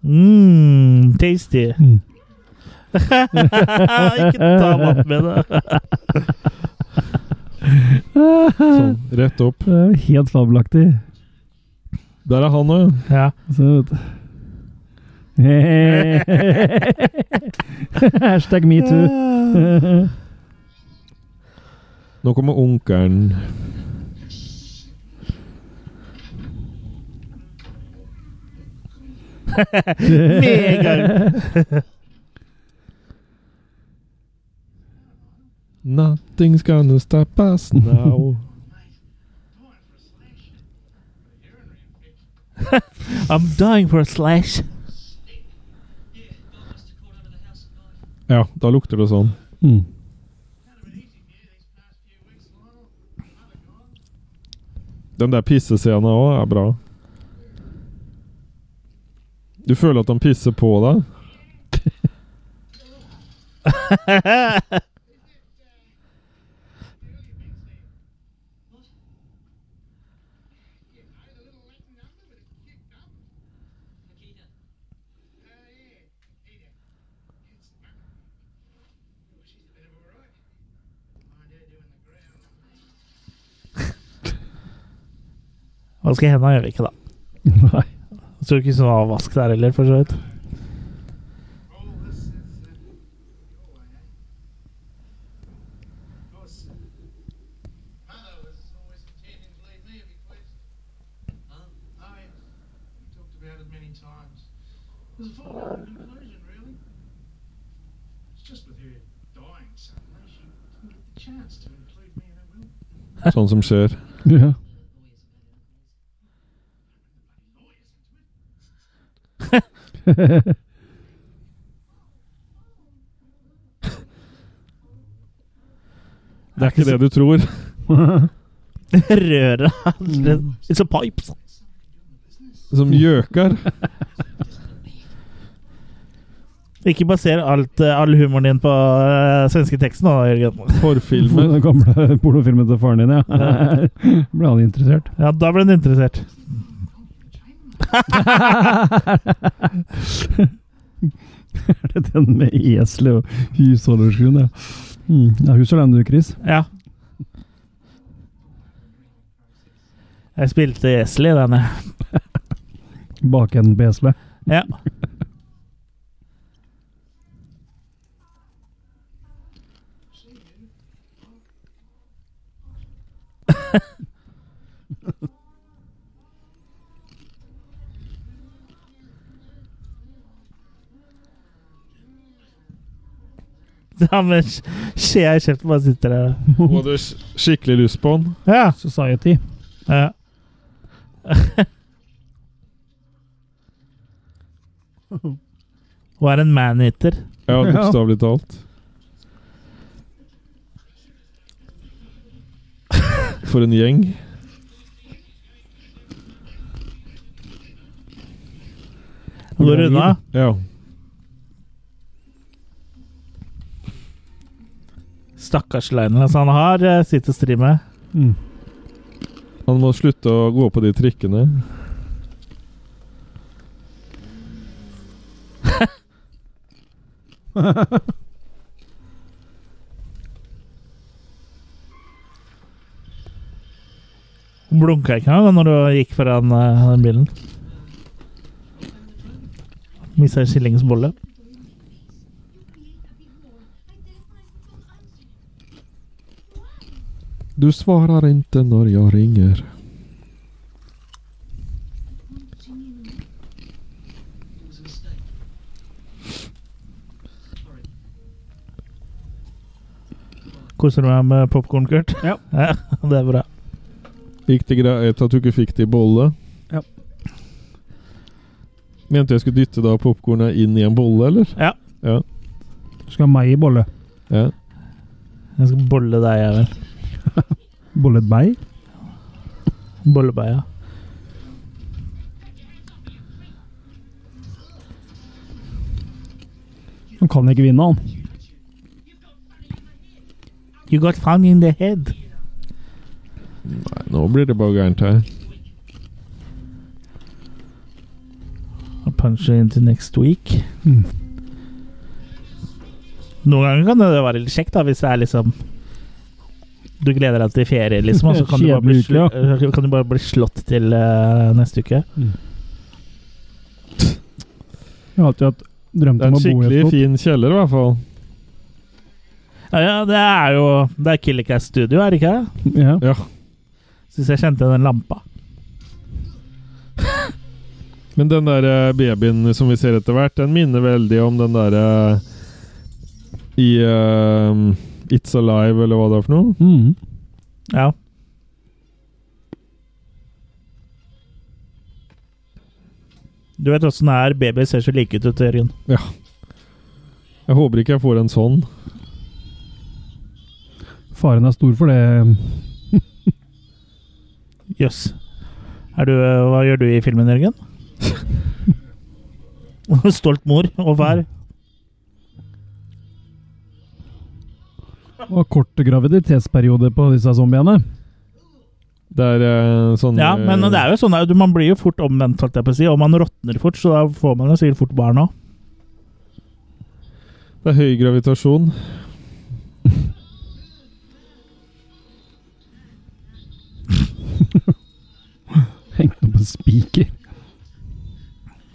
Speaker 1: Mm, tasty. Ikke ta maten min, da.
Speaker 3: Sånn, rett opp.
Speaker 2: Det er jo helt fabelaktig.
Speaker 3: Der er han òg, ja.
Speaker 1: Ja.
Speaker 2: Så, vet du. Hashtag metoo.
Speaker 3: Nå kommer onkelen.
Speaker 1: Med en gang.
Speaker 3: Nothing's gonna stop us now.
Speaker 1: I'm dying for a slash.
Speaker 3: Ja, da lukter det sånn.
Speaker 2: Mm.
Speaker 3: Den der pissescenen òg er bra. Du føler at han pisser på deg?
Speaker 1: Vaske hendene gjør vi ikke, da.
Speaker 2: Nei.
Speaker 1: Jeg tror ikke sånn avvask der heller, for så vidt.
Speaker 6: Just with her dying suddenly, she didn't get the chance to include me in her will.
Speaker 3: Sånn som skjer.
Speaker 2: Ja.
Speaker 3: Det er ikke det du tror.
Speaker 1: Røra
Speaker 3: Mm.
Speaker 1: It's a pipes.
Speaker 3: Som gjøkar.
Speaker 1: Ikke baser alt, eh, all humoren din på uh, svenske teksten nå, Jørgen.
Speaker 3: Forfilmer.
Speaker 2: Den gamle pornofilmen til faren din, ja. Ble han interessert?
Speaker 1: Ja, da ble du interessert.
Speaker 2: Er det den med eselet og husholderskruen? Ja. Mm. ja, husker den du, Chris?
Speaker 1: Ja. Jeg spilte esel i denne.
Speaker 2: Bakenden på eselet.
Speaker 1: Ja. Ja, men skjea i kjeften bare sitter der.
Speaker 3: Hun hadde sk- skikkelig lyst på den.
Speaker 1: Ja.
Speaker 2: Society.
Speaker 1: ja. Hun er en man-eater.
Speaker 3: Ja,
Speaker 2: Ja.
Speaker 3: bokstavelig talt. For en gjeng.
Speaker 1: Går unna.
Speaker 3: Ja.
Speaker 1: Stakkars Lionel. Altså, han har eh, sitt å stri med.
Speaker 2: Mm.
Speaker 3: Han må slutte å gå på de trikkene.
Speaker 1: Hun blunka ikke engang når hun gikk foran eh, den bilen. Mista en skillingsbolle.
Speaker 3: Du svarer ikke når jeg ringer.
Speaker 1: Koser du deg med popkorn, Kurt?
Speaker 2: Ja.
Speaker 1: Det er bra.
Speaker 3: Gikk det greit at du ikke fikk det i bolle?
Speaker 2: Ja.
Speaker 3: Mente jeg skulle dytte da popkornet inn i en bolle, eller?
Speaker 2: Skal ha meg i bolle.
Speaker 3: Ja.
Speaker 1: Jeg skal bolle deg, jeg vel.
Speaker 2: Bollet meg?
Speaker 1: Bollebeia.
Speaker 2: Han kan ikke vinne, han.
Speaker 1: You got found in the head.
Speaker 3: Nei, nå blir det bare gærent her.
Speaker 1: I'll punch you into next week.
Speaker 2: Mm.
Speaker 1: Noen ganger kan det være litt kjekt, da, hvis det er liksom Du gleder deg til ferie, liksom, og så kan du bare bli,
Speaker 2: Kjedelig uke,
Speaker 1: sl- kan du bare bli slått til eh, neste uke.
Speaker 2: Jeg har alltid hatt drømt
Speaker 3: Det er
Speaker 2: om å bo i
Speaker 3: en skikkelig
Speaker 2: et slott.
Speaker 3: fin kjeller, i hvert fall.
Speaker 1: Ja, ja, det er jo Det er Killer Cast Studio, er det ikke det?
Speaker 2: Ja.
Speaker 3: Ja.
Speaker 1: Syns jeg kjente den lampa.
Speaker 3: Men den der eh, babyen som vi ser etter hvert, den minner veldig om den derre i eh, It's Alive, eller hva det er for noe.
Speaker 2: Mm.
Speaker 1: Ja. Du vet åssen det er. Babyer ser så like ut, vet du, Jørgen.
Speaker 3: Jeg håper ikke jeg får en sånn.
Speaker 2: Faren er stor for det.
Speaker 1: Jøss. Er du eh, Hva gjør du i filmen, Jørgen? Stolt mor og far.
Speaker 2: Og kort graviditetsperiode på disse zombiene.
Speaker 3: Det er eh, sånn
Speaker 1: Ja, men det er jo sånn at man blir jo fort omvendt, holdt jeg på å si, og man råtner fort, så da får man jo sikkert fort barn òg.
Speaker 3: eh, det er høy gravitasjon.
Speaker 2: Hengt opp en spiker.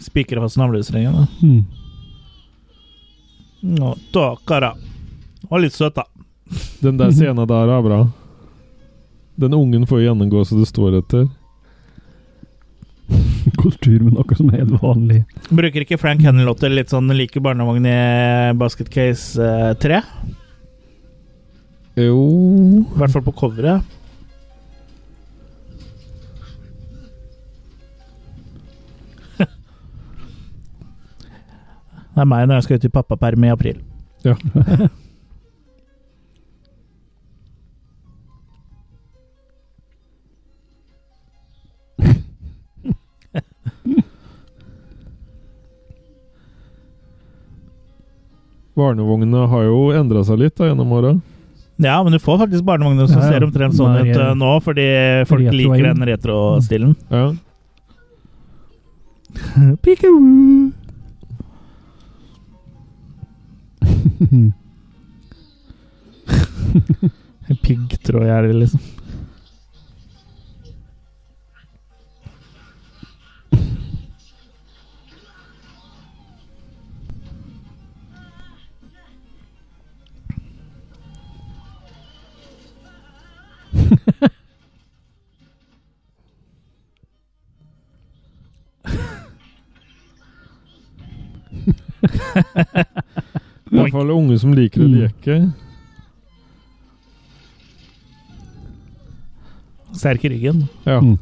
Speaker 1: Spiker fast navlestrengen. da.
Speaker 2: Mm.
Speaker 1: Nå, Stakkara. Var litt søt, da.
Speaker 3: Den der scenen der er bra. Den ungen får jo gjennomgå så det står etter.
Speaker 2: Kultur, men akkurat som helt vanlig.
Speaker 1: Bruker ikke Frank Henlotter litt sånn like barnevogn i Basket Case eh, 3?
Speaker 3: Jo
Speaker 1: I hvert fall på coveret. Det er meg når jeg skal ut i pappaperm i april.
Speaker 3: Ja. Barnevognene har jo endra seg litt da, gjennom åra.
Speaker 1: Ja, men du får faktisk barnevogner som
Speaker 2: Ja, ja.
Speaker 1: ser omtrent sånn
Speaker 2: Nei,
Speaker 1: ut eh, nå, fordi folk
Speaker 2: Retroen.
Speaker 1: liker den retrostilen.
Speaker 3: Ja.
Speaker 1: Peekaboo. Piggtrådgjerde, liksom.
Speaker 3: I hvert fall unge som liker å
Speaker 1: Mm.
Speaker 3: leke.
Speaker 1: Sterk i ryggen.
Speaker 3: Ja.
Speaker 2: Mm.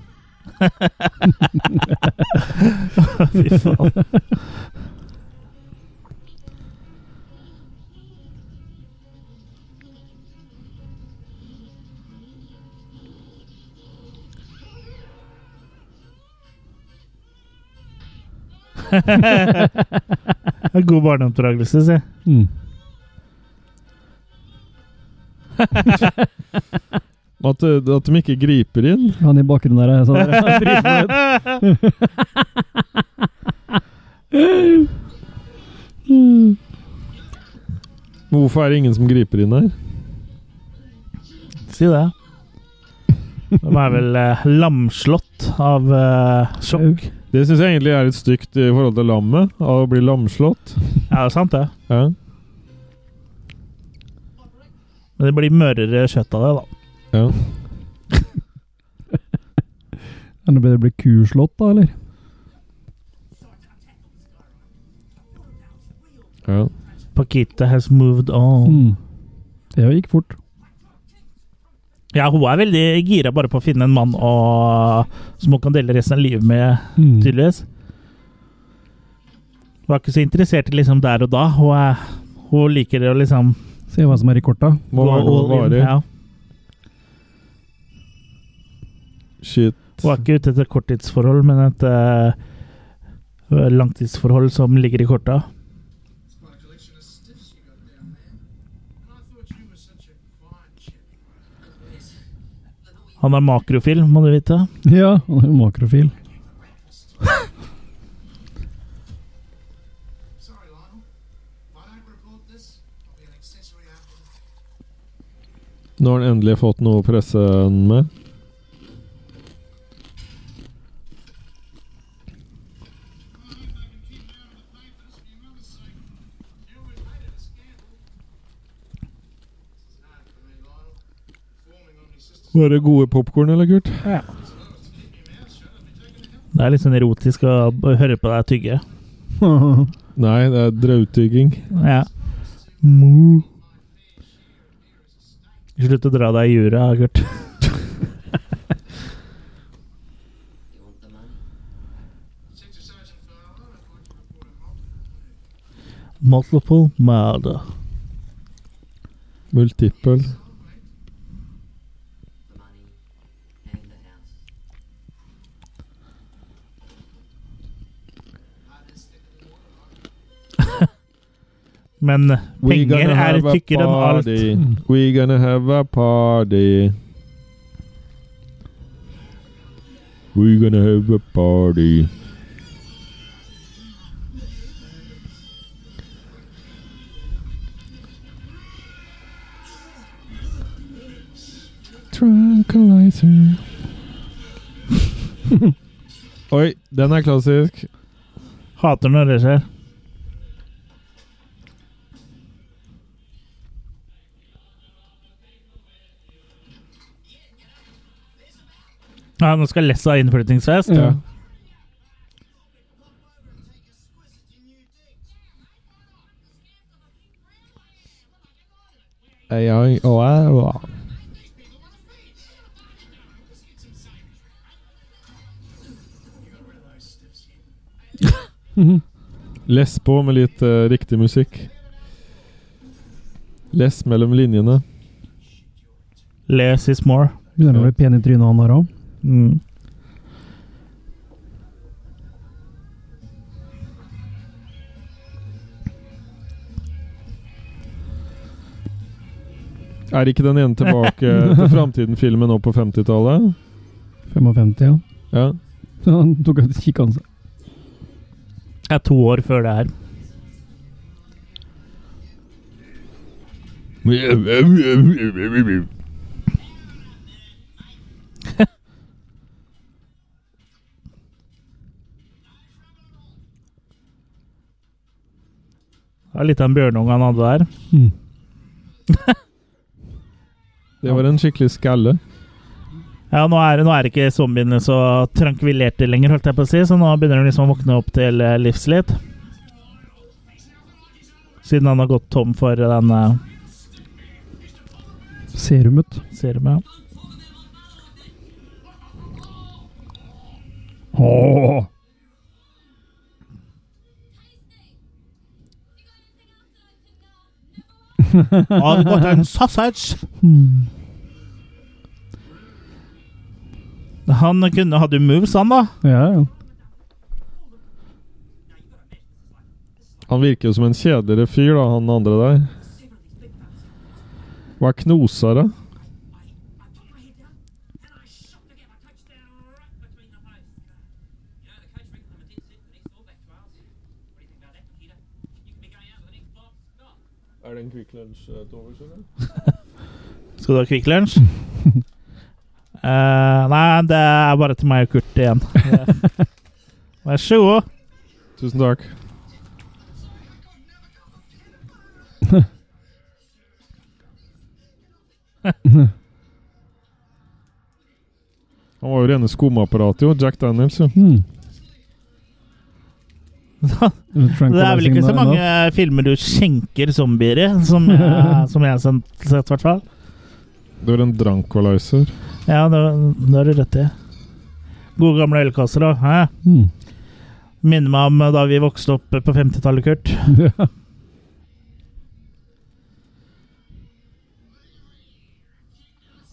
Speaker 1: Fy faen. Det er God barneoppdragelse, si.
Speaker 2: Mm.
Speaker 3: At, eh, at de ikke griper inn.
Speaker 2: Han i bakgrunnen der er sånn der. dritfornøyd.
Speaker 3: Men Hvorfor er det ingen som griper inn her?
Speaker 1: Si det. De er vel eh, lamslått av eh, sjokk.
Speaker 3: Det syns jeg egentlig er litt stygt i forhold til lammet. Av å bli lamslått.
Speaker 1: Ja, det er sant, det.
Speaker 3: Ja.
Speaker 1: Men det blir mørere kjøtt av det, da.
Speaker 3: ja.
Speaker 2: Enda bedre bli kuslått, da, eller?
Speaker 3: ja.
Speaker 1: Pakita has moved on.
Speaker 2: Mm. Det gikk fort.
Speaker 1: Ja, hun er veldig gira bare på å finne en mann å- som hun kan dele resten av livet med,
Speaker 2: Mm.
Speaker 1: tydeligvis. Hun er ikke så interessert i liksom der og da. Hun, er, hun liker å liksom
Speaker 2: Se hva som er i korta.
Speaker 3: Må
Speaker 1: gå
Speaker 3: være noe
Speaker 1: all in.
Speaker 3: varig.
Speaker 1: Ja.
Speaker 3: Shit.
Speaker 1: Hun er ikke ute etter korttidsforhold, men et eh, langtidsforhold som ligger i korta.
Speaker 4: It's quite a collection of stiffs you got down there. I thought you were such a quiet chap.
Speaker 1: Han er makrofil, må du vite.
Speaker 2: Ja, han er jo makrofil.
Speaker 4: Sorry, Lionel. If I don't report this, I'll be an accessory after.
Speaker 3: Nå har han endelig fått noe å presse han med. Var det gode popkorn, eller, Kurt?
Speaker 1: Det er litt sånn erotisk å b- høre på deg tygge.
Speaker 3: Nei, det er drautdygging.
Speaker 1: Ja. Mo. Slutt å dra deg i jura, Kurt.
Speaker 4: You want the money? Detective Sergeant Fowler, I'd like to report a multiple
Speaker 1: Multiple murder.
Speaker 3: Multiple.
Speaker 4: the money and the house.
Speaker 1: Men eh,
Speaker 3: We
Speaker 1: penger
Speaker 3: gonna
Speaker 1: er
Speaker 3: have a
Speaker 1: tykkere enn alt.
Speaker 3: party. We gonna have a party. We gonna have a party. Tranquilizer. Oi, den er klassisk.
Speaker 1: Hater når det skjer. Ja, nå skal Lessa ha innflyttingsfest.
Speaker 2: Ja.
Speaker 3: Mm. Jeg, jeg, og jeg, og jeg. Less på med litt eh, riktig musikk. Less mellom linjene.
Speaker 1: Less is more.
Speaker 2: Begynner å bli pen i trynet han har òg.
Speaker 1: Mm.
Speaker 3: Er ikke den ene tilbake til Framtiden-filmen nå på 50-tallet?
Speaker 2: 55, ja.
Speaker 3: Ja.
Speaker 2: Så han tok et kikk han seg.
Speaker 1: Jeg er to år før det her. Det var litt av en bjørnunge han hadde der.
Speaker 2: Mm.
Speaker 3: Det var en skikkelig skalle.
Speaker 1: Ja, nå er, nå er ikke zombiene så trankvilerte lenger, holdt jeg på å si, så nå begynner de liksom å våkne opp til eh, livs litt. Siden han har gått tom for den eh,
Speaker 2: Serumet.
Speaker 1: serumet.
Speaker 2: Åh!
Speaker 1: I've got a sausage!
Speaker 2: Hmm.
Speaker 1: Han kunne, hadde jo moves, han, da.
Speaker 2: Ja, ja.
Speaker 3: Han virker jo som en kjedeligere fyr, da, han andre der. Hva er knosere?
Speaker 4: I put my head down and I shot the gap. I touched down right between the posts. You know, the coach reckons I'm a dead set for the next All Black trials. What do you think about that, Nikita? You can be going out for the next box. Stop.
Speaker 3: Er det en Quick eh, Lunch-dovers, eller?
Speaker 1: Skal du ha Kvikk Lunsj? Eh, nei, det er bare til meg og Kurt igjen. Vær så god.
Speaker 3: Tusen takk. Han var jo rene skumapparatet, jo. Jack Daniels, jo.
Speaker 2: Hmm.
Speaker 1: Det er vel ikke så mange filmer du skjenker zombier i, som jeg, som jeg har sett, i hvert fall.
Speaker 3: Du er en drankolizer.
Speaker 1: Ja, det det har du rett i. Gode gamle ølkasser, da. Hæ?
Speaker 2: Hmm.
Speaker 1: Minner meg om da vi vokste opp på 50-tallet, Kurt.
Speaker 2: Ja.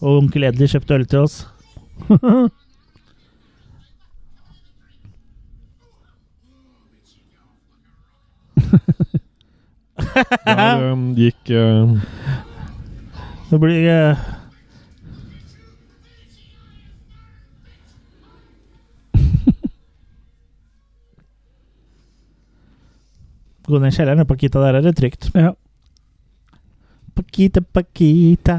Speaker 1: Og onkel Edli kjøpte øl til oss.
Speaker 3: Der um, gikk eh,
Speaker 1: Det blir eh, Gå ned i kjelleren. Pakita, der er det trygt.
Speaker 2: ja.
Speaker 1: Pakita, Pakita.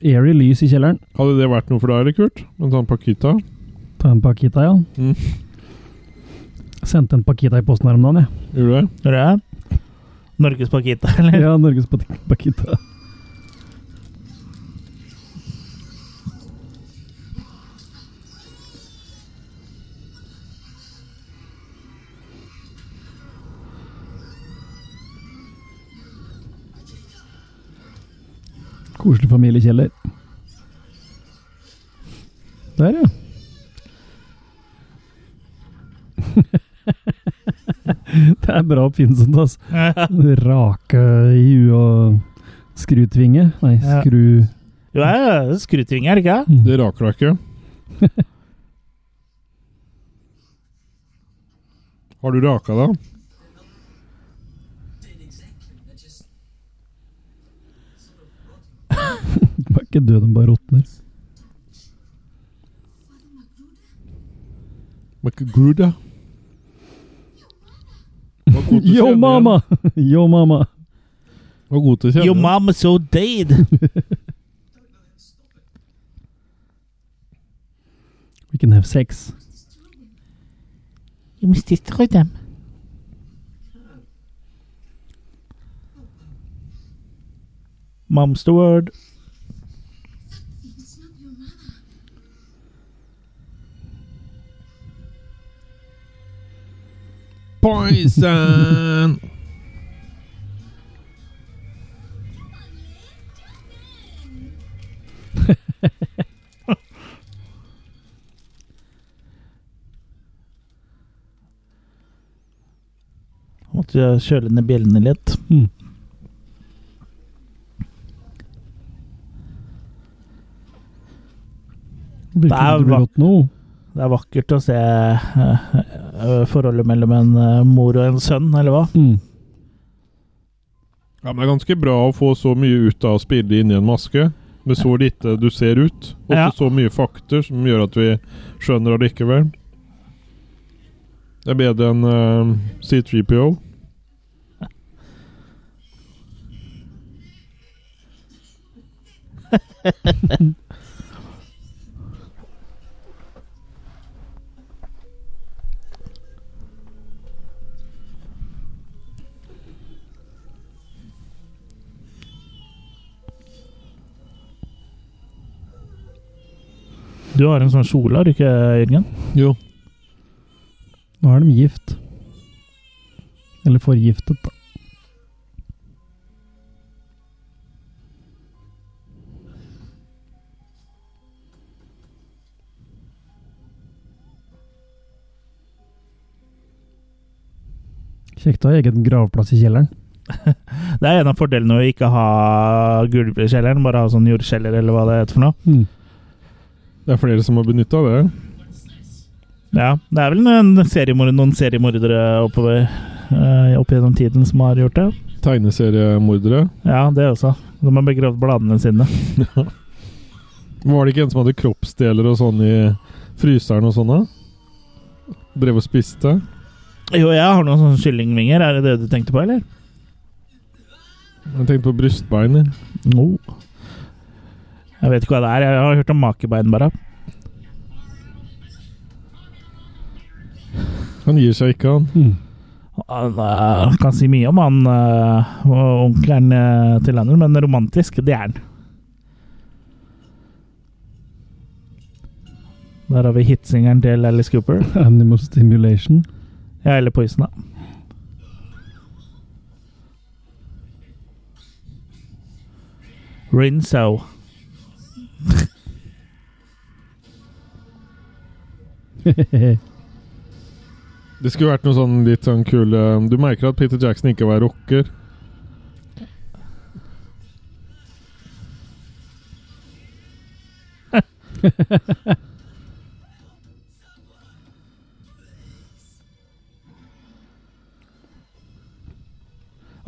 Speaker 2: Airy lys i kjelleren.
Speaker 3: Hadde det vært noe for deg, eller, Kurt? En sånn Pakita?
Speaker 2: Ta en Pakita, ja.
Speaker 3: Mm.
Speaker 2: Sendte en Pakita i posten her om dagen, jeg.
Speaker 3: Gjorde du det?
Speaker 1: Når det er Norges Pakita, eller?
Speaker 2: Ja, Norges Pak- Pakita. Koselig familiekjeller. Der, ja. Det er bra oppfinnsomt, altså. Rake i huet og skrutvinge. Nei,
Speaker 1: Ja.
Speaker 2: skru...
Speaker 1: Jo, ja, ja, skrutvinge, er det ikke?
Speaker 3: Det raker deg ikke. Har du raka deg?
Speaker 2: Den er ikke død, den bare råtner.
Speaker 3: McGruda? Var god til å kjenne
Speaker 2: Yo,
Speaker 3: igjen.
Speaker 2: mama! Yo, mama!
Speaker 3: Var god til å kjenne
Speaker 1: Your
Speaker 3: igjen.
Speaker 1: mom is so dead!
Speaker 2: We can have sex.
Speaker 1: You must destroy them. Mom's the word.
Speaker 5: It's not your mother.
Speaker 3: Poison!
Speaker 1: kjø- kjøle ned bjellene litt.
Speaker 2: Mm. Virker
Speaker 1: Det er
Speaker 2: som det blir
Speaker 1: va-
Speaker 2: godt nå.
Speaker 1: Det er vakkert å se eh, eh, forholdet mellom en eh, mor og en sønn, eller hva?
Speaker 2: Mm.
Speaker 3: Ja, men Det er ganske bra å få så mye ut av å spille inni en maske, med så lite du ser ut. Og
Speaker 1: Ja.
Speaker 3: så mye fakter som gjør at vi skjønner allikevel. Det er bedre enn eh, C3PO.
Speaker 1: Du har en sånn kjole, har du ikke, Jørgen?
Speaker 3: Jo.
Speaker 2: Nå er de gift. Eller forgiftet, da. Kjekt å ha egen gravplass i kjelleren.
Speaker 1: Det er en av fordelene å ikke ha gulv i kjelleren, bare ha sånn jordkjeller, eller hva det heter for noe.
Speaker 2: Mm.
Speaker 3: Det er flere som har benytta det.
Speaker 1: Ja, det er vel en seriemor noen seriemordere oppover eh, opp gjennom tiden som har gjort det.
Speaker 3: Tegneseriemordere.
Speaker 1: Ja, det også. De har begravd bladene sine.
Speaker 3: Var det ikke en som hadde kroppsdeler og sånn i fryseren og sånn? da? Drev og spiste?
Speaker 1: Jo, jeg har noen sånne kyllingvinger. Er det det du tenkte på, eller?
Speaker 3: Jeg tenkte på brystbein. jeg.
Speaker 1: No. Jeg vet ikke hva det er. Jeg har hørt om makebein, bare.
Speaker 3: Han gir seg ikke, han.
Speaker 2: Mm.
Speaker 1: Han eh, kan si mye om han eh, og onkelen eh, til Leonard, men romantisk, det er han. Der har vi hitsingeren til Alice Cooper.
Speaker 2: Animal stimulation.
Speaker 1: Ja, eller Poison, da. Rinso.
Speaker 3: Det skulle vært noe sånn litt sånn kul eh, Du merker at Peter Jackson ikke var rocker.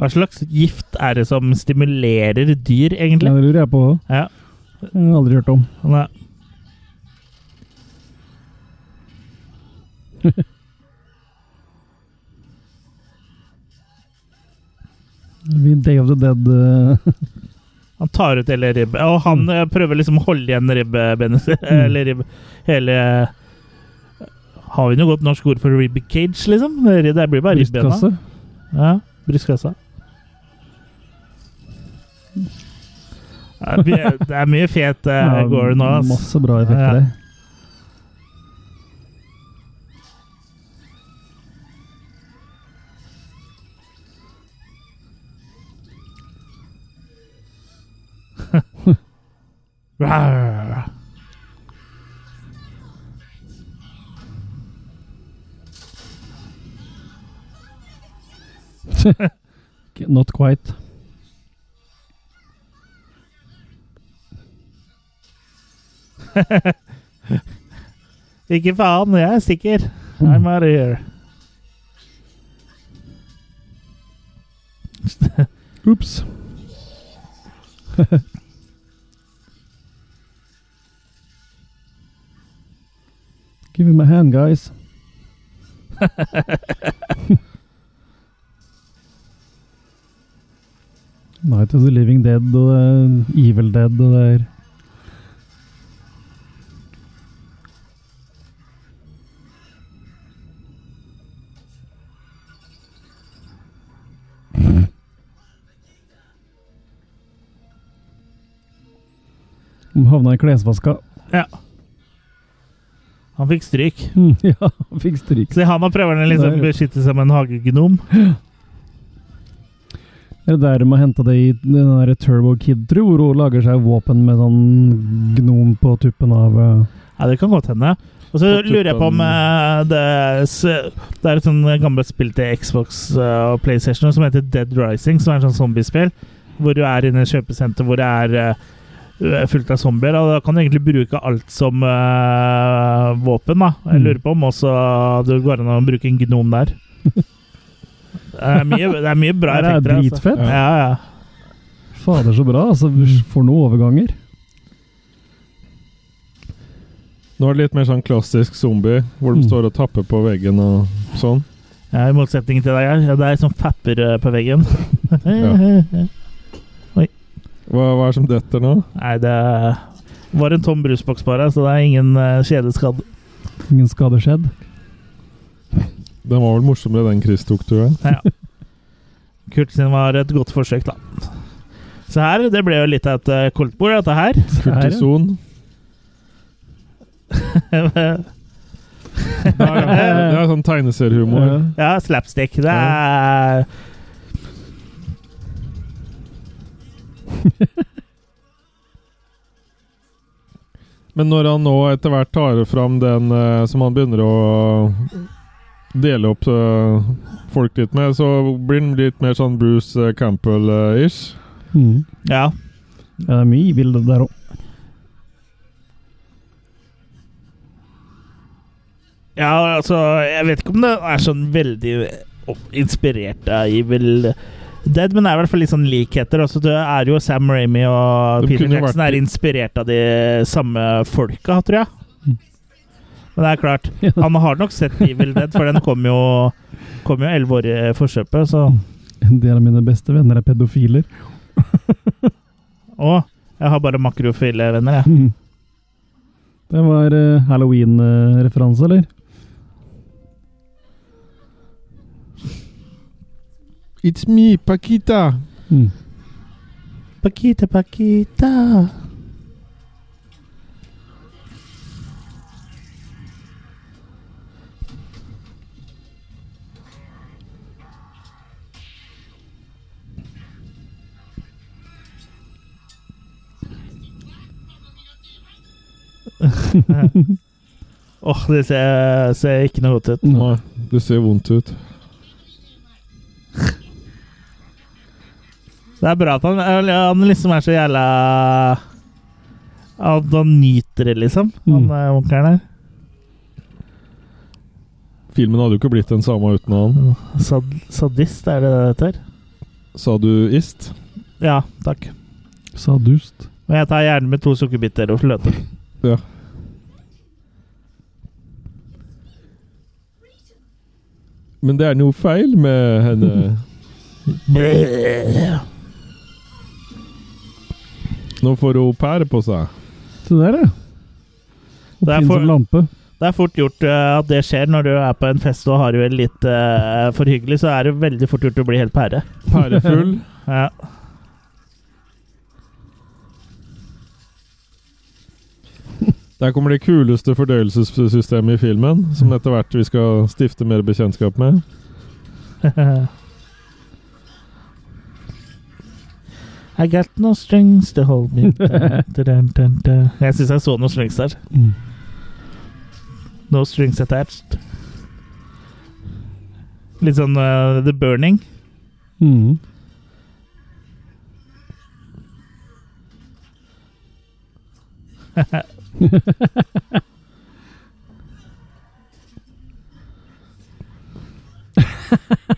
Speaker 1: Hva slags gift er det som stimulerer dyr,
Speaker 2: Ja,
Speaker 1: egentlig?
Speaker 2: det lurer jeg på.
Speaker 1: Ja.
Speaker 2: Det har jeg aldri hørt om.
Speaker 1: Nei.
Speaker 2: Day of the Dead eh,
Speaker 1: Han tar ut hele ribbet, og han
Speaker 2: Mm.
Speaker 1: eh, prøver liksom å holde igjen ribbebenet sitt. Eller ribb... Hele Har vi noe godt norsk ord for rib cage, liksom? Det det blir bare ribbena.
Speaker 2: brystkasse.
Speaker 1: Ja, brystkassa. Det er mye- det er mye fet uh,
Speaker 2: Ja,
Speaker 1: gore nå, ass.
Speaker 2: Masse bra effekter
Speaker 1: Ja.
Speaker 2: der.
Speaker 1: Rar.
Speaker 2: K- Not quite.
Speaker 1: Ikke faen, jeg er sikker.
Speaker 2: Mm.
Speaker 1: I'm out of here.
Speaker 2: Ops. Give him a hand, guys. Night of the Living Dead og det er Evil Dead og det er De havna i klesvaska.
Speaker 1: Ja. Han fikk stryk.
Speaker 2: Mm, ja, fikk stryk.
Speaker 1: Se, han og prøver å liksom
Speaker 2: Der.
Speaker 1: beskytte seg med en hagegnom.
Speaker 2: Det er der de har henta det i den der Turbo Kid, tror jeg, hvor hun lager seg våpen med sånn gnom på tuppen av eh,
Speaker 1: Ja, det kan godt hende. Og Og så
Speaker 3: På tuppen.
Speaker 1: lurer jeg på om eh, det, er s- det er et sånn gammelt spill til Xbox eh, og PlayStation som heter Dead Rising, som er et sånt zombiespill hvor du er inne i et kjøpesenter hvor det er eh, fullt av zombier. Og da kan du egentlig bruke alt som eh, våpen. da. Jeg
Speaker 2: Mm.
Speaker 1: lurer på om også det går an å bruke en gnom der. Det er mye, det er mye bra
Speaker 2: Det er
Speaker 1: effekter. altså.
Speaker 2: dritfett.
Speaker 1: Ja, ja.
Speaker 2: Fader, så bra. Altså, for noen overganger.
Speaker 3: Nå er det litt mer sånn klassisk zombie, hvor de
Speaker 2: Mm.
Speaker 3: står og tapper på veggen og sånn.
Speaker 1: Ja, I motsetning til deg her. Ja, det er sånn fapper eh, på veggen.
Speaker 3: Hva, hva er det som detter nå?
Speaker 1: Nei, det var en tom brusboks bare, så det er ingen uh, kjedeskade.
Speaker 2: Ingen skade skjedd.
Speaker 3: Den var vel morsommere den Chris tok, tror jeg.
Speaker 1: Kurt sin var et godt forsøk, da. Så her, det ble jo litt av et eh, koldtbord, dette her.
Speaker 3: Kurtison. Ja, ja. Det er sånn tegneseriehumor.
Speaker 2: Ja.
Speaker 1: ja, slapstick. Det er
Speaker 3: Men når han nå etter hvert tar fram den eh, som han begynner å dele opp eh, folk litt med, så blir han litt mer sånn Bruce eh, Campbell-ish.
Speaker 2: Mm.
Speaker 1: Ja.
Speaker 2: Ja, det er mye i bildet der òg.
Speaker 1: ja, altså Jeg vet ikke om det er sånn veldig opp- inspirert av Evil Dead, men det er i hvert fall litt sånn likheter. Altså, det er jo Sam Ramy og
Speaker 3: De
Speaker 1: Peter
Speaker 3: kunne
Speaker 1: Jackson
Speaker 3: vært-
Speaker 1: er inspirert av de samme folka, tror jeg.
Speaker 2: Mm.
Speaker 1: Men det er klart,
Speaker 2: Ja.
Speaker 1: han har nok sett Evil Dead, for den kom jo Kom jo elleve år i forkjøpet, så
Speaker 2: En del av mine beste venner er pedofiler.
Speaker 1: Å, jeg har bare makrofile venner, jeg.
Speaker 2: Mm. Det var eh, halloween-referanse, eller?
Speaker 3: It's me, Pakita!
Speaker 2: Mm.
Speaker 1: Pakita, pakita. Åh, det ser, ser ikke noe godt ut.
Speaker 2: Nei.
Speaker 3: Nei, det ser vondt ut.
Speaker 1: Det er bra at han, han liksom er så jævla At han nyter det, liksom. Han
Speaker 2: Mm.
Speaker 1: eh, onkelen her.
Speaker 3: Filmen hadde jo ikke blitt den samme uten han.
Speaker 1: Sad, sadist, er det det heter?
Speaker 3: Sa du ist?
Speaker 1: Ja, takk.
Speaker 2: Sadust.
Speaker 1: Men jeg tar gjerne med to sukkerbiter og fløte.
Speaker 3: Ja. Men det er noe feil med henne. Nå får hun pære på seg.
Speaker 2: Se der, ja.
Speaker 1: Det er
Speaker 2: Fin
Speaker 1: for-
Speaker 2: som lampe.
Speaker 1: Det er fort gjort eh, at det skjer når du er på en fest og har det vel litt eh, for hyggelig, så er det veldig fort gjort å bli helt pære.
Speaker 3: Pærefull.
Speaker 1: Ja.
Speaker 3: Der kommer det kuleste fordøyelsessystemet i filmen, som etter hvert vi skal stifte mer bekjentskap med.
Speaker 1: I got no strings to hold me down. Dun, dun, dun. Jeg syns jeg så noen strings der.
Speaker 2: Mm.
Speaker 1: No strings attached. Litt sånn eh, The Burning.
Speaker 2: Mm.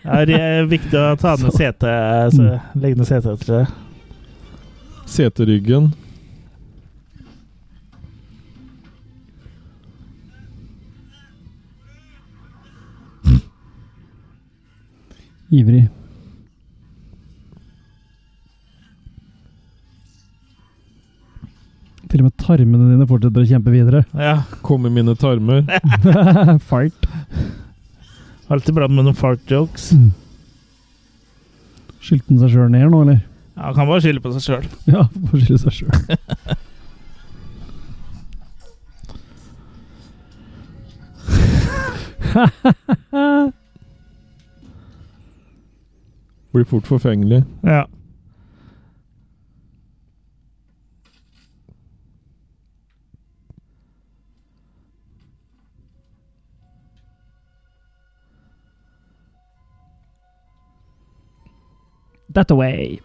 Speaker 1: Ja, det er eh, viktig å ta ned setet. Altså, legge ned setet etter det.
Speaker 3: Seteryggen.
Speaker 2: Ivrig. Til og med tarmene dine fortsetter å kjempe videre.
Speaker 1: Ja.
Speaker 3: Komme mine tarmer.
Speaker 2: Fart.
Speaker 1: Alltid bra med noen fart jokes.
Speaker 2: Skyldte han seg sjøl ned nå, eller?
Speaker 1: Ja, han kan bare skylde på seg sjøl.
Speaker 2: Ja, får skylde seg sjøl.
Speaker 3: Blir fort forfengelig.
Speaker 1: Ja.
Speaker 2: that away.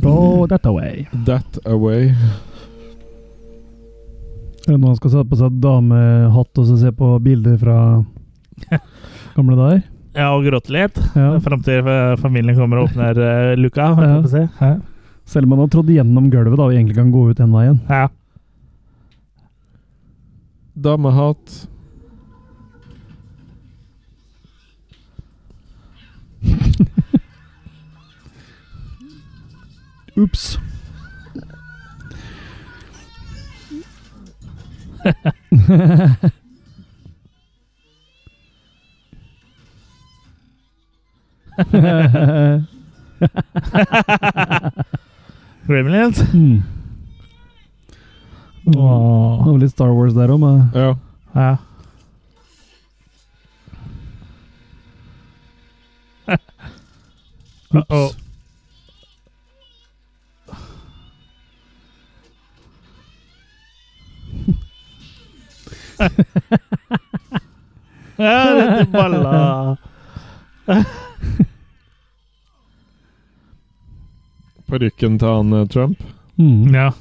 Speaker 2: Go that away.
Speaker 3: That away.
Speaker 2: Er det noen som skal sette på seg damehatt og så se på bilder fra gamle dager?
Speaker 1: Ja, og gråte litt.
Speaker 2: Ja.
Speaker 1: Fram til eh, familien kommer og åpner eh, luka. holdt
Speaker 2: Ja.
Speaker 1: jeg på å si. Ja.
Speaker 2: Selv om man har trådt gjennom gulvet da, og egentlig kan gå ut den veien.
Speaker 1: Ja.
Speaker 3: Damehat.
Speaker 2: Ups.
Speaker 1: Gremlins.
Speaker 2: mm. Det var litt Star Wars der òg, men
Speaker 3: Ja.
Speaker 1: Ja. Uh-oh.
Speaker 3: Ups.
Speaker 1: Ja, dette balla
Speaker 3: Parykken til han eh, Trump.
Speaker 2: mm.
Speaker 1: Ja.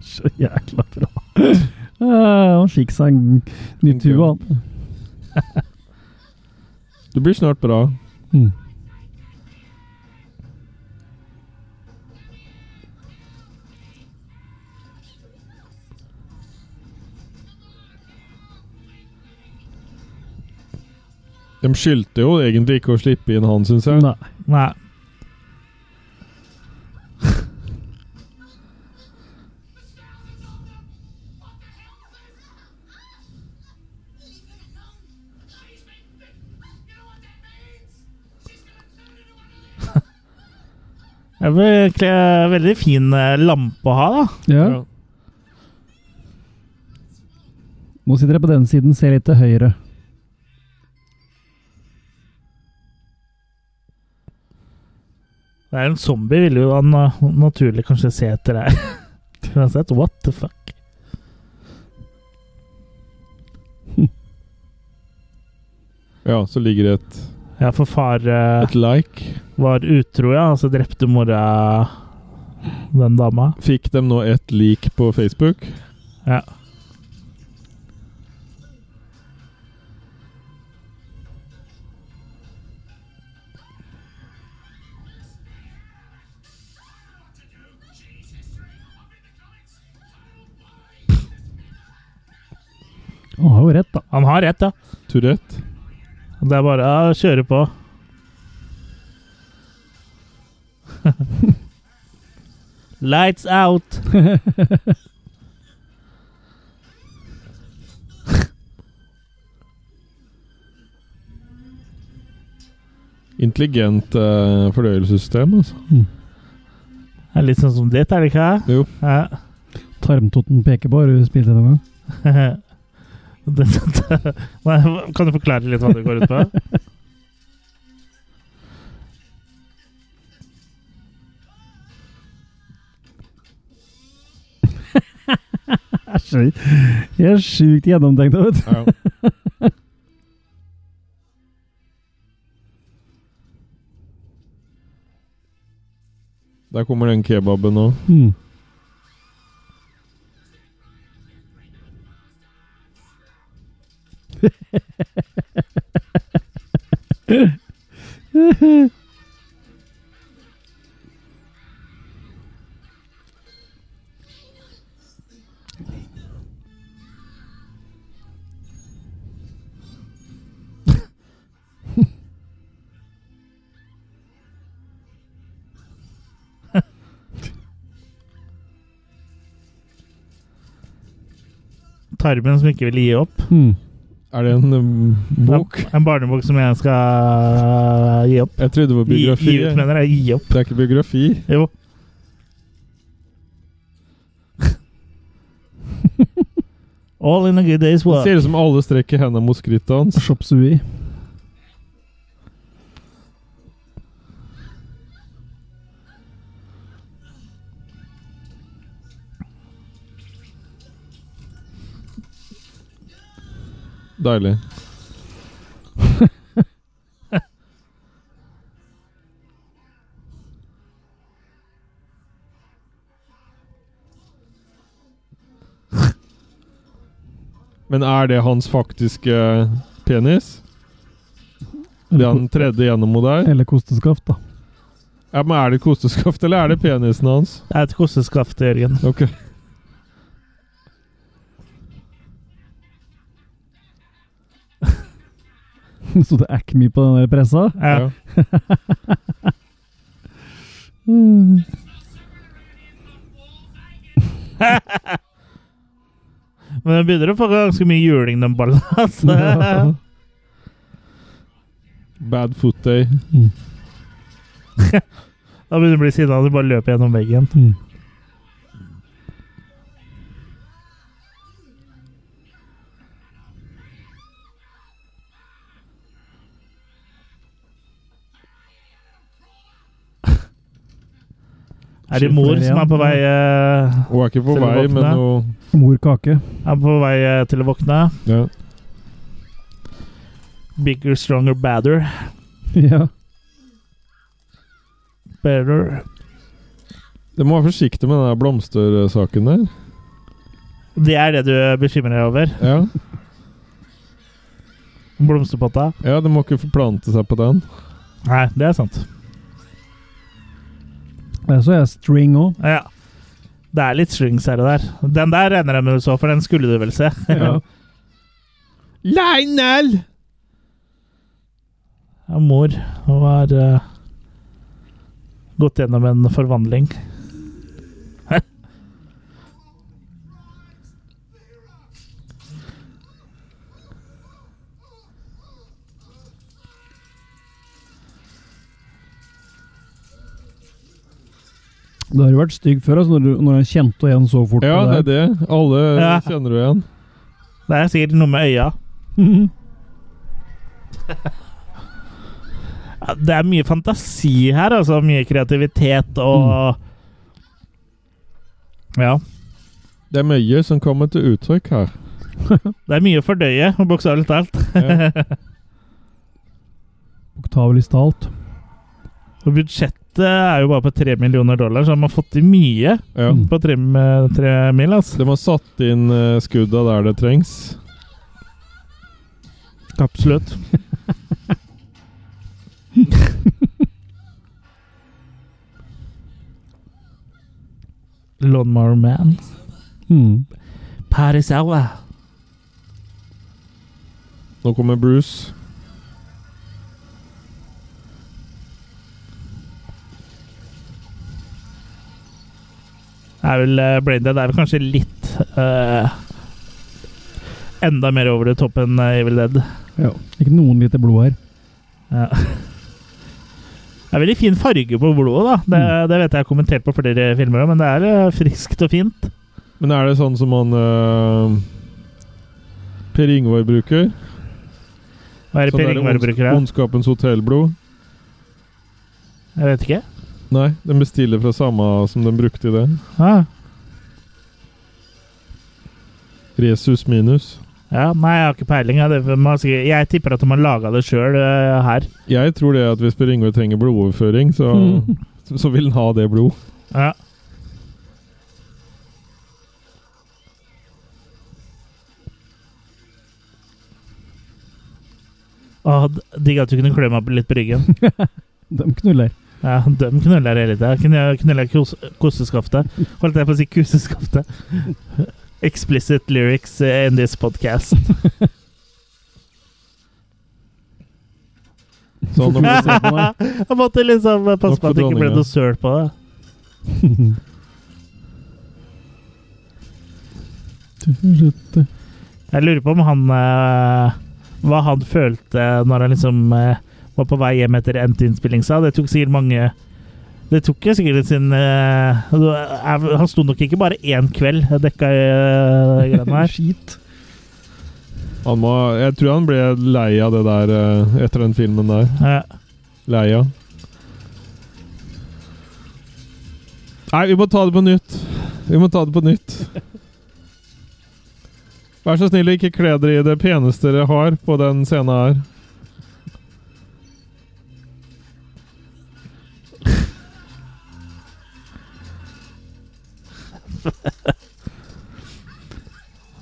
Speaker 2: Så jækla bra. Eh, han fikk seg en ny tue, han.
Speaker 3: Du blir snart bra.
Speaker 2: Mm.
Speaker 3: De skyldte jo egentlig ikke å slippe inn han, syns jeg.
Speaker 2: Nei.
Speaker 1: Nei. Det er vel egentlig en veldig fin eh, lampe å ha, da.
Speaker 2: Ja.
Speaker 3: Ja.
Speaker 2: Nå sitter jeg på den siden, ser litt til høyre.
Speaker 1: Det er En zombie ville jo han eh, naturlig kanskje se etter deg. Uansett, what the fuck?
Speaker 3: ja, så ligger det et,
Speaker 1: Ja, for far eh,
Speaker 3: et like.
Speaker 1: var utro, ja, og så drepte mora den dama.
Speaker 3: Fikk de nå ett like på Facebook?
Speaker 1: Ja.
Speaker 2: Han har jo rett, da.
Speaker 1: Han har rett, ja.
Speaker 3: Tourette?
Speaker 1: Det er bare å kjøre på. Lights out!
Speaker 3: Intelligent eh, fordøyelsessystem, altså.
Speaker 1: Det er litt sånn som ditt, er det ikke?
Speaker 3: Jo.
Speaker 1: Ja.
Speaker 2: Tarmtotten peker på, har du spilt denne?
Speaker 1: Det- det- Nei, Kan du forklare litt hva det går ut på?
Speaker 2: Æsj. Jeg er sjukt gjennomtenkt, vet du.
Speaker 3: Ja. Der kommer den kebaben nå.
Speaker 2: Mm.
Speaker 1: Tarmen som ikke vil gi opp.
Speaker 2: Mm.
Speaker 3: Er det en um, bok?
Speaker 1: En barnebok som jeg skal eh, gi opp.
Speaker 3: Jeg trodde det var
Speaker 1: Gi,
Speaker 3: biografi.
Speaker 1: gi ut, mener jeg. Gi opp.
Speaker 3: Det er ikke biografi.
Speaker 1: Jo. All in a good day's
Speaker 3: Det
Speaker 1: work.
Speaker 3: ser ut som alle strekker hendene mot skrittet hans.
Speaker 2: Chop sui.
Speaker 3: Deilig. Men er det hans faktiske eh, penis? Det han tredde gjennom henne der?
Speaker 2: Eller kosteskaft, da.
Speaker 3: Ja, men Er det kosteskaft, eller er det penisen hans?
Speaker 1: Det er et kosteskaft, Jørgen.
Speaker 3: Ok.
Speaker 2: Så det er ikke mye på den der pressa.
Speaker 1: Ja.
Speaker 3: Ja.
Speaker 1: Men den begynner å få ganske mye juling, den ballen. Altså.
Speaker 3: Bad foot day.
Speaker 1: Da begynner du å bli sinna og du bare løper gjennom veggen.
Speaker 2: Mm.
Speaker 1: Er det mor som er på vei, eh,
Speaker 3: Hun er ikke på
Speaker 1: Til å
Speaker 3: vei, men
Speaker 1: våkne.
Speaker 3: hun
Speaker 2: Mor kake.
Speaker 1: er på vei eh, til å våkne?
Speaker 3: ja.
Speaker 1: Bigger, stronger, badder.
Speaker 2: Ja.
Speaker 1: Better.
Speaker 3: De må være forsiktige med den der blomstersaken der.
Speaker 1: Det er det du bekymrer deg over?
Speaker 3: Ja,
Speaker 1: Blomsterpotta?
Speaker 3: ja De må ikke forplante seg på den.
Speaker 1: Nei, det er sant.
Speaker 2: Der så jeg string òg.
Speaker 1: Ja. Det er litt strings her og der. Den der regner jeg med du så, for den skulle du vel se.
Speaker 2: Ja.
Speaker 3: Lionel!
Speaker 1: Ja, mor hun har eh, gått gjennom en forvandling.
Speaker 2: Det har jo vært stygg før, altså, når, du, når jeg kjente igjen så fort.
Speaker 3: Ja, det
Speaker 2: på
Speaker 3: er det. Alle
Speaker 1: Ja.
Speaker 3: kjenner du igjen.
Speaker 1: Det er sikkert noe med øya.
Speaker 2: Mhm.
Speaker 1: Ja, Det er mye fantasi her, altså. Mye kreativitet og Ja.
Speaker 3: Det er mye som kommer til uttrykk her.
Speaker 1: Det er mye å fordøye, bokstavelig talt.
Speaker 3: Ja.
Speaker 2: Bokstavelig talt.
Speaker 1: Og budsjettet er jo bare på tre millioner dollar, så de har fått til mye
Speaker 3: Ja.
Speaker 1: på tre, med tre mil. Altså.
Speaker 3: De har satt inn eh, skudda der det trengs.
Speaker 1: Absolutt. Lawnmower Man.
Speaker 2: Mhm.
Speaker 1: Paris Hour.
Speaker 3: Nå kommer Bruce.
Speaker 1: Det er vel uh, Brain Dead er vel kanskje litt eh, Enda mer over det topp enn eh, Evil Dead.
Speaker 2: Ja. Ikke noen liter blod her.
Speaker 1: Ja. Det er veldig fin farge på blodet, da. Det, det vet jeg er kommentert på flere filmer, også, men det er eh, friskt og fint.
Speaker 3: Men er det sånn som han eh, Per Ingvar bruker?
Speaker 1: Hva er det
Speaker 3: Sånn
Speaker 1: Per
Speaker 3: der
Speaker 1: Ingvar
Speaker 3: ondsk-
Speaker 1: bruker her?
Speaker 3: Ondskapens hotellblod?
Speaker 1: Jeg vet ikke.
Speaker 3: Nei, den bestiller fra samme som den brukte i det.
Speaker 1: Ah,
Speaker 3: Resus minus.
Speaker 1: ja, nei, jeg har ikke peiling. Jeg, det, man, har sikkert- jeg tipper at de har laga det sjøl her.
Speaker 3: Jeg tror det at hvis Per Ingvar trenger blodoverføring, så,
Speaker 2: Hm.
Speaker 3: så vil han ha det blod.
Speaker 1: Ja. Åh, d- Digg at du kunne klø meg opp litt på ryggen.
Speaker 2: De knuller.
Speaker 1: Ja, de knuller hele tida. Knu- Knuller kos koseskaftet. Holdt jeg på å si kuseskaftet. Explicit lyrics in this podcast.
Speaker 3: Så han har-
Speaker 1: jeg måtte liksom passe på
Speaker 3: Nok for
Speaker 1: at det ikke ble
Speaker 3: dronninga.
Speaker 1: noe søl på det.
Speaker 2: Hm.
Speaker 1: Jeg lurer på om han eh, Hva han følte når han liksom eh, var på vei hjem etter endt innspilling. sa. Det tok sikkert mange Det tok jo sikkert sin eh, det- jeg- Han sto nok ikke bare én kveld og dekka uh, greiene her.
Speaker 2: Skit.
Speaker 3: han må, jeg tror han ble lei av det der eh, etter den filmen der.
Speaker 1: Ja.
Speaker 3: Lei av. Nei, vi må ta det på nytt. Vi må ta det på nytt. Vær så snill å ikke kle dere i det peneste dere har på den scenen her.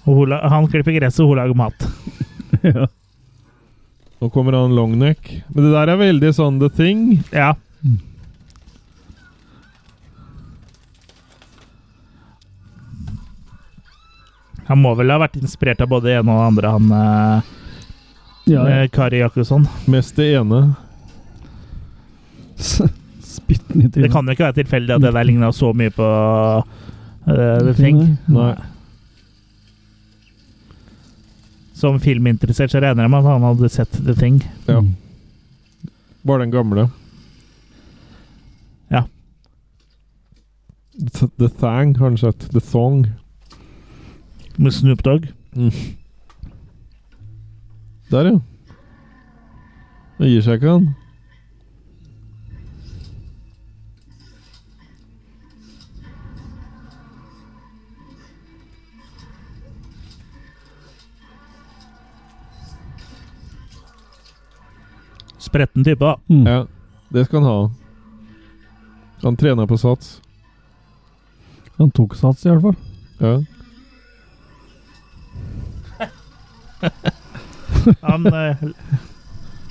Speaker 1: Og hun, la- han klipper gress, og hun lager mat.
Speaker 2: ja.
Speaker 3: Nå kommer han longneck. Men det der er veldig sånn the thing.
Speaker 1: Ja. Han må vel ha vært inspirert av både det ene og det andre, han eh,
Speaker 2: ja, ja.
Speaker 1: eh, Kari Jakobsson.
Speaker 3: Mest det ene.
Speaker 2: S- Spytten i
Speaker 1: Det
Speaker 2: trynet.
Speaker 1: kan jo ikke være tilfeldig at det der ligna så mye på eh, The Thing.
Speaker 3: Nei.
Speaker 1: Som filminteressert så regner jeg med at han hadde sett The Thing.
Speaker 3: Ja.
Speaker 2: Mm.
Speaker 3: Bare den gamle.
Speaker 1: Ja.
Speaker 3: Th- The Thang har han sett. The Thong.
Speaker 1: Med Snoop Dogg.
Speaker 3: Der, ja. Det gir seg ikke, han.
Speaker 1: Spretten type, da.
Speaker 2: Mm.
Speaker 3: Ja, det skal han ha. Han trener på sats.
Speaker 2: Han tok sats, i hvert fall.
Speaker 3: Ja.
Speaker 1: Han eh,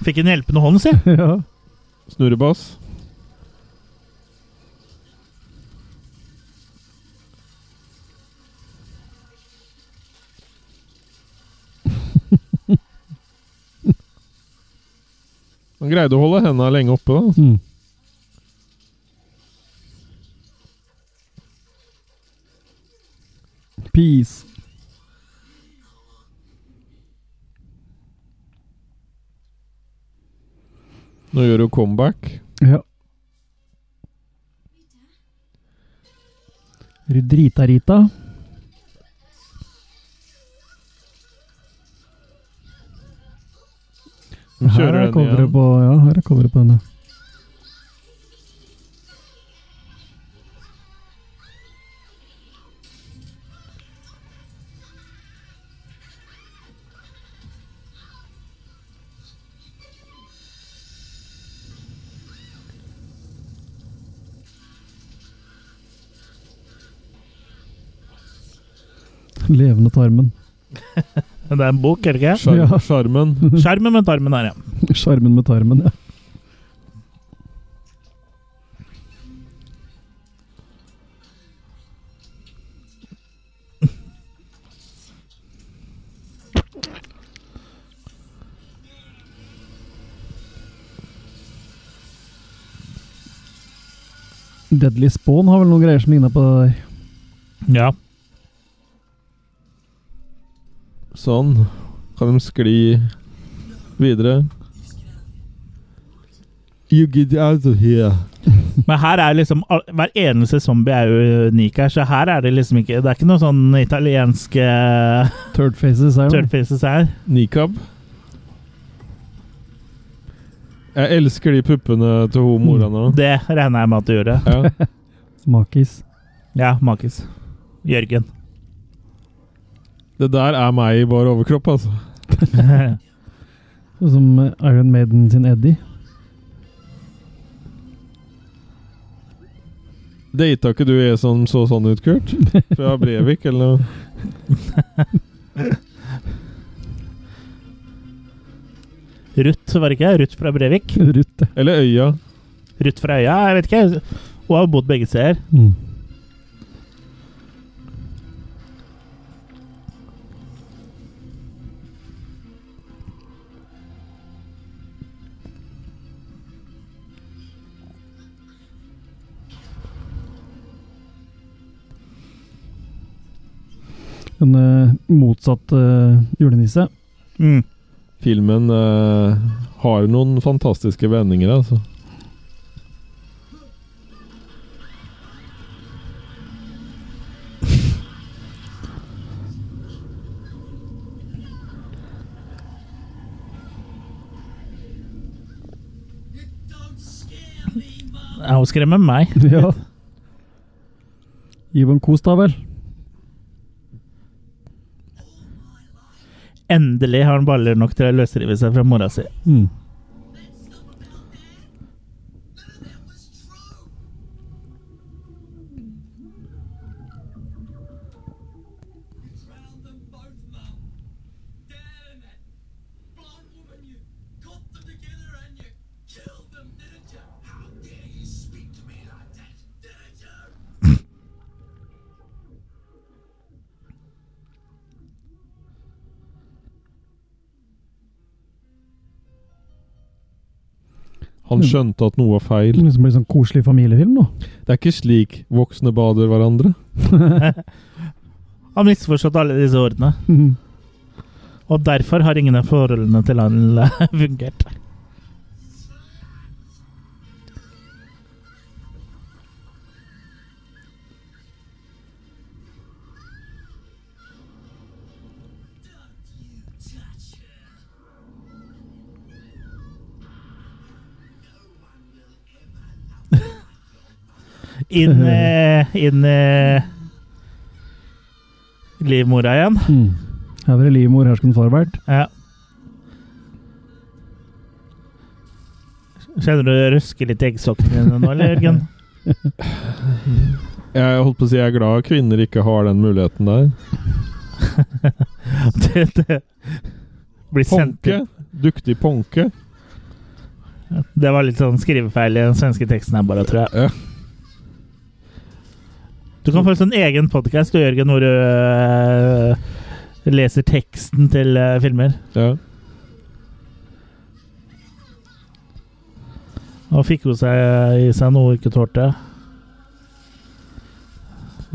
Speaker 1: fikk en hjelpende hånd, si.
Speaker 2: ja.
Speaker 3: Snurrebass. Han greide å holde henda lenge oppe, da.
Speaker 2: Mm. Peace.
Speaker 3: Nå gjør hun comeback.
Speaker 2: Ja. Drita-Rita.
Speaker 3: Hun
Speaker 2: Her
Speaker 3: kjører
Speaker 2: er
Speaker 3: den
Speaker 2: coveret
Speaker 3: igjen.
Speaker 2: på, ja, her er coveret på henne. Levende tarmen.
Speaker 1: Men det er en bok, er det ikke?
Speaker 3: Skjar-
Speaker 2: Ja.
Speaker 3: Sjarmen.
Speaker 1: Skjermen med tarmen der, ja.
Speaker 2: Sjarmen med tarmen, ja. Deadly Spawn har vel noen greier som ligner på det der.
Speaker 1: ja.
Speaker 3: Sånn. Kan de skli videre. You get out of here.
Speaker 1: Men her er liksom all- Hver eneste zombie er jo unik her, så her er det liksom ikke Det er ikke noe sånn italienske
Speaker 2: Third Faces er jo
Speaker 1: turfaces her.
Speaker 3: Nikab. Jeg elsker de puppene til hun mora nå.
Speaker 1: Det regner jeg med at du gjorde.
Speaker 3: Ja.
Speaker 2: Makis.
Speaker 1: Ja, Makis. Jørgen.
Speaker 3: Det der er meg i bar overkropp, altså.
Speaker 2: Sånn som Iron Maiden sin Eddie.
Speaker 3: Data ikke du en som så sånn ut, Kurt? Fra Brevik, eller noe?
Speaker 1: Ruth, var det ikke? Ruth fra Brevik?
Speaker 2: Ruth, ja.
Speaker 3: Eller Øya.
Speaker 1: Ruth fra Øya? Jeg vet ikke. Hun har jo bodd begge steder.
Speaker 2: Mm. En eh, motsatt eh, julenisse.
Speaker 1: Mm.
Speaker 3: Filmen eh, har noen fantastiske vendinger, altså.
Speaker 1: Ja, hun skremmer meg.
Speaker 2: ja. Gi henne en kos, da vel.
Speaker 1: Endelig har han baller nok til å løsrive seg fra mora si.
Speaker 2: Mm.
Speaker 4: Drown them both
Speaker 3: Han skjønte at noe var feil.
Speaker 2: Liksom blir sånn koselig familiefilm, da.
Speaker 3: Det er ikke slik voksne bader hverandre.
Speaker 1: Har misforstått alle disse ordene. Og derfor har ingen av forholdene til han fungert. Inn eh, inn eh, livmora igjen.
Speaker 2: Mm. Her var det livmor, her skulle far vært.
Speaker 1: Ja. Kjenner du det røsker litt i eggstokkene dine nå, eller, Jørgen?
Speaker 3: Jeg holdt på å si jeg er glad kvinner ikke har den muligheten der.
Speaker 1: det, det blir sendt
Speaker 3: Ponke. Duktig ponke.
Speaker 1: Det var litt sånn skrivefeil i den svenske teksten her, bare, tror jeg.
Speaker 3: Ja.
Speaker 1: Du kan få en sånn egen podkast, Jørgen, hvor du øh, leser teksten til øh, filmer.
Speaker 3: Ja.
Speaker 1: Og fikk hun seg i seg noe hun ikke tålte.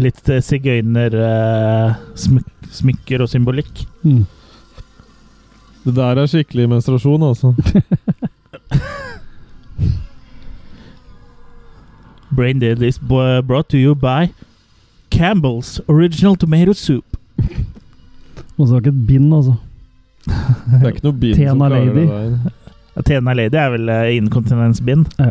Speaker 1: Litt eh, sigøyner eh, smyk- smykker og symbolikk.
Speaker 2: Mm.
Speaker 3: Det der er skikkelig menstruasjon, altså.
Speaker 1: Braindead is b- brought to you by Campbell's Original Tomato Soup.
Speaker 2: Og så var det ikke et bind, altså.
Speaker 3: Det er ikke noe bind som
Speaker 2: Tena
Speaker 3: klarer
Speaker 2: lady.
Speaker 3: det der.
Speaker 1: Athena Lady er vel eh, inkontinensbind.
Speaker 2: Ja.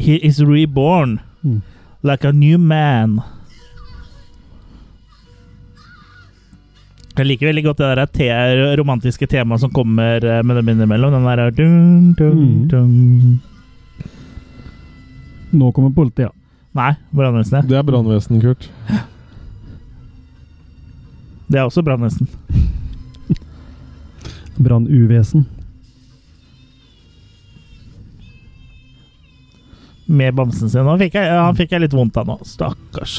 Speaker 1: He is reborn
Speaker 2: Mm.
Speaker 1: like a new man. Jeg liker veldig godt det der te romantiske temaet som kommer eh, med dem innimellom. Den der eh, dun, dun,
Speaker 2: Mm.
Speaker 1: dun.
Speaker 2: Nå kommer politiet.
Speaker 1: Nei, brannvesenet.
Speaker 3: Det er brannvesen, Kurt.
Speaker 1: Det er også brannvesen.
Speaker 2: Brannuvesen.
Speaker 1: Med bamsen sin. Han fikk jeg, han fikk jeg litt vondt av nå. Stakkars.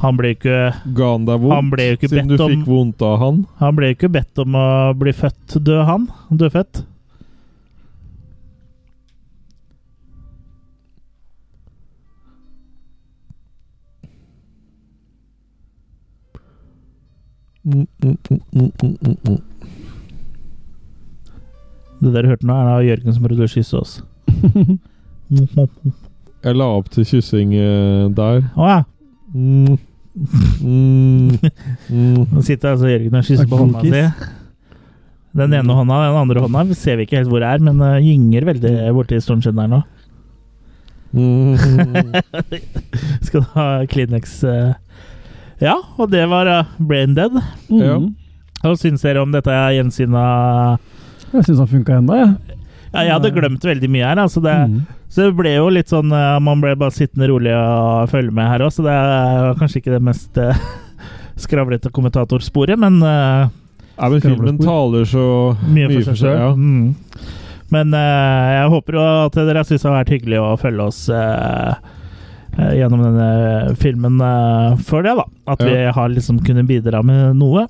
Speaker 1: Han ble jo ikke
Speaker 3: Ga han deg vondt?
Speaker 1: Han ble jo ikke
Speaker 3: siden
Speaker 1: bedt
Speaker 3: du
Speaker 1: om-
Speaker 3: fikk vondt av han?
Speaker 1: Han ble jo ikke bedt om å bli født død, han. Dødfødt.
Speaker 3: Mm, mm, mm, mm, mm, mm, mm.
Speaker 1: Det dere hørte nå, er da Jørgen som prøvde å kysse oss. Å
Speaker 3: Jeg la opp til kyssing eh, der.
Speaker 1: ja.
Speaker 3: Mm. Mm. Mm.
Speaker 1: Nå sitter altså Jørgen og kysser
Speaker 2: Takk
Speaker 1: på
Speaker 2: for
Speaker 1: hånda si.
Speaker 2: kiss.
Speaker 1: Den ene hånda, den andre hånda vi ser vi ikke helt hvor er, men eh, gynger veldig borti stormskinnet her nå.
Speaker 3: Mm.
Speaker 1: Skal du ha Kleenex eh? Ja, og det var eh, Brain Dead.
Speaker 2: Mm.
Speaker 3: Ja.
Speaker 1: Hva syns dere om dette gjensynet?
Speaker 2: Jeg syns han funka ennå, jeg.
Speaker 1: Ja, jeg hadde glemt veldig mye her, altså. Det,
Speaker 2: Mm.
Speaker 1: Så det ble jo litt sånn eh, Man ble bare sittende rolig og følge med her òg, så det er kanskje ikke det mest eh, skravlete kommentatorsporet, men eh,
Speaker 3: Ja, men filmen taler så
Speaker 1: mye, for seg selv. Mm. Men eh, jeg håper jo at dere syns det har vært hyggelig å følge oss eh, eh, gjennom denne filmen eh, før det, da. At vi har liksom kunnet bidra med noe.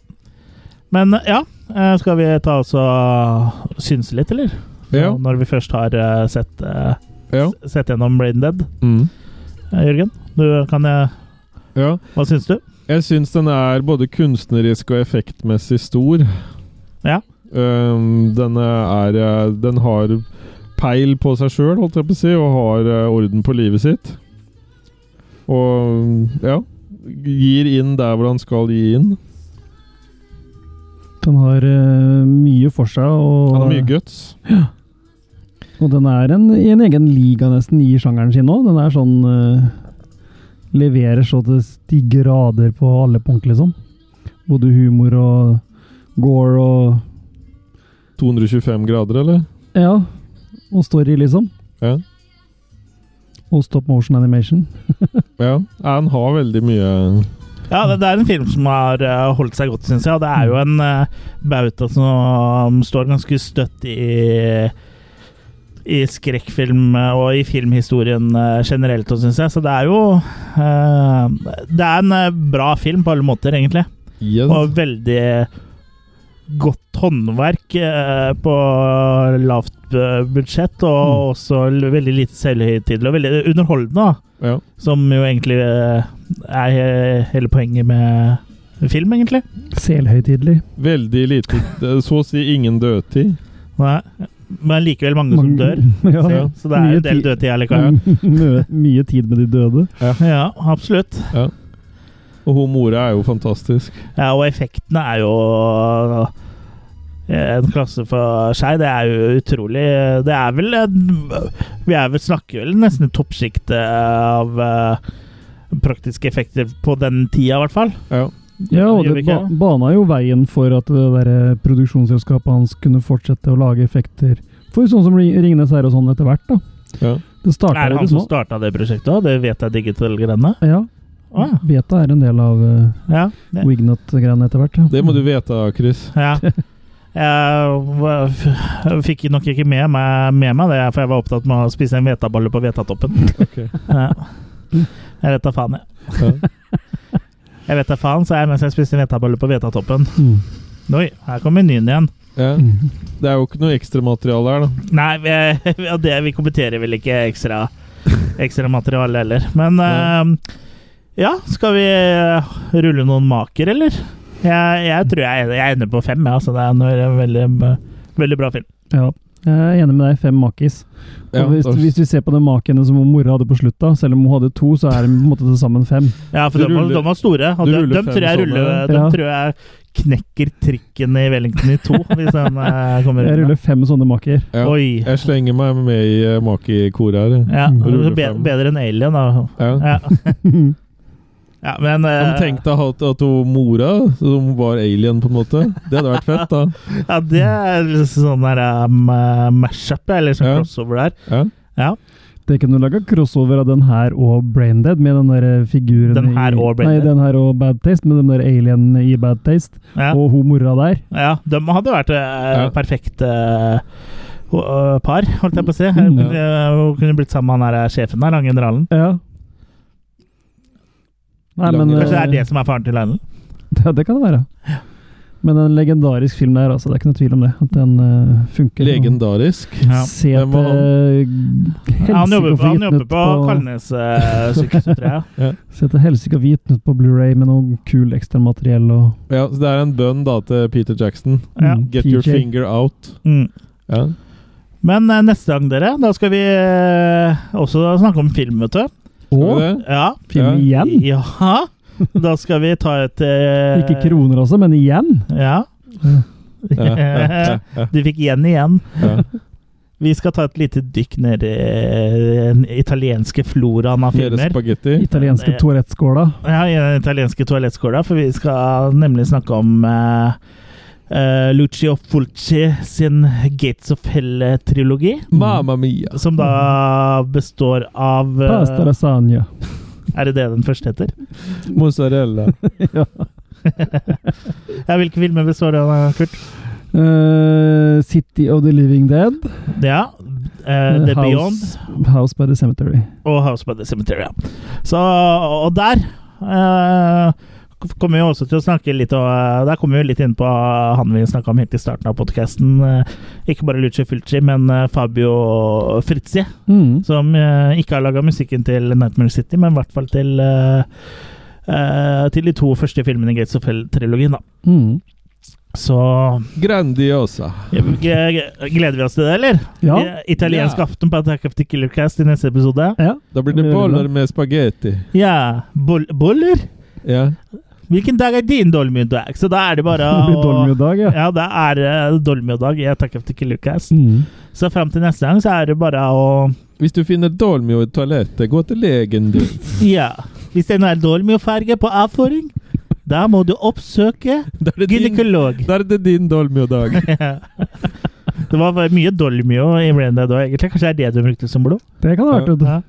Speaker 1: Men eh, ja, eh, skal vi ta oss og synse litt, eller?
Speaker 3: Ja.
Speaker 1: Når vi først har eh, sett, eh,
Speaker 3: Ja.
Speaker 1: sett gjennom Brain Dead.
Speaker 3: Mm.
Speaker 1: Eh, Jørgen, du kan jeg,
Speaker 3: ja.
Speaker 1: hva syns du?
Speaker 3: Jeg syns den er både kunstnerisk og effektmessig stor.
Speaker 1: Ja.
Speaker 3: Um, den er eh, Den har peil på seg sjøl, holdt jeg på å si, og har eh, orden på livet sitt. Og ja Gir inn der hvor han skal gi inn.
Speaker 2: Den har eh, mye for seg,
Speaker 3: Han har mye
Speaker 2: og,
Speaker 3: guts.
Speaker 2: og den er en, i en egen liga nesten i sjangeren sin òg. Den er sånn eh, Leverer så til de grader på alle punkt, liksom. Både humor og gore og
Speaker 3: 225 grader, eller?
Speaker 2: Ja. Og story, liksom.
Speaker 3: Ja.
Speaker 2: Og stop motion animation.
Speaker 3: ja. Han har veldig mye
Speaker 1: Ja, det, det er en film som har eh, holdt seg godt, syns jeg. Og det er jo en eh, bauta som står ganske støtt i i skrekkfilm eh, og i filmhistorien eh, generelt, syns jeg. Så det er jo eh, Det er en eh, bra film på alle måter, egentlig.
Speaker 3: yes.
Speaker 1: Og veldig godt håndverk eh, på lavt eh, budsjett, og også l- veldig lite selvhøytidelig og veldig underholdende, da.
Speaker 3: Ja.
Speaker 1: Som jo egentlig eh, er he- hele poenget med film, egentlig.
Speaker 2: Selhøytidelig.
Speaker 3: Veldig lite Eh, Så å si ingen dødtid.
Speaker 1: Nei. Men likevel mange som dør.
Speaker 2: Ja.
Speaker 1: Så, så det er jo
Speaker 2: Mye Mm.
Speaker 1: en del
Speaker 2: ti-
Speaker 1: dødtid her likevel.
Speaker 2: Mye, mye tid med de døde.
Speaker 1: Ja, absolutt.
Speaker 3: Og hun mora er jo fantastisk.
Speaker 1: Ja, og effektene er jo eh, en klasse for seg. Det er jo utrolig eh, Det er vel en- Vi er vel, snakker vel nesten i toppsjiktet av eh, praktiske effekter på den tida, i hvert fall.
Speaker 3: Ja.
Speaker 2: Ja, og
Speaker 1: Gjør vi
Speaker 2: det ba
Speaker 1: ikke det?
Speaker 2: bana jo veien for at det der eh, produksjonsselskapet hans kunne fortsette å lage effekter for sånn som Ring- Ringenes herre og sånn etter hvert, da.
Speaker 3: ja.
Speaker 2: Det starta
Speaker 1: Er det
Speaker 2: jo
Speaker 1: han
Speaker 2: liksom
Speaker 1: som starta det prosjektet òg? Det vet jeg digital-greiene.
Speaker 2: Ja.
Speaker 1: Å Ah, ja.
Speaker 2: Veta er en del av uh,
Speaker 1: ja. det-
Speaker 2: Wignut-greiene etter hvert. ja.
Speaker 3: Det må du vite, Chris.
Speaker 1: Ja. Jeg var- f- fikk nok ikke med meg, med meg det, for jeg var opptatt med å spise en hvetabolle på hvetatoppen.
Speaker 3: Ok.
Speaker 1: Ja. Jeg vet da faen, jeg.
Speaker 3: Ja.
Speaker 1: Jeg vet da faen, sa jeg mens jeg spiste en hvetabolle på hvetatoppen.
Speaker 2: Mm.
Speaker 1: Oi, her kom menyen igjen.
Speaker 3: Ja. Det er jo ikke noe ekstramateriale her, da.
Speaker 1: Nei, vi, ja, det, vi kommenterer vel ikke ekstra, ekstra materiale heller. Men
Speaker 3: Nei.
Speaker 1: eh, ja, skal vi eh, rulle noen maker, eller? Jeg, jeg tror jeg, jeg ender på fem, ja, så det er en veldig, veldig, veldig bra film.
Speaker 2: Ja. Jeg er enig med deg. Fem makis.
Speaker 3: Ja,
Speaker 2: og hvis,
Speaker 3: da-
Speaker 2: hvis vi ser på den maken som mora hadde på slutt, da, selv om hun hadde to, så er det på en måte til sammen fem.
Speaker 1: Ja, for
Speaker 3: Du
Speaker 1: de, var-
Speaker 3: ruller-
Speaker 1: de var store. Og
Speaker 3: du
Speaker 1: de,
Speaker 3: ruller
Speaker 1: dem
Speaker 3: fem
Speaker 1: tror jeg
Speaker 3: sånne,
Speaker 1: ruller,
Speaker 3: ja.
Speaker 1: dem
Speaker 2: Ja.
Speaker 1: tror jeg knekker trikken i Wellington i to, hvis den eh, kommer
Speaker 2: Jeg
Speaker 1: ut.
Speaker 2: ruller fem sånne maker.
Speaker 3: Ja.
Speaker 1: Oi.
Speaker 3: Jeg slenger meg med i eh, makikoret her. jeg.
Speaker 1: Ja,
Speaker 2: Mm.
Speaker 1: så
Speaker 3: Ruller
Speaker 1: be,
Speaker 3: fem.
Speaker 1: bedre enn Alien, da.
Speaker 3: Ja.
Speaker 1: Ja, ja men
Speaker 3: Ja,
Speaker 1: eh,
Speaker 3: men tenk deg at, at hun mora, som var alien, på en måte. Det hadde vært fett, da.
Speaker 1: Ja, det er liksom sånn der um, eh, mashup, eller sånn
Speaker 3: Ja.
Speaker 1: crossover der.
Speaker 3: Ja.
Speaker 1: Ja.
Speaker 2: Det kunne du laga crossover av den her og Braindead, med den der eh, figuren
Speaker 1: Den her
Speaker 2: i-
Speaker 1: og Brain Dead.
Speaker 2: Nei, den her og Bad Taste, med den der alienen i Bad Taste,
Speaker 1: Ja,
Speaker 2: og hun mora der.
Speaker 1: ja de hadde vært eh,
Speaker 3: Ja.
Speaker 1: perfekte eh, ho- eh, par, holdt jeg på å si.
Speaker 2: Mm.
Speaker 1: Eh, Hun kunne blitt sammen med han der eh, sjefen der, han generalen.
Speaker 2: Ja. Nei,
Speaker 3: Lang-
Speaker 2: men
Speaker 1: Kanskje det
Speaker 2: eh,
Speaker 1: er det som er faren til Lionel?
Speaker 2: Ja, det kan det være. Men en legendarisk film der, altså. Det er ikke noe tvil om det. At den eh, funker.
Speaker 3: Legendarisk.
Speaker 1: Ja.
Speaker 2: Se
Speaker 3: Den var
Speaker 1: Ja,
Speaker 2: til
Speaker 1: han jobber,
Speaker 2: helsike å få
Speaker 1: han
Speaker 2: gitt
Speaker 1: jobber
Speaker 2: ut
Speaker 1: på Kalnes eh, sykehus, tror jeg.
Speaker 2: Se til helsike å få gitt ut på Blu-ray med noe kul ekstramateriell og
Speaker 3: Ja, så Det er en bønn da til Peter Jackson.
Speaker 1: Ja.
Speaker 2: Mm,
Speaker 3: Get your
Speaker 2: PJ.
Speaker 3: finger out.
Speaker 1: Mm.
Speaker 3: Ja.
Speaker 1: Men eh, neste gang, dere, da skal vi eh, også snakke om film, vet du.
Speaker 3: Skal vi
Speaker 2: Og
Speaker 3: det?
Speaker 1: Ja.
Speaker 2: film igjen!
Speaker 1: ja. Da skal vi ta et eh,
Speaker 2: Ikke kroner, altså, men igjen!
Speaker 1: Ja.
Speaker 3: Ja, ja, ja,
Speaker 1: Du fikk igjen igjen.
Speaker 3: ja.
Speaker 1: Vi skal ta et lite dykk ned i eh, den italienske floraen av
Speaker 3: Mer
Speaker 1: filmer.
Speaker 3: spagetti.
Speaker 2: Italienske
Speaker 1: Ja.
Speaker 2: toalettskåla.
Speaker 1: Ja, i den italienske toalettskåla, for vi skal nemlig snakke om eh, eh, Lucio Fulci sin Gates of Hell-trilogi.
Speaker 3: Mamma mia.
Speaker 1: Som da består av eh,
Speaker 2: Pasta lasagne.
Speaker 1: Er det det den første heter?
Speaker 3: Mozzarella.
Speaker 1: Ja, Hvilke filmer består det av, Kurt?
Speaker 2: Eh, City of the Living Dead.
Speaker 1: Ja, eh,
Speaker 2: Eh,
Speaker 1: The Beyond
Speaker 2: House, House by the Cemetery.
Speaker 1: og House by the Cemetery. ja. Så, og der eh, kommer vi jo også til å snakke litt og, eh, Der kommer vi jo litt inn på han vi snakka om helt i starten av podkasten. Eh, ikke bare Lucio Fulci, men eh, Fabio Fritzi,
Speaker 2: Mm.
Speaker 1: som eh, ikke har laga musikken til Nightmare City, men i hvert fall til eh, eh, til de to første filmene i Gates of Hell-trilogien, da.
Speaker 2: Mm.
Speaker 1: Så
Speaker 3: Grandiosa.
Speaker 1: g- g- gleder vi oss til det, eller?
Speaker 2: Ja.
Speaker 1: I- Italiensk
Speaker 3: Ja.
Speaker 1: aften på Attack of the Killer Cast i neste episode.
Speaker 2: ja.
Speaker 3: Da blir det boller med spagetti.
Speaker 1: Ja, bol boller?
Speaker 3: Ja.
Speaker 1: Hvilken dag er din dolmiodag? Så da er det bare
Speaker 2: Det
Speaker 1: å
Speaker 2: blir Dolmio-dag, ja.
Speaker 1: Ja, det er eh, dolmiodag i Attack of the Killer Cast.
Speaker 2: Mm.
Speaker 1: Så fram til neste gang så er det bare å
Speaker 3: Hvis du finner dolmio i toalettet, gå til legen, du.
Speaker 1: Ja. Hvis det nå er dolmiofarge på avføring, da må du oppsøke
Speaker 3: Da er det din,
Speaker 1: gynekolog.
Speaker 3: da er det din dolmio-dag.
Speaker 1: det var bare mye dolmio i Brain Dead òg, egentlig. Kanskje det er det du brukte som blod?
Speaker 2: Det kan det ha vært. vet du.
Speaker 1: Ja.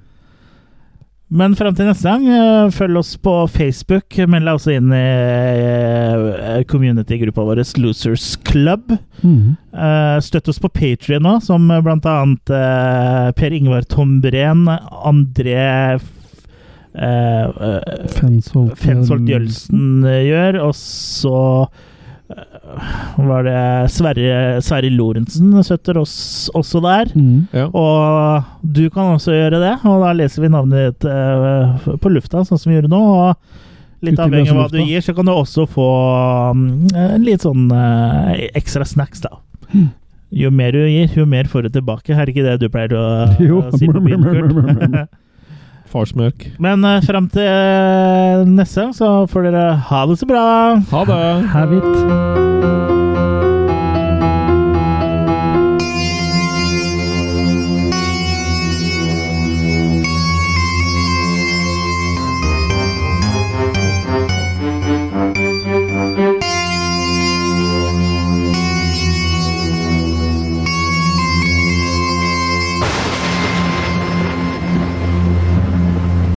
Speaker 1: Men fram til neste gang, eh, følg oss på Facebook. Meld deg også inn i eh, community-gruppa vår Losers Club.
Speaker 2: Mm.
Speaker 1: Eh, Støtt oss på Patrion nå, som blant annet eh, Per Ingvar Tombren, André F- eh, eh,
Speaker 2: Fensholt
Speaker 1: Fensholt Jølsen eh, gjør, og så var det Sverre, Sverre Lorentzen støtter oss også der.
Speaker 2: Mm.
Speaker 3: Ja.
Speaker 1: Og du kan også gjøre det, og da leser vi navnet ditt eh, på lufta, sånn som vi gjorde nå. Og litt
Speaker 2: Ute i
Speaker 1: avhengig av hva
Speaker 2: løse
Speaker 1: du
Speaker 2: lufta.
Speaker 1: gir, så kan du også få mm, eh, litt sånn eh, ekstra snacks, da. Jo mer du gir, jo mer får du tilbake. Er ikke det du pleier å
Speaker 2: Jo.
Speaker 1: å si på byen, Kurt?
Speaker 3: Farsmelk.
Speaker 1: Men uh, fram til eh, neste gang så får dere ha det så bra.
Speaker 3: Ha det!
Speaker 2: Have it.